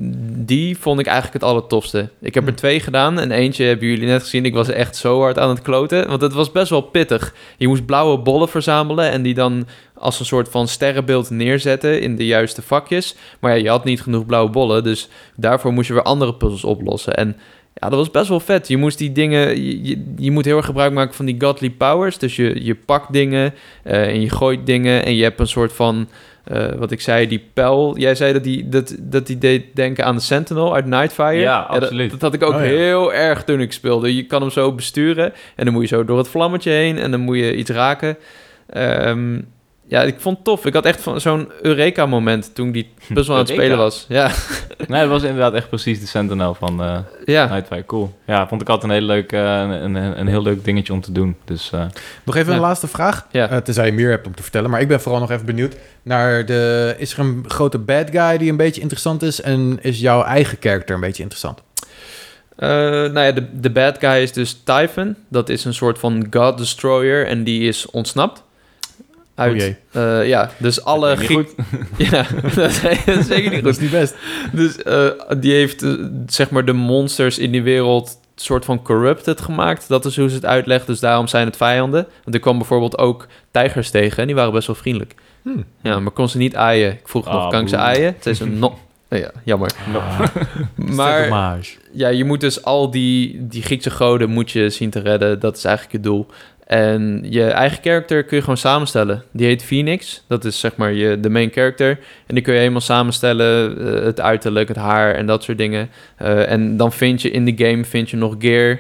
Speaker 3: die vond ik eigenlijk het allertofste. Ik heb er
Speaker 1: Hmm.
Speaker 3: twee gedaan en eentje hebben jullie net gezien. Ik was echt zo hard aan het kloten, want het was best wel pittig. Je moest blauwe bollen verzamelen en die dan als een soort van sterrenbeeld neerzetten in de juiste vakjes. Maar ja, je had niet genoeg blauwe bollen, dus daarvoor moest je weer andere puzzels oplossen. En ja, dat was best wel vet. Je moest die dingen, je, je, je moet heel erg gebruik maken van die godly powers. Dus je, je pakt dingen eh, en je gooit dingen en je hebt een soort van, eh, wat ik zei, die pijl. Jij zei dat die, dat, dat die deed denken aan de Sentinel uit Nightfire.
Speaker 2: Ja,
Speaker 3: dat-
Speaker 2: absoluut.
Speaker 3: Dat, had ik ook
Speaker 1: Oh, ja.
Speaker 3: heel erg toen ik speelde. Je kan hem zo besturen en dan moet je zo door het vlammetje heen en dan moet je iets raken. Ehm, ja, ik vond het tof. Ik had echt van zo'n Eureka-moment toen ik die
Speaker 1: Hm,
Speaker 3: puzzel aan het
Speaker 2: Eureka.
Speaker 3: spelen was. Ja, (laughs)
Speaker 2: Nee, dat was inderdaad echt precies de Sentinel van eh
Speaker 3: ja.
Speaker 2: Nightfire. Cool. Ja, vond ik altijd een, hele leuk, eh, een, een, een heel leuk dingetje om te doen. Dus eh,
Speaker 1: Nog even een
Speaker 3: Ja.
Speaker 1: laatste vraag.
Speaker 3: Ja.
Speaker 1: Eh, tenzij je meer hebt om te vertellen. Maar ik ben vooral nog even benieuwd naar de... Is er een grote bad guy die een beetje interessant is? En is jouw eigen karakter een beetje interessant?
Speaker 3: Eh, nou ja, de, de bad guy is dus Typhon. Dat is een soort van God Destroyer en die is ontsnapt. Uit,
Speaker 1: Oh jee.
Speaker 3: eh, ja, dus alle
Speaker 2: niet
Speaker 3: Grieken... (laughs) Ja, dat is (laughs) dat is zeker niet
Speaker 1: Dat (laughs)
Speaker 3: goed.
Speaker 1: is niet best.
Speaker 3: Dus eh, die heeft eh, zeg maar de monsters in die wereld soort van corrupted gemaakt. Dat is hoe ze het uitlegt, dus daarom zijn het vijanden. Want er kwam bijvoorbeeld ook tijgers tegen en die waren best wel vriendelijk.
Speaker 1: Hmm.
Speaker 3: Ja, maar kon ze niet aaien. Ik vroeg nog,
Speaker 2: Ah,
Speaker 3: kan ik ze
Speaker 2: boe.
Speaker 3: aaien? Het is een no... Nou Ja, jammer. Maar
Speaker 1: eh,
Speaker 3: ja, je moet dus al die, die Griekse goden moet je zien te redden. Dat is eigenlijk het doel. En je eigen character kun je gewoon samenstellen. Die heet Phoenix. Dat is zeg maar je, de main character. En die kun je helemaal samenstellen. eh, het uiterlijk, het haar en dat soort dingen. Eh, en dan vind je in de game vind je nog gear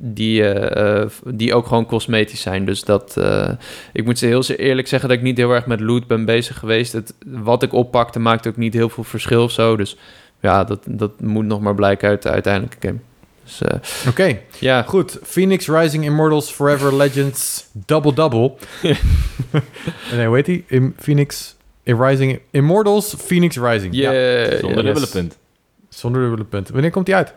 Speaker 3: die, eh, eh, die ook gewoon cosmetisch zijn. Dus dat... eh, ik moet ze heel zeer eerlijk zeggen dat ik niet heel erg met loot ben bezig geweest. Het, wat ik oppakte maakt ook niet heel veel verschil of zo. Dus ja, dat, dat moet nog maar blijken uit de uiteindelijke game. Dus eh,
Speaker 1: Oké,
Speaker 3: ja,
Speaker 1: Nou goed. Phoenix Rising Immortals Forever Legends Double
Speaker 3: (laughs)
Speaker 1: Double. nee, hoe heet die? In Phoenix in Rising Immortals Phoenix Rising.
Speaker 3: yeah,
Speaker 1: Ja,
Speaker 2: zonder
Speaker 3: yes.
Speaker 2: dubbele punt.
Speaker 1: zonder dubbele punten. Wanneer komt die uit?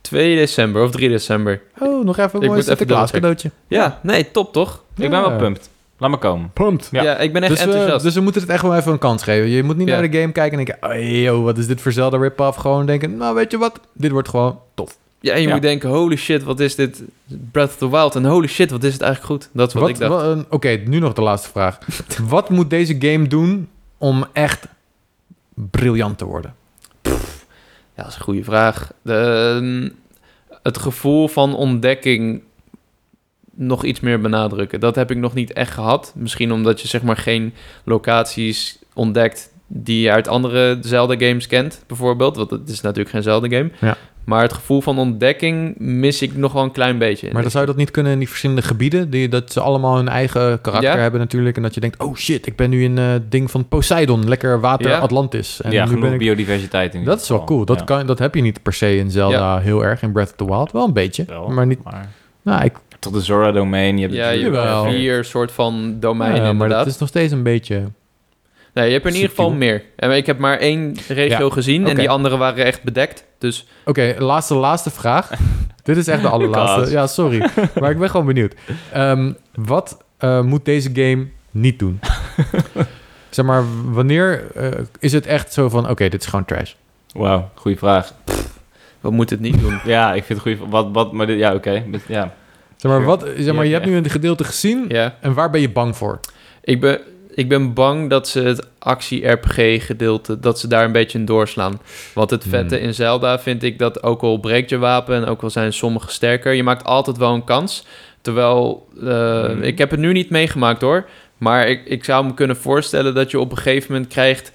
Speaker 3: 2 december of 3 december.
Speaker 1: Oh, nog even een
Speaker 3: moet
Speaker 1: mooi
Speaker 3: even
Speaker 1: Sinterklaas cadeautje.
Speaker 3: dubbelchecken. Ja, nee, top toch?
Speaker 2: Ik ben wel
Speaker 1: Ja.
Speaker 2: pumped. Laat me komen.
Speaker 1: Pumped.
Speaker 2: Ja.
Speaker 3: Ja, ik ben echt
Speaker 1: Dus we,
Speaker 3: enthousiast.
Speaker 1: dus we moeten het echt wel even een kans geven. Je moet niet
Speaker 3: Ja.
Speaker 1: naar de game kijken en denken... "Ay, yo, wat is dit voor Zelda rip-off? Gewoon denken, nou weet je wat? Dit wordt gewoon tof.
Speaker 3: ja, en je
Speaker 2: Ja.
Speaker 3: moet denken, holy shit, wat is dit Breath of the Wild? En holy shit, wat is het eigenlijk goed? Dat is wat,
Speaker 1: Wat-
Speaker 3: ik dacht.
Speaker 1: wat- eh, Oké, nu nog de laatste
Speaker 3: (laughs)
Speaker 1: vraag. wat moet deze game doen om echt briljant te worden?
Speaker 3: Ja, dat is een goede vraag. De, ehm, het gevoel van ontdekking nog iets meer benadrukken. Dat heb ik nog niet echt gehad. Misschien omdat je zeg maar geen locaties ontdekt die je uit andere Zelda-games kent, bijvoorbeeld. Want het is natuurlijk geen Zelda-game.
Speaker 1: Ja.
Speaker 3: Maar het gevoel van ontdekking mis ik nog wel een klein beetje.
Speaker 1: Maar
Speaker 3: in
Speaker 1: dan
Speaker 3: dit.
Speaker 1: zou je dat niet kunnen in die verschillende gebieden, die, dat ze allemaal hun eigen karakter
Speaker 3: Ja.
Speaker 1: hebben natuurlijk. En dat je denkt, oh shit, ik ben nu in eh ding van Poseidon, lekker water
Speaker 3: Ja.
Speaker 1: Atlantis. En
Speaker 2: ja,
Speaker 1: nu
Speaker 2: genoeg
Speaker 1: ben ik...
Speaker 2: biodiversiteit in ieder
Speaker 1: Dat is wel
Speaker 2: geval.
Speaker 1: cool, dat,
Speaker 2: Ja.
Speaker 1: kan, dat heb je niet per se in Zelda heel erg, in Breath of the Wild wel een beetje.
Speaker 2: Wel,
Speaker 1: Maar niet, nou, ik,
Speaker 2: Tot de Zora-domein. Je hebt
Speaker 3: ja, je
Speaker 2: natuurlijk-
Speaker 1: Jawel.
Speaker 3: hebt vier soort van domeinen
Speaker 1: ja, maar dat
Speaker 3: inderdaad.
Speaker 1: is nog steeds een beetje...
Speaker 3: Nee, je hebt er in ieder geval
Speaker 2: Subtiel.
Speaker 3: meer. En ik heb maar één regio gezien en
Speaker 1: Oké.
Speaker 3: die andere waren echt bedekt. Dus
Speaker 1: Oké, laatste, laatste
Speaker 2: (laughs)
Speaker 1: vraag. Dit is echt de allerlaatste.
Speaker 2: Lucas.
Speaker 1: Ja, sorry. Maar ik ben gewoon benieuwd. Ehm, wat eh, moet deze game niet
Speaker 2: (laughs)
Speaker 1: doen? zeg maar, wanneer eh, is het echt zo van... Oké, dit is gewoon trash.
Speaker 2: Wauw, goede vraag.
Speaker 3: we moeten het niet
Speaker 1: (laughs)
Speaker 3: doen.
Speaker 2: Ja, ik vind het goed. Wat, wat, maar dit, ja, oké. Dit- Ja.
Speaker 1: Zeg maar, wat, zeg maar je
Speaker 2: Ja,
Speaker 1: hebt nu een gedeelte gezien.
Speaker 3: ja.
Speaker 1: En waar ben je bang voor?
Speaker 3: Ik ben, ik ben bang dat ze het actie-RPG-gedeelte, dat ze daar een beetje in doorslaan. Want het vette
Speaker 1: Hmm.
Speaker 3: in Zelda vind ik dat ook al breekt je wapen en ook al zijn sommige sterker, je maakt altijd wel een kans. Terwijl, eh,
Speaker 2: Hmm.
Speaker 3: ik heb het nu niet meegemaakt hoor, maar ik, ik zou me kunnen voorstellen dat je op een gegeven moment krijgt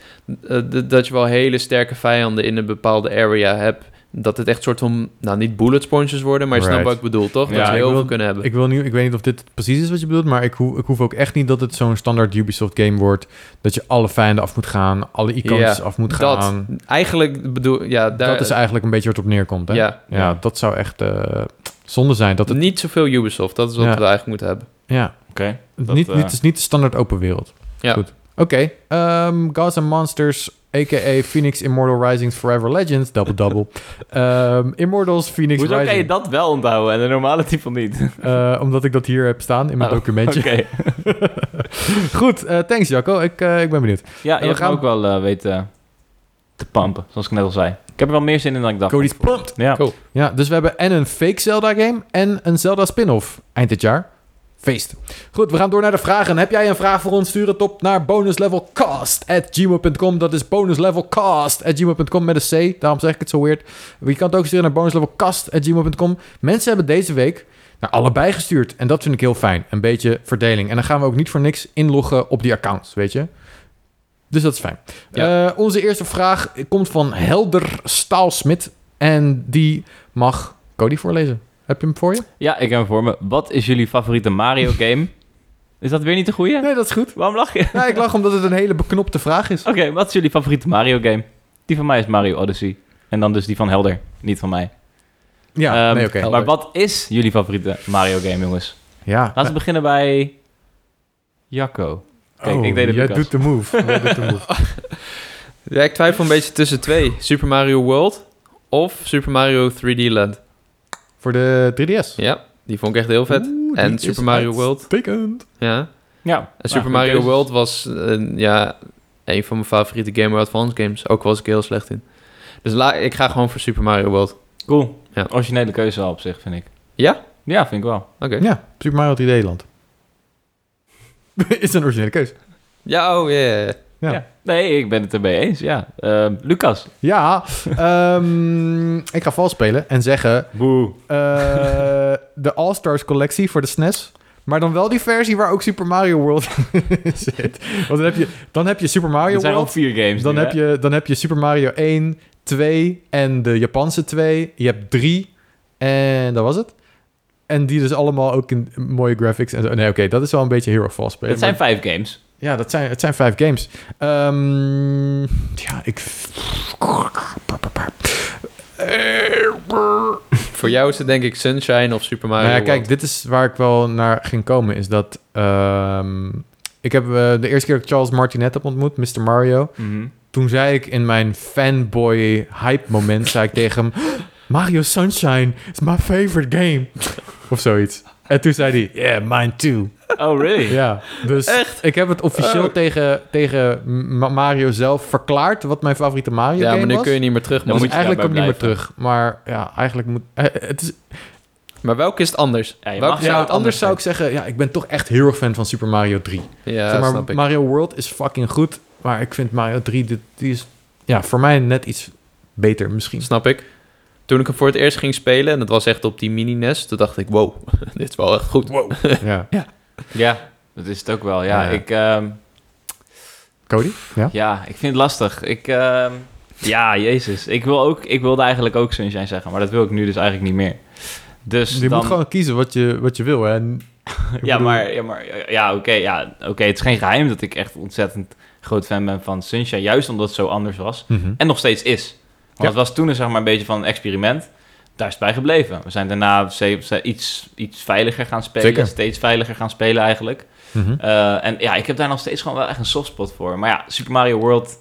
Speaker 3: eh, d- dat je wel hele sterke vijanden in een bepaalde area hebt. Dat het echt soort van, nou niet bullet sponges worden, maar je snapt
Speaker 1: Right.
Speaker 3: wat ik bedoel, toch? Dat
Speaker 2: Ja,
Speaker 3: ze
Speaker 1: ik
Speaker 3: heel
Speaker 1: wil-
Speaker 3: veel kunnen hebben.
Speaker 1: Ik, wil nu, ik weet niet of dit precies is wat je bedoelt, maar ik, hoef- ik hoef ook echt niet dat het zo'n standaard Ubisoft game wordt. Dat je alle vijanden af moet gaan, alle icons
Speaker 3: Ja,
Speaker 1: af moet
Speaker 3: dat.
Speaker 1: gaan.
Speaker 3: Eigenlijk bedoel, ja, daar,
Speaker 1: dat is eigenlijk een beetje wat het op neerkomt, hè?
Speaker 3: ja.
Speaker 1: Ja, dat zou echt eh, zonde zijn. Dat het,
Speaker 3: Niet zoveel Ubisoft, dat is wat
Speaker 1: Ja.
Speaker 3: we eigenlijk moeten hebben.
Speaker 1: ja,
Speaker 2: Oké.
Speaker 1: het
Speaker 2: Dat,
Speaker 1: niet,
Speaker 2: eh,
Speaker 1: niet, het is niet de standaard open wereld.
Speaker 3: Ja.
Speaker 1: Goed. Oké, Ehm Gods and Monsters, a.k.a. Phoenix Immortal Rising Forever Legends, double double. (laughs) Ehm, Immortals Phoenix
Speaker 2: Hoezo kan je
Speaker 1: Rising.
Speaker 2: dat wel onthouden en de normale type
Speaker 1: (laughs)
Speaker 2: niet?
Speaker 1: Eh, omdat ik dat hier heb staan in mijn
Speaker 2: Oh,
Speaker 1: documentje.
Speaker 2: (laughs) Oké.
Speaker 1: Goed, eh, thanks Jacco. Ik, eh, ik ben benieuwd.
Speaker 2: Ja, je
Speaker 1: we
Speaker 2: hebt
Speaker 1: gaan-
Speaker 2: me ook wel eh, weten te pampen, zoals ik net al zei. Ik heb er wel meer zin in dan ik dacht.
Speaker 1: Cody's pumped.
Speaker 2: Ja.
Speaker 3: Cool.
Speaker 1: Ja, dus we hebben en een fake Zelda game en een Zelda spin-off eind dit jaar. Feest. Goed, we gaan door naar de vragen. Heb jij een vraag voor ons? Stuur het op naar bonuslevelcast.gmail.com. Dat is bonuslevelcast.gmail.com met een C. Daarom zeg ik het zo weird. Je kan het ook sturen naar bonuslevelcast.gmail.com. Mensen hebben deze week naar allebei gestuurd. En dat vind ik heel fijn. Een beetje verdeling. En dan gaan we ook niet voor niks inloggen op die accounts, weet je? Dus dat is fijn.
Speaker 3: Ja.
Speaker 1: Eh, onze eerste vraag komt van Helder Staalsmit. En die mag Cody voorlezen. Heb je hem voor je?
Speaker 2: Ja, ik heb hem voor me. Wat is jullie favoriete Mario game? is dat weer niet de goeie?
Speaker 1: Nee, dat is goed.
Speaker 2: Waarom lach je?
Speaker 1: Ja, ik lach omdat het een hele beknopte vraag is.
Speaker 2: Oké, wat is jullie favoriete Mario game? Die van mij is Mario Odyssey. En dan dus die van Helder, niet van mij.
Speaker 1: Ja,
Speaker 2: Ehm,
Speaker 1: nee, oké.
Speaker 2: Maar wat is jullie favoriete Mario game, jongens?
Speaker 1: Ja.
Speaker 2: Laten we beginnen bij... Jacco. Kijk,
Speaker 1: Oh,
Speaker 2: ik deed het
Speaker 1: Jij
Speaker 2: Lucas.
Speaker 1: doet de move.
Speaker 2: (laughs)
Speaker 1: Jij doet de move.
Speaker 3: Ja, ik twijfel een beetje tussen twee. Super Mario World of Super Mario 3D Land.
Speaker 1: Voor de 3DS.
Speaker 3: Ja, die vond ik echt heel vet.
Speaker 1: Oeh, die
Speaker 3: en
Speaker 1: is
Speaker 3: Super Mario World.
Speaker 1: uitstekend.
Speaker 3: Ja. En
Speaker 2: Ja. nou,
Speaker 3: Super
Speaker 2: goede
Speaker 3: Mario
Speaker 2: keuzes.
Speaker 3: World was eh, ja, een van mijn favoriete Game Boy Advance games. Ook was ik heel slecht in. Dus la, ik ga gewoon voor Super Mario World.
Speaker 2: Cool.
Speaker 3: Ja.
Speaker 2: Originele keuze al op zich, vind ik.
Speaker 3: Ja?
Speaker 2: Ja, vind ik wel.
Speaker 3: Oké.
Speaker 1: Ja, Super Mario 3D Land. (laughs) is een originele keus.
Speaker 3: Ja, oh yeah.
Speaker 1: Ja.
Speaker 2: Nee, ik ben het ermee eens, ja. Ehm, Lucas.
Speaker 1: Ja, ehm, ik ga vals spelen en zeggen...
Speaker 2: Boe.
Speaker 1: eh, de All-Stars collectie voor de SNES... Maar dan wel die versie waar ook Super Mario World (laughs) in zit. Want dan heb je, dan heb je Super Mario
Speaker 2: Er zijn al
Speaker 1: World.
Speaker 2: vier games
Speaker 1: Dan
Speaker 2: nu,
Speaker 1: heb,
Speaker 2: hè?
Speaker 1: je, dan heb je Super Mario 1, 2 en de Japanse 2. Je hebt 3 en dat was het. En die dus allemaal ook in mooie graphics en zo. Nee, oké, dat is wel een beetje Hero Falls spelen.
Speaker 2: Het zijn vijf games.
Speaker 1: Ja, dat zijn, het zijn vijf games. Ehm, ja, ik...
Speaker 3: voor jou is het denk ik Sunshine of Super Mario
Speaker 1: Nou ja, kijk,
Speaker 3: World.
Speaker 1: dit is waar ik wel naar ging komen. Is dat... ehm, ik heb eh, de eerste keer dat ik Charles Martinet heb ontmoet, Mr. Mario.
Speaker 2: Mhm.
Speaker 1: Toen zei ik in mijn fanboy hype moment, zei ik tegen hem... Mario Sunshine is my favorite game. (laughs) Of zoiets. En toen zei hij, yeah, mine too.
Speaker 2: Oh, really?
Speaker 1: Ja, dus ik heb het officieel
Speaker 3: Oh.
Speaker 1: tegen, tegen Ma- Mario zelf verklaard wat mijn favoriete Mario
Speaker 3: Ja,
Speaker 1: game
Speaker 3: maar nu
Speaker 1: was.
Speaker 3: kun je niet meer terug.
Speaker 2: Dan
Speaker 3: man.
Speaker 1: dus
Speaker 2: moet je
Speaker 1: eigenlijk kom ik niet
Speaker 2: daarbij
Speaker 1: meer terug. Maar ja, eigenlijk moet... eh, het is,
Speaker 3: Maar welke is het anders?
Speaker 2: Ja, je
Speaker 3: Welke
Speaker 2: mag-
Speaker 3: zou
Speaker 1: ja,
Speaker 3: het
Speaker 1: anders zou ik zeggen, ja, ik ben toch echt heel erg fan van Super Mario 3.
Speaker 3: Ja,
Speaker 1: Zeg maar,
Speaker 3: snap ik.
Speaker 1: Mario World is fucking goed, maar ik vind Mario 3, dit- die is ja, voor mij net iets beter misschien.
Speaker 3: Snap ik. Toen ik hem voor het eerst ging spelen, en dat was echt op die mini-nest, toen dacht ik, wow, (laughs) dit is wel echt goed.
Speaker 1: ja.
Speaker 2: Ja, dat is het ook wel. Ja,
Speaker 1: Ja.
Speaker 2: ik... ehm,
Speaker 1: Cody? Ja?
Speaker 2: Ja, ik vind het lastig. Ik, ehm, ja, jezus. Ik, wil ook, ik wilde eigenlijk ook Sunshine zeggen, maar dat wil ik nu dus eigenlijk niet meer. Dus
Speaker 1: je
Speaker 2: dan,
Speaker 1: moet gewoon kiezen wat je, wat je wil, hè. En- ik
Speaker 2: ja,
Speaker 1: bedoel-
Speaker 2: maar, ja, maar ja, oké. ja, oké. het is geen geheim dat ik echt ontzettend groot fan ben van Sunshine. Juist omdat het zo anders was.
Speaker 1: Mhm.
Speaker 2: En nog steeds is. Want
Speaker 1: Ja.
Speaker 2: het was toen dus, zeg maar, een beetje van een experiment. Daar is het bij gebleven. We zijn daarna ze- ze- iets, iets veiliger gaan spelen.
Speaker 1: Zeker.
Speaker 2: Steeds veiliger gaan spelen eigenlijk.
Speaker 1: Mhm.
Speaker 2: Eh, en ja, ik heb daar nog steeds gewoon wel echt een softspot voor. Maar ja, Super Mario World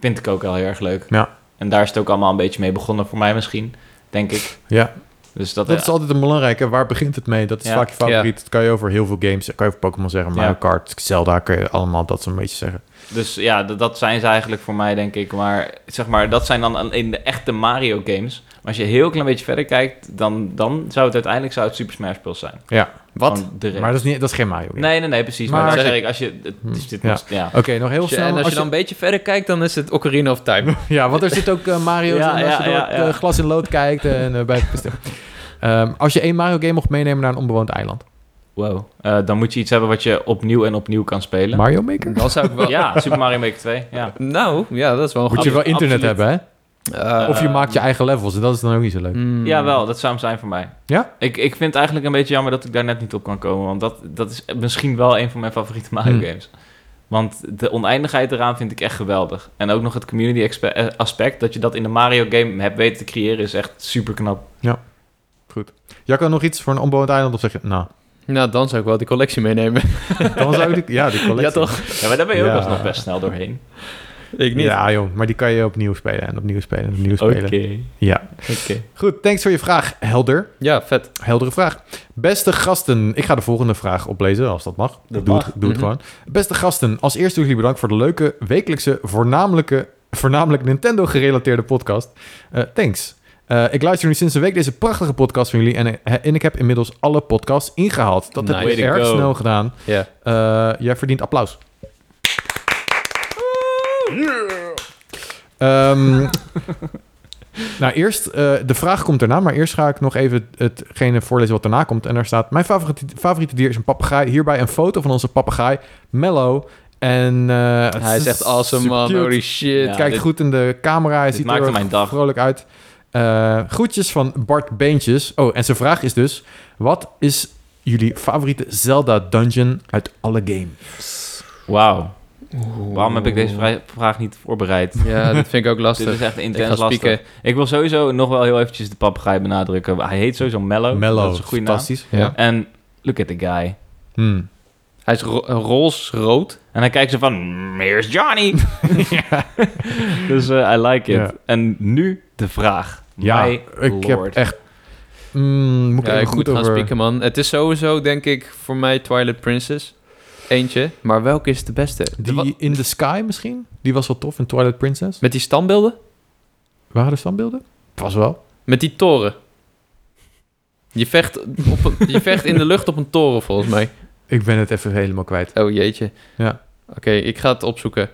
Speaker 2: vind ik ook wel heel erg leuk.
Speaker 1: Ja.
Speaker 2: En daar is het ook allemaal een beetje mee begonnen voor mij misschien, denk ik.
Speaker 1: Ja,
Speaker 2: Dus dat,
Speaker 1: dat is altijd een belangrijke. Waar begint het mee? Dat is
Speaker 2: Ja.
Speaker 1: vaak je favoriet. Dat kan je over heel veel games, kan je over Pokémon zeggen, Mario
Speaker 2: Ja.
Speaker 1: Kart, Zelda, kan je allemaal dat zo'n beetje zeggen.
Speaker 2: dus ja, dat, dat zijn ze eigenlijk voor mij, denk ik. Maar zeg maar, dat zijn dan alleen de echte Mario games. Maar als je heel klein beetje verder kijkt, dan, dan zou het uiteindelijk zou het Super Smash Bros. zijn.
Speaker 3: Wat?
Speaker 2: Gewoon de rest.
Speaker 1: Maar dat is, niet, dat is geen Mario game.
Speaker 2: Nee, nee, nee, precies. Maar,
Speaker 1: Maar
Speaker 2: dat
Speaker 1: als
Speaker 2: zeg ik, als je... Het, is dit
Speaker 1: Ja.
Speaker 2: nog- ja.
Speaker 1: Oké, nog heel
Speaker 3: Als je-
Speaker 1: snel.
Speaker 3: en als je dan een beetje verder kijkt, dan is het Ocarina of Time.
Speaker 1: Ja, want er zit ook eh, Mario
Speaker 2: Ja,
Speaker 1: in als je
Speaker 2: ja,
Speaker 1: door
Speaker 2: ja,
Speaker 1: het
Speaker 2: ja.
Speaker 1: eh, glas in lood kijkt. En, eh, bij het bestel. Ehm, als je één Mario game mocht meenemen naar een onbewoond eiland.
Speaker 2: Wow. Eh, dan moet je iets hebben wat je opnieuw en opnieuw kan spelen.
Speaker 1: Mario Maker?
Speaker 3: Dan zou ik wel...
Speaker 2: Ja, Super Mario Maker 2, ja.
Speaker 3: (laughs) Nou, ja, dat is wel een
Speaker 1: Moet je
Speaker 3: goeie.
Speaker 1: wel internet
Speaker 2: absoluut.
Speaker 1: hebben, hè?
Speaker 3: Eh,
Speaker 1: Of je
Speaker 2: Ehm,
Speaker 1: maakt je eigen levels. En dat is dan ook niet zo leuk.
Speaker 3: mm,
Speaker 2: eh, Ja, wel. Dat zou hem zijn voor mij.
Speaker 1: Ja?
Speaker 2: Ik, ik vind het eigenlijk een beetje jammer dat ik daar net niet op kan komen. Want dat, dat is misschien wel een van mijn favoriete Mario
Speaker 1: Hmm.
Speaker 2: games. Want de oneindigheid eraan vind ik echt geweldig. En ook nog het community expe- eh, aspect. Dat je dat in de Mario game hebt weten te creëren is echt super knap.
Speaker 1: Jacco, nog iets voor een onbewoond eiland? Of zeg je, nou,
Speaker 3: Nou, dan zou ik wel die collectie meenemen. (laughs)
Speaker 1: dan zou ik... die- Ja, die collectie.
Speaker 3: Ja, toch?
Speaker 2: Ja, maar daar ben je
Speaker 1: Ja.
Speaker 2: ook alsnog best snel doorheen.
Speaker 3: Ik niet.
Speaker 1: Ja, joh. Maar die kan je opnieuw spelen en opnieuw spelen en opnieuw
Speaker 2: Oké.
Speaker 1: spelen. Ja.
Speaker 2: Oké.
Speaker 1: Goed, thanks voor je vraag. Helder.
Speaker 3: Ja, vet.
Speaker 1: Heldere vraag. Beste gasten, ik ga de volgende vraag oplezen als dat mag.
Speaker 2: Dat
Speaker 1: doe
Speaker 2: mag.
Speaker 1: Het, doe het
Speaker 3: Mhm.
Speaker 1: gewoon. Beste gasten, als eerst wil ik jullie bedanken voor de leuke wekelijkse, voornamelijke, voornamelijk Nintendo-gerelateerde podcast. Eh, thanks. Eh, ik luister nu sinds een week deze prachtige podcast van jullie en, eh, en ik heb inmiddels alle podcasts ingehaald. Dat heb
Speaker 3: Nice.
Speaker 1: ik
Speaker 2: Way to
Speaker 1: erg
Speaker 2: go.
Speaker 1: snel gedaan.
Speaker 3: Ja.
Speaker 1: Eh, jij verdient applaus. Ehm, nou, eerst, eh, de vraag komt daarna, maar eerst ga ik nog even hetgene voorlezen wat daarna komt. En daar staat, mijn favoriete, favoriete dier is een papegaai. Hierbij een foto van onze papegaai, Mello. En eh, het
Speaker 3: Hij is echt awesome,
Speaker 1: super
Speaker 3: man.
Speaker 1: cute.
Speaker 3: Holy shit.
Speaker 2: Ja,
Speaker 1: Kijkt
Speaker 2: dit-
Speaker 1: goed in de camera, hij
Speaker 2: dit
Speaker 1: ziet
Speaker 2: maakte
Speaker 1: er
Speaker 2: mijn dag.
Speaker 1: vrolijk uit. Eh groetjes van Bart Beentjes. Oh, en zijn vraag is dus, wat is jullie favoriete Zelda-dungeon uit alle games?
Speaker 2: Wauw. Waarom heb ik deze vra- vraag niet voorbereid?
Speaker 3: Ja, dat vind ik ook
Speaker 2: (laughs) Dit
Speaker 3: lastig.
Speaker 2: is echt
Speaker 3: Ik ga
Speaker 2: intens
Speaker 3: spieken.
Speaker 2: lastig. Ik wil sowieso nog wel heel eventjes de papegaai benadrukken. Hij heet sowieso Mellow.
Speaker 1: Mello,
Speaker 2: Oh, Dat is een goede naam.
Speaker 1: fantastisch.
Speaker 3: Ja.
Speaker 1: Ja.
Speaker 2: En look at the guy.
Speaker 1: Hmm.
Speaker 3: Hij is ro roze-rood.
Speaker 2: En dan kijkt ze van, "Mm, here's
Speaker 1: (laughs)
Speaker 2: Johnny. (laughs) dus eh, I like it.
Speaker 1: Ja.
Speaker 2: En nu de vraag.
Speaker 1: Ja,
Speaker 2: My
Speaker 1: ik
Speaker 2: lord.
Speaker 1: heb echt... Mm, moet ik
Speaker 3: Ja,
Speaker 1: even
Speaker 3: ik
Speaker 1: goed
Speaker 3: moet gaan
Speaker 1: over...
Speaker 3: spieken, man. Het is sowieso, denk ik, voor mij Twilight Princess. Eentje. Maar welke is de beste? De wa-
Speaker 1: Die In the Sky misschien? Die was wel tof, in Twilight Princess.
Speaker 3: Met die standbeelden?
Speaker 1: Waren er standbeelden? Pas wel.
Speaker 3: Met die toren. Je vecht, op een-
Speaker 1: (laughs)
Speaker 3: je vecht in de lucht op een toren, volgens mij.
Speaker 1: Ik ben het even helemaal kwijt.
Speaker 3: Oh, jeetje.
Speaker 1: Ja.
Speaker 3: Oké, ik ga het opzoeken.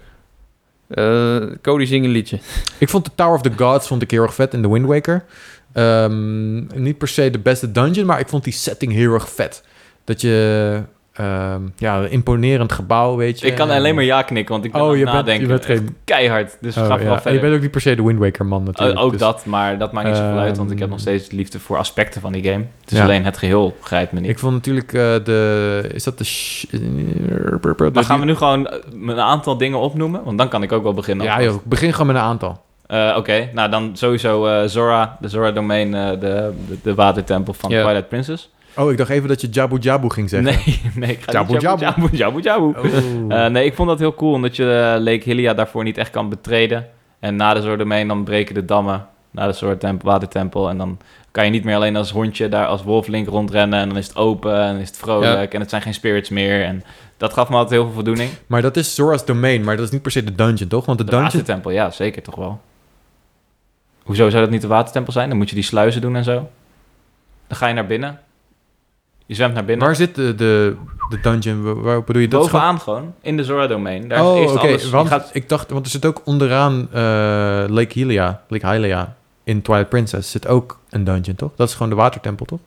Speaker 3: Eh, Cody, zing een liedje.
Speaker 1: Ik vond de Tower of the Gods vond ik heel erg vet in The Wind Waker. Ehm, niet per se de beste dungeon, maar ik vond die setting heel erg vet. Dat je... ehm, ja, een imponerend gebouw, weet je.
Speaker 2: Ik kan
Speaker 1: En-
Speaker 2: alleen maar ja knikken, want ik ben aan
Speaker 1: Oh,
Speaker 2: het
Speaker 1: je bent, je
Speaker 2: nadenken.
Speaker 1: bent geen...
Speaker 2: Keihard, dus we
Speaker 1: Oh,
Speaker 2: gaan
Speaker 1: ja.
Speaker 2: vooral
Speaker 1: En Je
Speaker 2: verder.
Speaker 1: bent ook niet per se de Wind Waker man natuurlijk.
Speaker 2: O- ook
Speaker 1: dus
Speaker 2: dat, maar dat maakt niet zoveel uit, want ik heb nog
Speaker 1: Ehm,
Speaker 2: steeds liefde voor aspecten van die game. Het is
Speaker 1: Ja.
Speaker 2: alleen het geheel grijpt me niet.
Speaker 1: Ik vond natuurlijk eh, de... Is dat de... sh- dus
Speaker 2: maar gaan we nu gewoon eh, een aantal dingen opnoemen? Want dan kan ik ook wel beginnen.
Speaker 1: Ja joh, begin gewoon met een aantal.
Speaker 2: Eh, Oké, nou dan sowieso eh, Zora, de Zora Domain, eh, de, de, de watertempel van
Speaker 3: Ja.
Speaker 2: Twilight Princess.
Speaker 1: Oh, ik dacht even dat je Jabu Jabu ging zeggen.
Speaker 2: Nee, (laughs) nee, ik ga
Speaker 1: Jabu
Speaker 2: niet Jabu
Speaker 1: Jabu.
Speaker 2: Jabu Jabu Jabu.
Speaker 1: (laughs) Oh.
Speaker 2: Eh, nee, ik vond dat heel cool, omdat je eh, Lake Hylia daarvoor niet echt kan betreden. En na de Zora Domain dan breken de dammen naar de Zora tempel, watertempel. En dan kan je niet meer alleen als hondje daar als wolflink rondrennen. En dan is het open en dan is het vrolijk en het zijn geen spirits meer. En dat gaf me altijd heel veel voldoening.
Speaker 1: Maar dat is Zora's domein, maar dat is niet per se de dungeon, toch? Want de,
Speaker 2: De
Speaker 1: dungeon...
Speaker 2: watertempel, ja, zeker toch wel. Hoezo zou dat niet de watertempel zijn? Dan moet je die sluizen doen en zo. Dan ga je naar binnen. Je zwemt naar binnen.
Speaker 1: Waar zit de, de, de dungeon? Wa- Waar bedoel je? Dat is
Speaker 2: Bovenaan gewoon, in de Zora-domein. Daar
Speaker 1: gewoon-
Speaker 2: is
Speaker 1: Oh,
Speaker 2: eerst
Speaker 1: oké.
Speaker 2: alles. Je
Speaker 1: Want
Speaker 2: gaat-
Speaker 1: ik dacht... Want er zit ook onderaan eh, Lake Hylia. Lake Hylia in Twilight Princess zit ook een dungeon, toch? Dat is gewoon de watertempel, toch?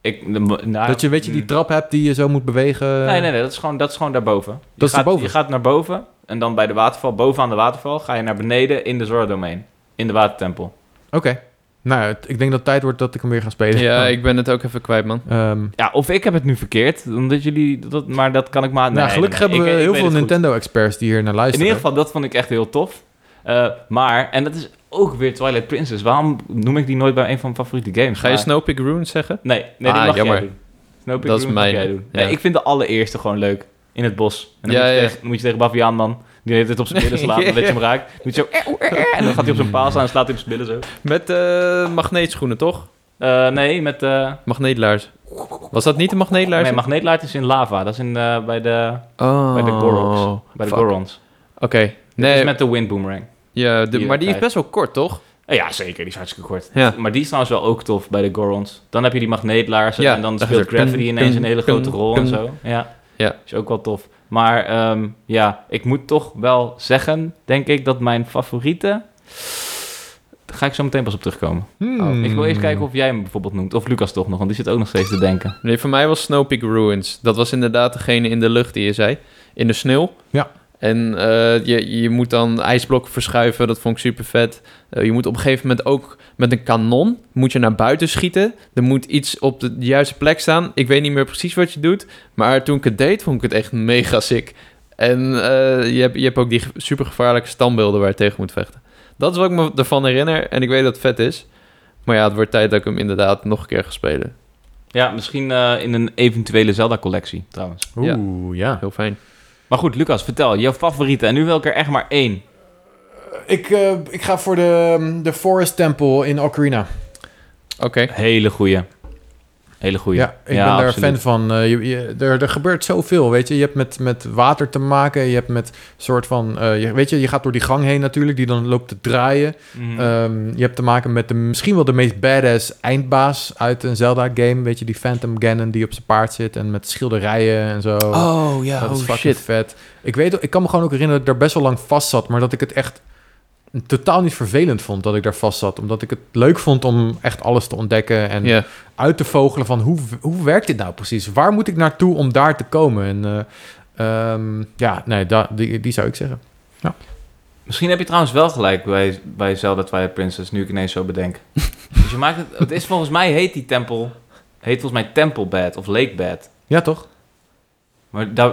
Speaker 2: Ik, nou,
Speaker 1: dat je, weet je, die trap hebt die je zo moet bewegen.
Speaker 2: Nee, nee, nee, dat is gewoon, dat is gewoon daarboven. Dat je
Speaker 1: is
Speaker 2: gaat,
Speaker 1: daarboven?
Speaker 2: Je gaat naar boven en dan bij de waterval, boven aan de waterval, ga je naar beneden in de Zora-domein. In de watertempel.
Speaker 1: Oké. Nou, het- ik denk dat het tijd wordt dat ik hem weer ga spelen. (laughs)
Speaker 3: Ja, ik ben het ook even kwijt, man.
Speaker 1: Ehm,
Speaker 2: Ja, of ik heb het nu verkeerd, omdat jullie dat, maar dat kan ik maar.
Speaker 1: nou,
Speaker 2: Ah, nee,
Speaker 1: gelukkig
Speaker 2: nee, nee,
Speaker 1: hebben we
Speaker 2: ik-
Speaker 1: heel
Speaker 2: ik weet
Speaker 1: veel
Speaker 2: het goed.
Speaker 1: Nintendo-experts die hier naar
Speaker 2: In
Speaker 1: luisteren.
Speaker 2: ieder geval, dat vond ik echt heel tof. Eh, maar, en dat is ook weer Twilight Princess. Waarom noem ik die nooit bij een van mijn favoriete games?
Speaker 3: Ga je
Speaker 2: Maar-
Speaker 3: Snowpeak Runes zeggen?
Speaker 2: Nee, nee, die
Speaker 3: Ah,
Speaker 2: mag
Speaker 3: jammer.
Speaker 2: jij doen. Snowpeak
Speaker 3: Dat is
Speaker 2: Room mag
Speaker 3: mijn-
Speaker 2: jij doen.
Speaker 3: ja.
Speaker 2: Nee, ik vind de allereerste gewoon leuk. In het bos. En dan,
Speaker 3: Ja,
Speaker 2: moet, je
Speaker 3: ja.
Speaker 2: Tegen, dan moet je tegen Baviaan dan. Die heeft het op zijn
Speaker 3: (laughs)
Speaker 2: billen slaan,
Speaker 3: Ja.
Speaker 2: dat je hem raakt. Dan Doet hij zo... "Eh, oeh, eh, eh," En dan gaat hij op zijn paal staan en slaat hij op zijn billen zo.
Speaker 3: Met eh, magneetschoenen, toch?
Speaker 2: Eh, nee, met... eh
Speaker 3: Magneetlaars. Was dat niet de magneetlaars?
Speaker 2: nee, magneetlaart is in lava. Dat is in, eh, bij de,
Speaker 3: oh,
Speaker 2: bij de Goroks. bij de
Speaker 3: fuck.
Speaker 2: Gorons.
Speaker 3: Oké.
Speaker 2: Nee.
Speaker 3: Nee,
Speaker 2: is met de wind boomerang.
Speaker 3: ja, de-
Speaker 2: die
Speaker 3: maar die is
Speaker 2: krijgt.
Speaker 3: best wel kort, toch?
Speaker 2: Eh, ja, zeker. Die is hartstikke kort.
Speaker 3: Ja.
Speaker 2: Maar die is trouwens wel ook tof bij de Gorons. Dan heb je die magneetlaarzen
Speaker 3: Ja,
Speaker 2: en dan
Speaker 3: dat
Speaker 2: speelt
Speaker 3: is er.
Speaker 2: Gravity
Speaker 3: Pum,
Speaker 2: ineens
Speaker 3: pum,
Speaker 2: een hele
Speaker 3: pum,
Speaker 2: grote rol
Speaker 3: pum.
Speaker 2: en zo. Ja.
Speaker 3: Ja.
Speaker 2: Is ook wel tof. Maar ehm, ja, ik moet toch wel zeggen, denk ik, dat mijn favoriete... Daar ga ik zo meteen pas op terugkomen.
Speaker 1: Hmm.
Speaker 2: Oh, Ik wil eerst kijken of jij hem bijvoorbeeld noemt. Of Lucas toch nog, want die zit ook nog steeds te denken.
Speaker 3: Nee, voor mij was Snowpeak Ruins. Dat was inderdaad degene in de lucht die je zei. In de sneeuw.
Speaker 1: Ja.
Speaker 3: En eh, je, je moet dan ijsblokken verschuiven. Dat vond ik super vet. Eh, je moet op een gegeven moment ook met een kanon moet je naar buiten schieten. Er moet iets op de juiste plek staan. Ik weet niet meer precies wat je doet. Maar toen ik het deed, vond ik het echt mega sick. En eh, je, hebt, je hebt ook die super gevaarlijke standbeelden waar je tegen moet vechten. Dat is wat ik me ervan herinner. En ik weet dat het vet is. Maar ja, het wordt tijd dat ik hem inderdaad nog een keer ga spelen.
Speaker 2: Ja, misschien eh, in een eventuele Zelda-collectie trouwens.
Speaker 1: Oeh, ja.
Speaker 3: Heel fijn.
Speaker 2: Maar goed, Lucas, vertel. Jouw favoriete. En nu wil ik er echt maar één.
Speaker 1: Ik, eh, ik ga voor de, de Forest Temple in Ocarina.
Speaker 3: Oké.
Speaker 2: Hele goeie. Hele goeie.
Speaker 1: Ja, ik ben daar fan
Speaker 2: absoluut.
Speaker 1: van. Eh, je, je- er, er gebeurt zoveel, weet je. Je hebt met, met water te maken. Je hebt met soort van... eh, je, weet je, je gaat door die gang heen natuurlijk, die dan loopt te draaien.
Speaker 2: Mhm.
Speaker 1: Ehm, je hebt te maken met de, misschien wel de meest badass eindbaas uit een Zelda-game. Weet je, die Phantom Ganon die op zijn paard zit en met schilderijen en zo.
Speaker 3: Oh ja,
Speaker 1: dat is fucking vet. Ik, weet, ik kan me gewoon ook herinneren dat ik daar best wel lang vast zat, maar dat ik het echt totaal niet vervelend vond dat ik daar vast zat. Omdat ik het leuk vond om echt alles te ontdekken en
Speaker 3: Ja,
Speaker 1: uit te vogelen van hoe, hoe werkt dit nou precies? Waar moet ik naartoe om daar te komen? En eh, ehm, ja, nee, da- die, die zou ik zeggen.
Speaker 2: Misschien heb je trouwens wel gelijk bij, bij Zelda Twilight Princess, nu ik ineens zo bedenk. dus je maakt het, het is volgens mij heet die tempel, heet volgens mij Temple Bed of Lake Bed.
Speaker 1: Ja, toch?
Speaker 2: Maar daar,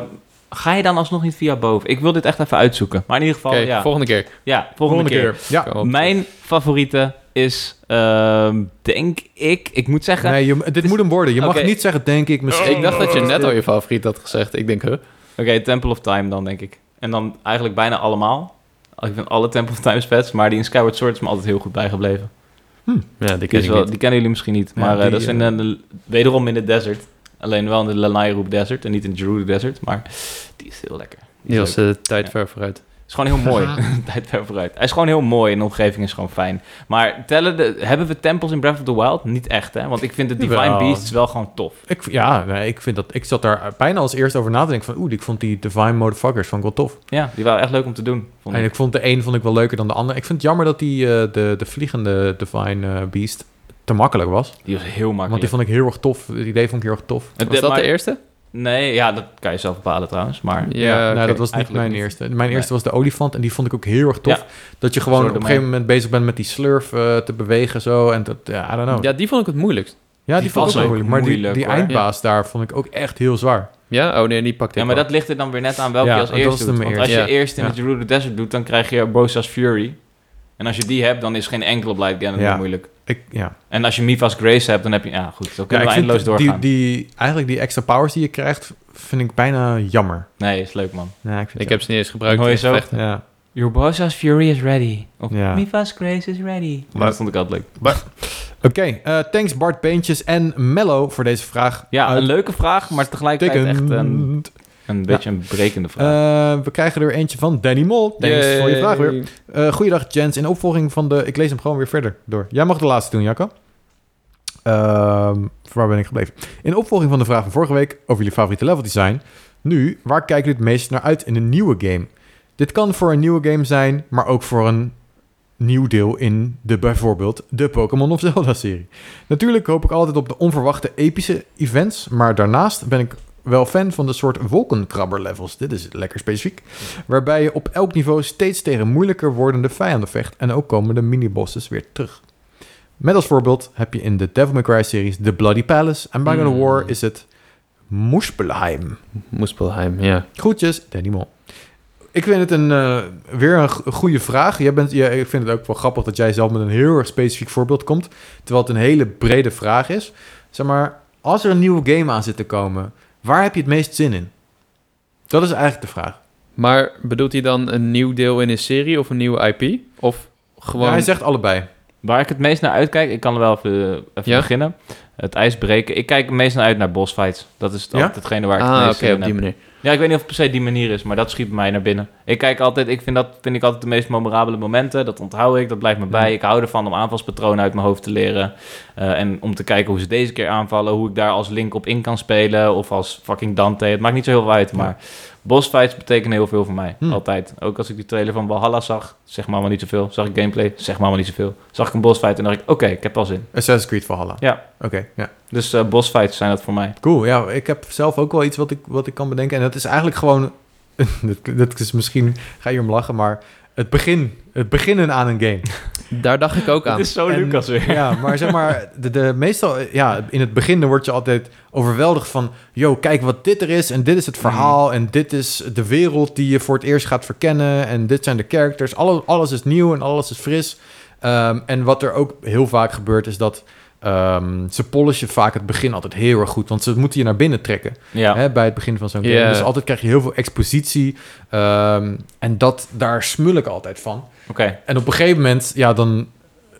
Speaker 2: ga je dan alsnog niet via boven? Ik wil dit echt even uitzoeken. Maar in ieder geval,
Speaker 3: oké,
Speaker 2: ja.
Speaker 3: volgende keer.
Speaker 2: ja, volgende, keer.
Speaker 1: Ja.
Speaker 3: Kom op.
Speaker 2: Mijn favoriete is, ehm, denk ik, ik moet zeggen,
Speaker 1: Nee, je, dit moet hem worden. Je mag
Speaker 2: Oké.
Speaker 1: niet zeggen, denk ik, misschien.
Speaker 3: Ik dacht dat je net al je favoriet had gezegd. Ik denk, huh?
Speaker 2: oké, Temple of Time dan, denk ik. En dan eigenlijk bijna allemaal. Ik vind alle Temple of Time spets, maar die in Skyward Sword is me altijd heel goed bijgebleven.
Speaker 3: Ja, die
Speaker 2: Die, is wel- die kennen jullie misschien niet,
Speaker 1: Ja,
Speaker 2: maar eh,
Speaker 1: die,
Speaker 2: dat is in,
Speaker 1: eh,
Speaker 2: eh, de- wederom in de desert. Alleen wel in de Lanairoep Desert en niet in Gerudo Desert, maar die is heel lekker. Die is
Speaker 3: Die was
Speaker 2: leuk.
Speaker 3: de tijd
Speaker 2: Ja.
Speaker 3: ver vooruit.
Speaker 2: is gewoon heel mooi. (laughs) Tijd ver vooruit. Hij is gewoon heel mooi en de omgeving is gewoon fijn. Maar tellen de, hebben we tempels in Breath of the Wild? Niet echt, hè? Want ik vind de Divine
Speaker 1: Jawel.
Speaker 2: Beasts wel gewoon tof.
Speaker 1: Ik, ja, nee, ik, vind dat, ik zat daar bijna als eerst over na te denken van... Oeh, ik vond die Divine Motherfuckers vond ik wel tof.
Speaker 2: Ja, die waren echt leuk om te doen. Vond
Speaker 1: En
Speaker 2: ik.
Speaker 1: ik vond de een vond ik wel leuker dan de ander. Ik vind het jammer dat die eh, de, de vliegende Divine eh, Beast te makkelijk was.
Speaker 2: Die was heel
Speaker 1: Want die
Speaker 2: makkelijk.
Speaker 1: vond ik heel erg tof. Het idee vond ik heel erg tof.
Speaker 2: Het-
Speaker 3: Was dat
Speaker 2: maar-
Speaker 3: de eerste?
Speaker 2: Nee, ja, dat kan je zelf bepalen trouwens. Maar
Speaker 1: nou,
Speaker 3: oké.
Speaker 1: dat was niet
Speaker 2: Eigenlijk
Speaker 1: mijn
Speaker 2: niet.
Speaker 1: eerste. Mijn eerste was de olifant en die vond ik ook heel erg tof.
Speaker 2: Ja.
Speaker 1: Dat je gewoon
Speaker 2: Zo
Speaker 1: op een
Speaker 2: de
Speaker 1: gegeven moment bezig bent met die slurf eh, te bewegen zo. En dat, ja, I don't know. Ja,
Speaker 3: Ja, die vond ik het moeilijkst.
Speaker 1: die,
Speaker 2: die
Speaker 1: vond ik
Speaker 2: was
Speaker 1: ook
Speaker 2: ook
Speaker 1: moeilijk. Maar die,
Speaker 2: moeilijk,
Speaker 1: die
Speaker 2: hoor.
Speaker 1: eindbaas daar vond ik ook echt heel zwaar.
Speaker 3: Ja? Oh nee, die pakte ik
Speaker 2: Ja, maar
Speaker 3: wel.
Speaker 2: dat ligt er dan weer net aan welke
Speaker 1: Ja,
Speaker 2: je als
Speaker 1: dat is
Speaker 2: eerst doet.
Speaker 1: hem
Speaker 2: Want
Speaker 1: eerst.
Speaker 2: als je
Speaker 3: Ja.
Speaker 2: eerst in
Speaker 1: Ja.
Speaker 2: de Gerudo Desert doet, dan krijg je Bosa's Fury. En als je die hebt, dan is geen enkele Blight Ganon
Speaker 1: Ja.
Speaker 2: meer moeilijk.
Speaker 1: Ik, ja.
Speaker 2: En als je Mifa's Grace hebt, dan heb je... Ja, goed, dan
Speaker 1: ja,
Speaker 2: kunnen
Speaker 1: ik
Speaker 2: we eindeloos
Speaker 1: vind die,
Speaker 2: doorgaan.
Speaker 1: die, eigenlijk die extra powers die je krijgt, vind ik bijna jammer.
Speaker 2: Nee, is leuk, man.
Speaker 1: Ja, ik vind
Speaker 3: Ik heb ze niet eens gebruikt.
Speaker 2: Hoor je
Speaker 3: in
Speaker 2: zo?
Speaker 3: gevechten.
Speaker 1: Ja.
Speaker 2: Your Bosa's Fury is ready. Of
Speaker 1: Ja.
Speaker 2: Mifa's Grace is ready.
Speaker 1: Maar-
Speaker 2: dat vond ik altijd leuk.
Speaker 1: Oké, eh, thanks Bart Beentjes en Mello voor deze vraag.
Speaker 2: Ja, een
Speaker 1: Uit-
Speaker 2: leuke vraag, maar tegelijkertijd echt een,
Speaker 1: Tikkend.
Speaker 2: een beetje een brekende vraag.
Speaker 1: Eh, we krijgen er eentje van Danny Mol. Thanks voor je vraag weer. Eh goeiedag Jens, in opvolging van de... Ik lees hem gewoon weer verder door. Jij mag de laatste doen, Jacco. Ehm, waar ben ik gebleven? In opvolging van de vraag van vorige week over jullie favoriete level design. Nu, waar kijken jullie het meest naar uit in een nieuwe game? Dit kan voor een nieuwe game zijn, maar ook voor een nieuw deel in de bijvoorbeeld de Pokémon of (laughs) Zelda-serie. Natuurlijk hoop ik altijd op de onverwachte epische events, maar daarnaast ben ik wel fan van de soort wolkenkrabber-levels. Dit is lekker specifiek. Waarbij je op elk niveau steeds tegen moeilijker wordende vijanden vecht en ook komen de minibosses weer terug. Met als voorbeeld heb je in de Devil May Cry-series The Bloody Palace en By
Speaker 3: Mm.
Speaker 1: the War is het Muspelheim.
Speaker 3: Moespelheim, ja.
Speaker 1: Groetjes, Danny Mol. Ik vind het een, eh, weer een go- goede vraag. Jij bent, ja, ik vind het ook wel grappig dat jij zelf met een heel erg specifiek voorbeeld komt. Terwijl het een hele brede vraag is. Zeg maar, als er een nieuwe game aan zit te komen, waar heb je het meest zin in? Dat is eigenlijk de vraag.
Speaker 3: Maar bedoelt hij dan een nieuw deel in een serie of een nieuwe IP? Of gewoon...
Speaker 1: Ja, hij zegt allebei.
Speaker 2: Waar ik het meest naar uitkijk, ik kan er wel even, even
Speaker 3: Ja?
Speaker 2: beginnen. Het ijs breken. Ik kijk het meest naar uit naar bossfights. Dat is
Speaker 1: Ja?
Speaker 2: altijd hetgene waar ik het
Speaker 3: ah, oké,
Speaker 2: meest zin in
Speaker 3: op die
Speaker 2: heb.
Speaker 3: manier.
Speaker 2: Ja, ik weet niet of het per se die manier is, maar dat schiet bij mij naar binnen. Ik kijk altijd, ik vind dat vind ik altijd de meest memorabele momenten. Dat onthoud ik, dat blijft me bij. Ik hou ervan om aanvalspatronen uit mijn hoofd te leren. Eh, en om te kijken hoe ze deze keer aanvallen. Hoe ik daar als Link op in kan spelen. Of als fucking Dante. Het maakt niet zo heel veel uit,
Speaker 1: Ja.
Speaker 2: maar bossfights betekenen heel veel voor mij.
Speaker 1: Hmm.
Speaker 2: Altijd. Ook als ik die trailer van Valhalla zag, zeg maar maar niet zoveel. Zag ik gameplay, zeg maar maar niet zoveel. Zag ik een bossfight en dacht ik, oké, ik heb wel zin.
Speaker 1: Assassin's Creed Valhalla.
Speaker 2: Ja.
Speaker 1: Oké, ja.
Speaker 2: Dus eh, bossfights zijn dat voor mij.
Speaker 1: Cool, ja, ik heb zelf ook wel iets wat ik, wat ik kan bedenken. En dat is eigenlijk gewoon... (laughs) dat, dat is misschien... Ga je om lachen, maar... Het begin. Het beginnen aan een game.
Speaker 3: Daar dacht ik ook
Speaker 2: Het
Speaker 3: aan.
Speaker 2: is zo
Speaker 1: En-
Speaker 2: Oh, Lucas weer.
Speaker 1: Ja, maar zeg maar, de, de, meestal, ja, in het begin dan word je altijd overweldigd van, yo, kijk wat dit er is en dit
Speaker 2: Mm.
Speaker 1: is het verhaal en dit is de wereld die je voor het eerst gaat verkennen en dit zijn de characters. Alles, alles is nieuw en alles is fris. Ehm, en wat er ook heel vaak gebeurt is dat ehm, ze polishen vaak het begin altijd heel erg goed, want ze moeten je naar binnen trekken
Speaker 2: Ja.
Speaker 1: hè, bij het begin van zo'n game.
Speaker 3: Ja.
Speaker 1: Dus altijd krijg je heel veel expositie ehm, en dat, daar smul ik altijd van.
Speaker 2: Oké.
Speaker 1: En op een gegeven moment, ja, dan.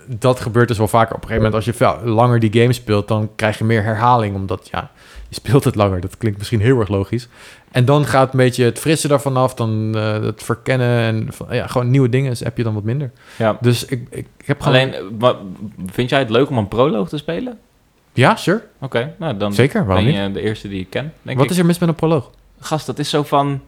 Speaker 1: Dat gebeurt dus wel vaker. Op een gegeven moment, als je veel langer die game speelt, dan krijg je meer herhaling. Omdat, ja, je speelt het langer. Dat klinkt misschien heel erg logisch. En dan gaat een beetje het frissen daarvan af. Dan eh, het verkennen en van- ja, gewoon nieuwe dingen is- heb je dan wat minder.
Speaker 2: Ja.
Speaker 1: Dus ik, ik, ik heb gewoon...
Speaker 2: Alleen, eh, wa- vind jij het leuk om een proloog te spelen?
Speaker 1: Ja, sure.
Speaker 2: Oké, nou dan
Speaker 1: Zeker, waarom
Speaker 2: ben
Speaker 1: niet?
Speaker 2: je de eerste die ik ken, denk
Speaker 1: Wat
Speaker 2: ik.
Speaker 1: is er mis met een proloog?
Speaker 2: Gast, dat is zo van...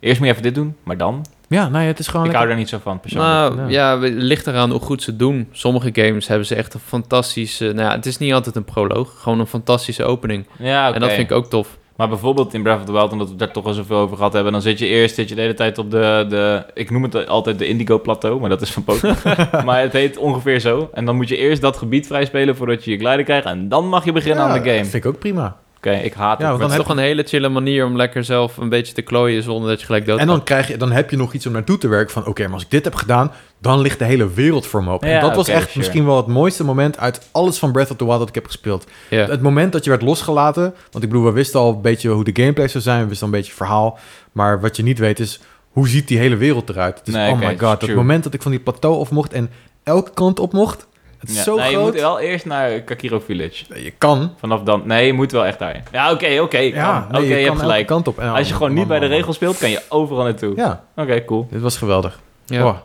Speaker 2: Eerst moet je even dit doen, maar dan?
Speaker 1: Ja, nou ja, het is gewoon
Speaker 2: ik
Speaker 1: lekker.
Speaker 2: hou daar niet zo van, persoonlijk.
Speaker 3: Nou,
Speaker 1: Ja.
Speaker 3: ja, het ligt eraan hoe goed ze het doen. Sommige games hebben ze echt een fantastische... Nou ja, het is niet altijd een proloog. Gewoon een fantastische opening.
Speaker 2: ja, oké.
Speaker 3: En dat vind ik ook tof.
Speaker 2: Maar bijvoorbeeld in Breath of the Wild, omdat we daar toch al zoveel over gehad hebben... dan zit je eerst zit je de hele tijd op de... de ik noem het altijd de Indigo Plateau, maar dat is van Pokémon.
Speaker 1: (laughs)
Speaker 2: maar het heet ongeveer zo. En dan moet je eerst dat gebied vrijspelen voordat je je glijden krijgt... en dan mag je beginnen
Speaker 1: Ja,
Speaker 2: aan de game.
Speaker 1: vind ik ook prima.
Speaker 2: Oké, ik haat
Speaker 1: Ja,
Speaker 2: het.
Speaker 1: want
Speaker 3: Maar
Speaker 1: dan
Speaker 3: het
Speaker 1: heb,
Speaker 3: is toch een hele chille manier om lekker zelf een beetje te klooien zonder dat je gelijk dood
Speaker 1: en dan, krijg je, dan heb je nog iets om naartoe te werken van... oké, maar als ik dit heb gedaan, dan ligt de hele wereld voor me open.
Speaker 2: Ja,
Speaker 1: en dat was
Speaker 2: oké,
Speaker 1: echt
Speaker 2: sure.
Speaker 1: misschien wel het mooiste moment... uit alles van Breath of the Wild dat ik heb gespeeld.
Speaker 3: Ja.
Speaker 1: Het moment dat je werd losgelaten, want ik bedoel, we wisten al een beetje hoe de gameplay zou zijn, we wisten al een beetje het verhaal, maar wat je niet weet is, hoe ziet die hele wereld eruit? Dus,
Speaker 2: Nee,
Speaker 1: oh
Speaker 2: oké,
Speaker 1: my god,
Speaker 2: true.
Speaker 1: het moment dat ik van die plateau af mocht en elke kant op mocht, het is
Speaker 2: Ja.
Speaker 1: zo
Speaker 2: Nee, je
Speaker 1: groot.
Speaker 2: moet wel eerst naar Kakiro Village.
Speaker 1: Je, kan.
Speaker 2: Vanaf dan. Nee, je moet wel echt daarin. Ja, oké, oké. ik
Speaker 1: Ja,
Speaker 2: kan.
Speaker 1: nee, je,
Speaker 2: Oké, je,
Speaker 1: kan
Speaker 2: hebt
Speaker 1: elke
Speaker 2: gelijk.
Speaker 1: kant op. En-
Speaker 2: Als je gewoon niet
Speaker 1: man,
Speaker 2: bij de
Speaker 1: man,
Speaker 2: regels speelt, kan je overal naartoe.
Speaker 1: man. Ja,
Speaker 2: Oké, cool.
Speaker 1: dit was geweldig.
Speaker 3: Ja.
Speaker 1: Oh.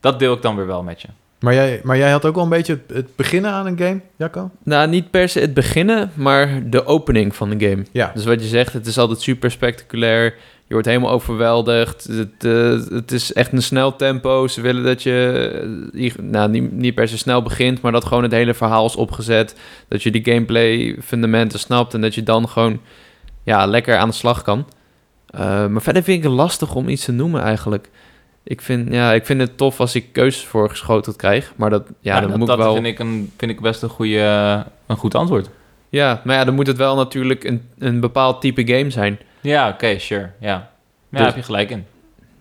Speaker 2: Dat deel ik dan weer wel met je.
Speaker 1: Maar, jij, maar jij had ook wel een beetje het, het beginnen aan een game, Jacco?
Speaker 3: Nou, niet per se het beginnen, maar de opening van de game.
Speaker 1: Ja.
Speaker 3: Dus wat je zegt, het is altijd super spectaculair. Je wordt helemaal overweldigd. Het, eh, het is echt een snel tempo. Ze willen dat je, eh, je- nou, niet, niet per se snel begint, maar dat gewoon het hele verhaal is opgezet. Dat je die gameplay fundamenten snapt en dat je dan gewoon ja, lekker aan de slag kan. Eh, maar verder vind ik het lastig om iets te noemen eigenlijk. Ik vind, ja, ik vind het tof als ik keuzes voorgeschoteld krijg, maar dat, ja, dan
Speaker 2: Nou, dat
Speaker 3: moet
Speaker 2: dat
Speaker 3: ik wel...
Speaker 2: vind, ik een, vind ik best een, goede, eh, een goed antwoord.
Speaker 3: Ja, maar ja, dan moet het wel natuurlijk een, een bepaald type game zijn.
Speaker 2: Ja, oké, sure. Ja, ja
Speaker 3: Dus-
Speaker 2: heb je gelijk in.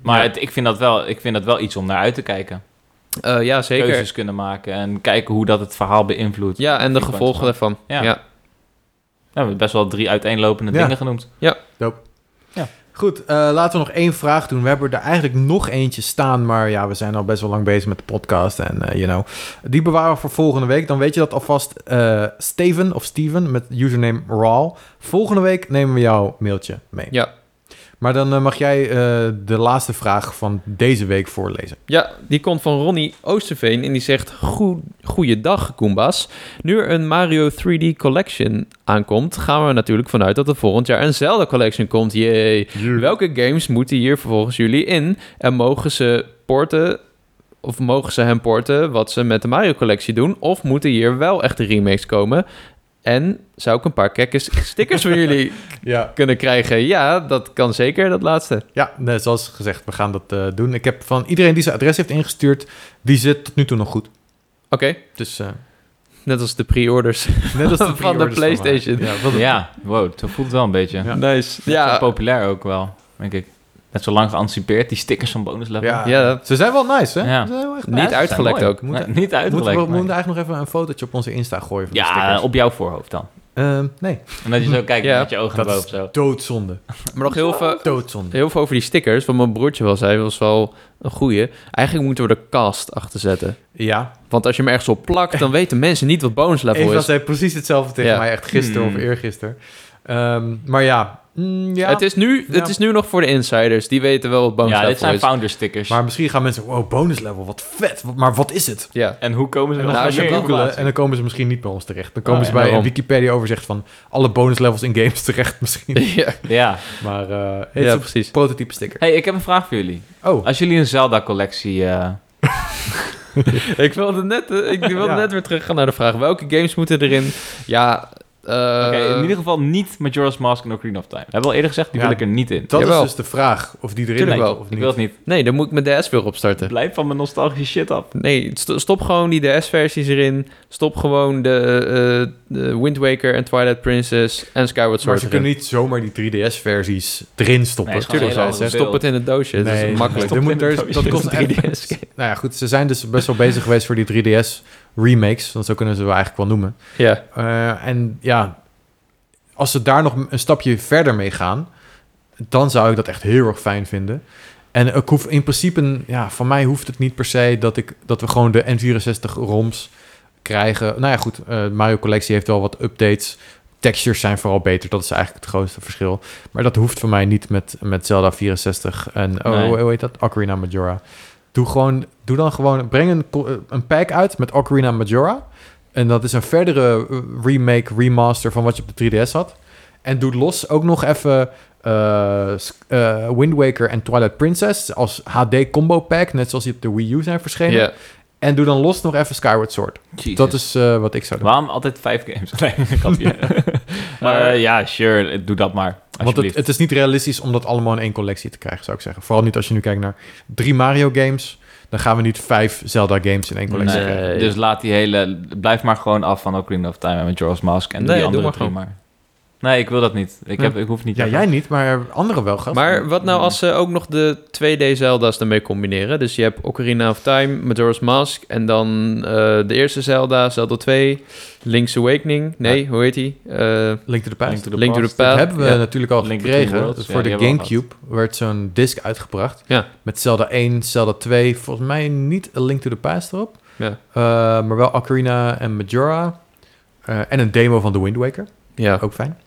Speaker 2: Maar
Speaker 3: Ja.
Speaker 2: het- ik, vind dat wel, ik vind dat wel iets om naar uit te kijken.
Speaker 3: Eh, ja, zeker.
Speaker 2: Keuzes kunnen maken en kijken hoe dat het verhaal beïnvloedt.
Speaker 3: Ja, en de
Speaker 2: Ik wou
Speaker 3: gevolgen
Speaker 2: het
Speaker 3: daarvan.
Speaker 2: Ja.
Speaker 3: Ja.
Speaker 2: Ja, we hebben best wel drie uiteenlopende
Speaker 1: Ja.
Speaker 2: dingen genoemd.
Speaker 1: Goed, eh, laten we nog één vraag doen. We hebben er eigenlijk nog eentje staan, maar ja, we zijn al best wel lang bezig met de podcast en eh, you know. Die bewaren we voor volgende week. Dan weet je dat alvast. eh, Steven of Steven met username Raw. Volgende week nemen we jouw mailtje mee.
Speaker 3: Ja.
Speaker 1: Maar dan eh, mag jij eh, de laatste vraag van deze week voorlezen.
Speaker 3: Ja, die komt van Ronnie Oosterveen en die zegt... "Goe- Goeiedag, Koenbaas. Nu er een Mario 3D Collection aankomt... gaan we er natuurlijk vanuit dat er volgend jaar een Zelda Collection komt. Jee. Welke games moeten hier volgens jullie in? En mogen ze porten of mogen ze hem porten wat ze met de Mario-collectie doen? Of moeten hier wel echt de remakes komen? En zou ik een paar kekke stickers van jullie
Speaker 1: Ja.
Speaker 3: kunnen krijgen? Ja, dat kan zeker, dat laatste.
Speaker 1: Ja, nee, zoals gezegd, we gaan dat eh, doen. Ik heb van iedereen die zijn adres heeft ingestuurd, die zit tot nu toe nog goed.
Speaker 3: Oké,
Speaker 1: Dus eh,
Speaker 3: net als de pre-orders.
Speaker 1: net als de
Speaker 3: (laughs) Van de
Speaker 1: pre-orders mij.
Speaker 3: PlayStation.
Speaker 1: Ja, wat een-
Speaker 2: Ja, wow, zo voelt het wel een beetje.
Speaker 1: Ja.
Speaker 3: Nice.
Speaker 2: Ja.
Speaker 3: Ja,
Speaker 2: populair ook wel, denk ik. Net zo lang geanticipeerd, die stickers van bonus level.
Speaker 1: ja.
Speaker 3: ja,
Speaker 1: Ze zijn wel nice, hè?
Speaker 2: Ja.
Speaker 1: Ze zijn wel echt
Speaker 3: Niet
Speaker 1: nice.
Speaker 3: uitgelekt
Speaker 2: mooi.
Speaker 3: ook.
Speaker 1: Moet-
Speaker 2: Nee, niet
Speaker 1: Moeten
Speaker 2: uitgelekt.
Speaker 1: we, we
Speaker 2: nee.
Speaker 1: moeten eigenlijk nog even een fotootje op onze Insta gooien van de
Speaker 2: ja,
Speaker 1: stickers.
Speaker 2: op jouw voorhoofd dan.
Speaker 1: Ehm, nee,
Speaker 2: En dat je
Speaker 1: (laughs)
Speaker 2: zo kijkt
Speaker 3: Ja.
Speaker 2: met je ogen naar
Speaker 1: Dat
Speaker 2: boven
Speaker 1: is
Speaker 2: zo.
Speaker 1: doodzonde.
Speaker 3: maar nog heel veel,
Speaker 1: Doodzonde.
Speaker 3: heel veel over die stickers. Wat mijn broertje wel zei, was wel een goeie. Eigenlijk moeten we er cast achter zetten.
Speaker 1: Ja,
Speaker 3: Want als je hem ergens op plakt, dan weten mensen niet wat bonus level
Speaker 1: Eva
Speaker 3: is.
Speaker 1: zei eh, precies hetzelfde tegen
Speaker 3: Ja.
Speaker 1: mij, echt gisteren
Speaker 2: Hmm.
Speaker 1: of eergisteren. Ehm, maar ja, mm, ja.
Speaker 3: Het, is nu,
Speaker 1: Ja.
Speaker 3: het is nu nog voor de insiders. Die weten wel wat bonus
Speaker 2: Ja,
Speaker 3: level
Speaker 2: dit zijn
Speaker 3: is.
Speaker 2: founder stickers.
Speaker 1: maar misschien gaan mensen, wow, bonus level, wat vet. Wat- Maar wat is het?
Speaker 3: Ja.
Speaker 2: En hoe komen ze
Speaker 1: En dan
Speaker 2: nog
Speaker 3: Nou,
Speaker 2: aan
Speaker 1: gaan ze
Speaker 2: meer
Speaker 1: googelen en
Speaker 2: informatie?
Speaker 1: dan komen ze misschien niet bij ons terecht. Dan komen
Speaker 2: Oh,
Speaker 1: ze
Speaker 2: ja,
Speaker 1: bij een
Speaker 3: Ah, daarom.
Speaker 1: Wikipedia-overzicht van alle bonus levels in games terecht misschien.
Speaker 3: (laughs) ja.
Speaker 2: Ja.
Speaker 1: maar eh het is
Speaker 3: ja,
Speaker 1: een
Speaker 3: precies.
Speaker 1: prototype sticker.
Speaker 2: hey, ik heb een vraag voor jullie.
Speaker 1: Oh,
Speaker 2: Als jullie een Zelda-collectie... eh,
Speaker 3: (laughs) Ik wilde net, eh, ik wilde
Speaker 1: Ja.
Speaker 3: net weer teruggaan naar de vraag. Welke games moeten erin? Ja, eh,
Speaker 2: Oké, in ieder geval niet Majora's Mask en Ocarina of Time. We hebben al eerder gezegd, die
Speaker 1: Ja.
Speaker 2: wil ik er niet in.
Speaker 1: dat is
Speaker 3: jawel.
Speaker 1: dus de vraag of die erin
Speaker 3: Tuurlijk
Speaker 1: moet
Speaker 3: wel.
Speaker 1: of
Speaker 2: Ik
Speaker 1: niet.
Speaker 2: wil het niet.
Speaker 3: Nee, dan moet ik mijn DS weer opstarten.
Speaker 2: Blijf van mijn nostalgische shit af.
Speaker 3: Nee, st- stop gewoon die DS-versies erin. Stop gewoon de, eh, de Wind Waker en Twilight Princess en Skyward
Speaker 1: maar
Speaker 3: Sword
Speaker 1: ze
Speaker 3: erin.
Speaker 1: kunnen niet zomaar die 3DS-versies erin stoppen.
Speaker 2: Nee, is gewoon
Speaker 1: Zoals
Speaker 2: een
Speaker 1: hij
Speaker 2: hele
Speaker 1: zegt.
Speaker 2: andere
Speaker 3: Stop het in het doosje, dat
Speaker 1: Nee,
Speaker 3: is dus makkelijk.
Speaker 1: nee, er moet- er is- dat kost echt-
Speaker 3: 3DS.
Speaker 1: Nou ja, goed, ze zijn dus best wel bezig geweest voor die 3DS remakes, want zo kunnen ze wel eigenlijk wel noemen.
Speaker 3: Ja,
Speaker 1: Eh, en ja, als ze daar nog een stapje verder mee gaan, dan zou ik dat echt heel erg fijn vinden. En ik hoef in principe, ja, van mij hoeft het niet per se dat, ik, dat we gewoon de N64 ROMs krijgen. Nou ja, goed, eh, Mario Collectie heeft wel wat updates. Textures zijn vooral beter, dat is eigenlijk het grootste verschil. Maar dat hoeft voor mij niet met, met Zelda 64 en, oh,
Speaker 2: Nee.
Speaker 1: hoe- hoe heet dat? Ocarina Majora. Doe, gewoon, doe dan gewoon, breng een, co- eh, een pack uit met Ocarina Majora. En dat is een verdere eh, remake, remaster van wat je op de 3DS had. En doe los ook nog even eh, Sk- eh, Wind Waker en Twilight Princess als HD combo pack, net zoals die op de Wii U zijn verschenen.
Speaker 3: ja.
Speaker 1: En doe dan los nog even Skyward Sword. Dat is eh, wat ik zou doen.
Speaker 2: Waarom altijd vijf games? (laughs) Nee, ik grapje.
Speaker 1: (laughs)
Speaker 2: maar eh, ja, sure, doe dat maar.
Speaker 1: Want het,
Speaker 2: Alsjeblieft.
Speaker 1: het is niet realistisch om dat allemaal in één collectie te krijgen, zou ik zeggen. Vooral niet als je nu kijkt naar drie Mario games. Dan gaan we niet vijf Zelda games in één collectie
Speaker 2: Nee,
Speaker 1: krijgen.
Speaker 3: krijgen.
Speaker 2: Dus laat die hele... Blijf maar gewoon af van Ocarina of Time en Majora's Mask. En
Speaker 3: Nee,
Speaker 2: die
Speaker 3: doe
Speaker 2: andere
Speaker 3: maar
Speaker 2: drie
Speaker 3: gewoon.
Speaker 2: maar. Nee, ik wil dat niet. Ik,
Speaker 1: Nee.
Speaker 2: heb, ik hoef niet...
Speaker 1: Ja, jij niet, maar anderen wel, gast.
Speaker 3: Maar wat nou als ze ook nog de 2D Zelda's ermee combineren? Dus je hebt Ocarina of Time, Majora's Mask en dan eh, de eerste Zelda, Zelda 2, Link's Awakening. Nee, hoe heet die? Eh,
Speaker 1: Link to the Past.
Speaker 2: Link to the
Speaker 3: Link to the
Speaker 2: Past.
Speaker 1: Dat
Speaker 3: Past.
Speaker 1: hebben we
Speaker 3: Ja.
Speaker 1: natuurlijk al
Speaker 2: Link Between
Speaker 1: gekregen.
Speaker 2: Worlds,
Speaker 1: Dus
Speaker 2: ja,
Speaker 1: voor
Speaker 2: die
Speaker 1: de
Speaker 2: hebben we al
Speaker 1: Gamecube werd zo'n disc uitgebracht.
Speaker 3: Ja.
Speaker 1: Met Zelda 1, Zelda 2. Volgens mij niet A Link to the Past erop.
Speaker 3: Ja.
Speaker 1: Eh, maar wel Ocarina en Majora. Eh, en een demo van The Wind Waker.
Speaker 3: ja.
Speaker 1: Ook fijn.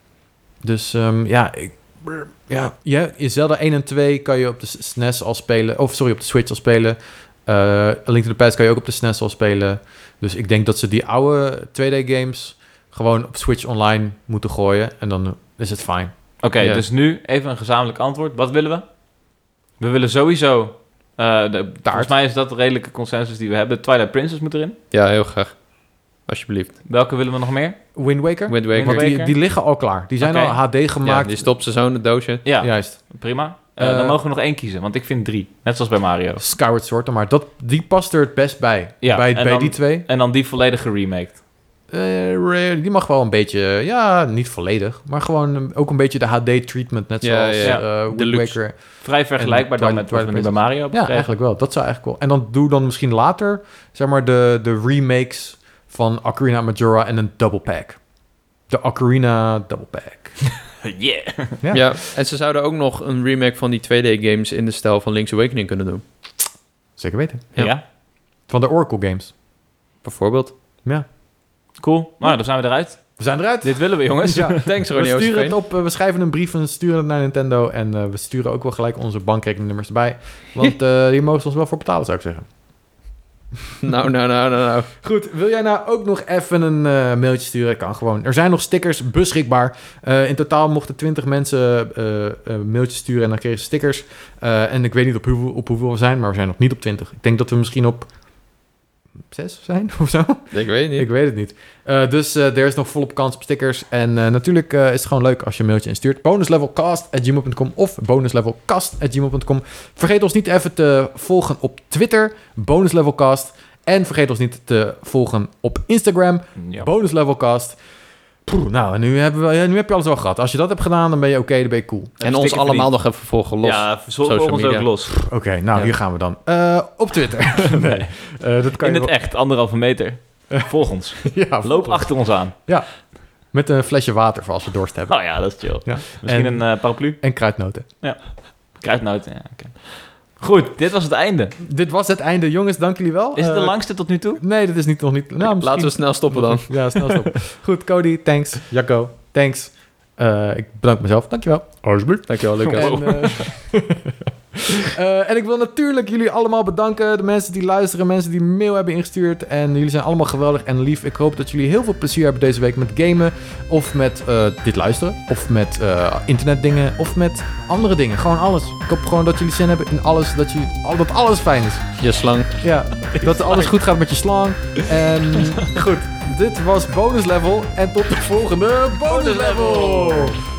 Speaker 1: Dus ehm, ja, ik, brr, ja, ja, in Zelda 1 en 2 kan je op de SNES E al spelen. Of sorry, op de Switch al spelen. Eh, A Link to the Past kan je ook op de SNES al spelen. Dus ik denk dat ze die oude 2D-games gewoon op Switch online moeten gooien. En dan is het fijn.
Speaker 2: Oké,
Speaker 3: Ja.
Speaker 2: dus nu even een gezamenlijk antwoord. Wat willen we? We willen sowieso... eh de, volgens mij is dat de redelijke consensus die we hebben. Twilight Princess moet erin.
Speaker 3: ja, heel graag. Alsjeblieft.
Speaker 2: Welke willen we nog meer?
Speaker 1: Wind Waker?
Speaker 3: Wind Waker.
Speaker 2: Wind
Speaker 1: Want die,
Speaker 2: Waker.
Speaker 1: die liggen al klaar. Die zijn
Speaker 2: Oké.
Speaker 1: al HD
Speaker 3: Ja,
Speaker 1: gemaakt.
Speaker 3: die stopt ze zo in het doosje.
Speaker 2: Ja,
Speaker 1: Juist.
Speaker 2: prima. Eh,
Speaker 1: Eh,
Speaker 2: dan mogen we nog één kiezen, want ik vind drie. Net zoals bij Mario.
Speaker 1: Skyward Sword, maar dat, die past er het best bij.
Speaker 2: Ja,
Speaker 1: bij
Speaker 2: en
Speaker 1: bij
Speaker 2: dan-
Speaker 1: die twee.
Speaker 2: En dan die volledig geremaked.
Speaker 1: Eh, die mag wel een beetje, ja, niet volledig, maar gewoon een- ook een beetje de HD-treatment, net
Speaker 3: Ja,
Speaker 1: zoals
Speaker 3: ja,
Speaker 2: ja.
Speaker 1: eh, Wind
Speaker 3: Deluxe.
Speaker 1: Waker.
Speaker 2: Vrij vergelijkbaar dan met wat we nu bij Mario hebben
Speaker 1: Ja,
Speaker 2: gekregen.
Speaker 1: eigenlijk wel. Dat zou eigenlijk wel. En dan doe dan misschien later, zeg maar, de, de remakes van Ocarina en Majora en een double pack. De Ocarina double pack.
Speaker 2: Yeah.
Speaker 1: Ja.
Speaker 3: Ja. en ze zouden ook nog een remake van die 2D-games in de stijl van Link's Awakening kunnen doen.
Speaker 1: Zeker weten.
Speaker 3: Ja.
Speaker 2: Ja,
Speaker 1: Van de Oracle Games.
Speaker 3: Bijvoorbeeld.
Speaker 1: Ja.
Speaker 2: cool. Nou, dan zijn we eruit.
Speaker 1: We zijn eruit.
Speaker 2: (laughs) Dit willen we, jongens.
Speaker 1: Ja.
Speaker 3: Thanks,
Speaker 1: We
Speaker 3: Ronnie
Speaker 1: sturen het
Speaker 3: Oosterveen.
Speaker 1: op, eh, we schrijven een brief en we sturen het naar Nintendo. En eh, we
Speaker 3: (laughs)
Speaker 1: sturen ook wel gelijk onze bankrekeningnummers erbij. Want eh hier mogen ze ons wel voor betalen, zou ik zeggen.
Speaker 3: nou, nou, nou, nou, nou.
Speaker 1: Goed, wil jij nou ook nog even een eh, mailtje sturen? Kan gewoon. Er zijn nog stickers beschikbaar. Eh, in totaal mochten 20 mensen eh, eh, mailtjes sturen en dan kregen ze stickers. Eh, en ik weet niet op hoeveel, op hoeveel we zijn, maar we zijn nog niet op 20. Ik denk dat we misschien op 6 zijn (laughs) of zo.
Speaker 3: Ik weet niet.
Speaker 1: Ik weet het niet. Eh, dus eh, er is nog volop kans op stickers. En eh, natuurlijk eh, is het gewoon leuk als je een mailtje instuurt. Bonuslevelcast.gmail.com of bonuslevelcast.gmail.com. Vergeet ons niet even te volgen op Twitter. Bonuslevelcast. En vergeet ons niet te volgen op Instagram.
Speaker 2: (laughs) Ja.
Speaker 1: Bonuslevelcast. Poeh, nou, en nu, hebben we, ja, nu heb je alles al gehad. Als je dat hebt gedaan, dan ben je oké, dan ben je cool.
Speaker 3: en ons allemaal nog even volgen los.
Speaker 2: Ja,
Speaker 3: Social
Speaker 2: zorg voor ons
Speaker 3: media.
Speaker 2: ook los.
Speaker 1: Oké, nou,
Speaker 3: Ja.
Speaker 1: hier gaan we dan. Eh, op Twitter.
Speaker 2: (laughs)
Speaker 1: nee, Eh, dat kan
Speaker 2: In
Speaker 1: je
Speaker 2: het echt, anderhalve
Speaker 1: (laughs)
Speaker 2: meter. Volg ons.
Speaker 1: wel- (laughs) Ja,
Speaker 2: Loop achter ons aan.
Speaker 1: Met een flesje water voor als we dorst hebben.
Speaker 2: Oh ja, dat is chill.
Speaker 1: Ja.
Speaker 2: Misschien
Speaker 1: En-
Speaker 2: een eh, paraplu.
Speaker 1: En kruidnoten.
Speaker 2: Kruidnoot. Ja, oké. Goed, dit was het einde.
Speaker 1: Dit was het einde. Jongens, dank jullie wel.
Speaker 2: Is het de
Speaker 1: Eh,
Speaker 2: langste tot nu toe?
Speaker 1: Nee, dat is niet, nog niet. Nou, misschien-
Speaker 3: Laten we snel stoppen dan.
Speaker 1: (laughs) Ja, snel stoppen. Goed, Cody, thanks. Jacco, thanks. Eh, ik bedank mezelf. Dankjewel. Alsjeblieft.
Speaker 3: Dankjewel, Lucas.
Speaker 1: En, eh, (laughs) eh, en ik wil natuurlijk jullie allemaal bedanken. De mensen die luisteren, mensen die mail hebben ingestuurd. En jullie zijn allemaal geweldig en lief. Ik hoop dat jullie heel veel plezier hebben deze week met gamen. Of met eh, dit luisteren. Of met eh, internetdingen. Of met andere dingen. Gewoon alles. Ik hoop gewoon dat jullie zin hebben in alles. Dat, jullie, al- dat alles fijn is.
Speaker 3: Je slang.
Speaker 1: Ja, dat alles goed gaat met je slang. En goed, dit was bonus level. En tot de volgende bonus level.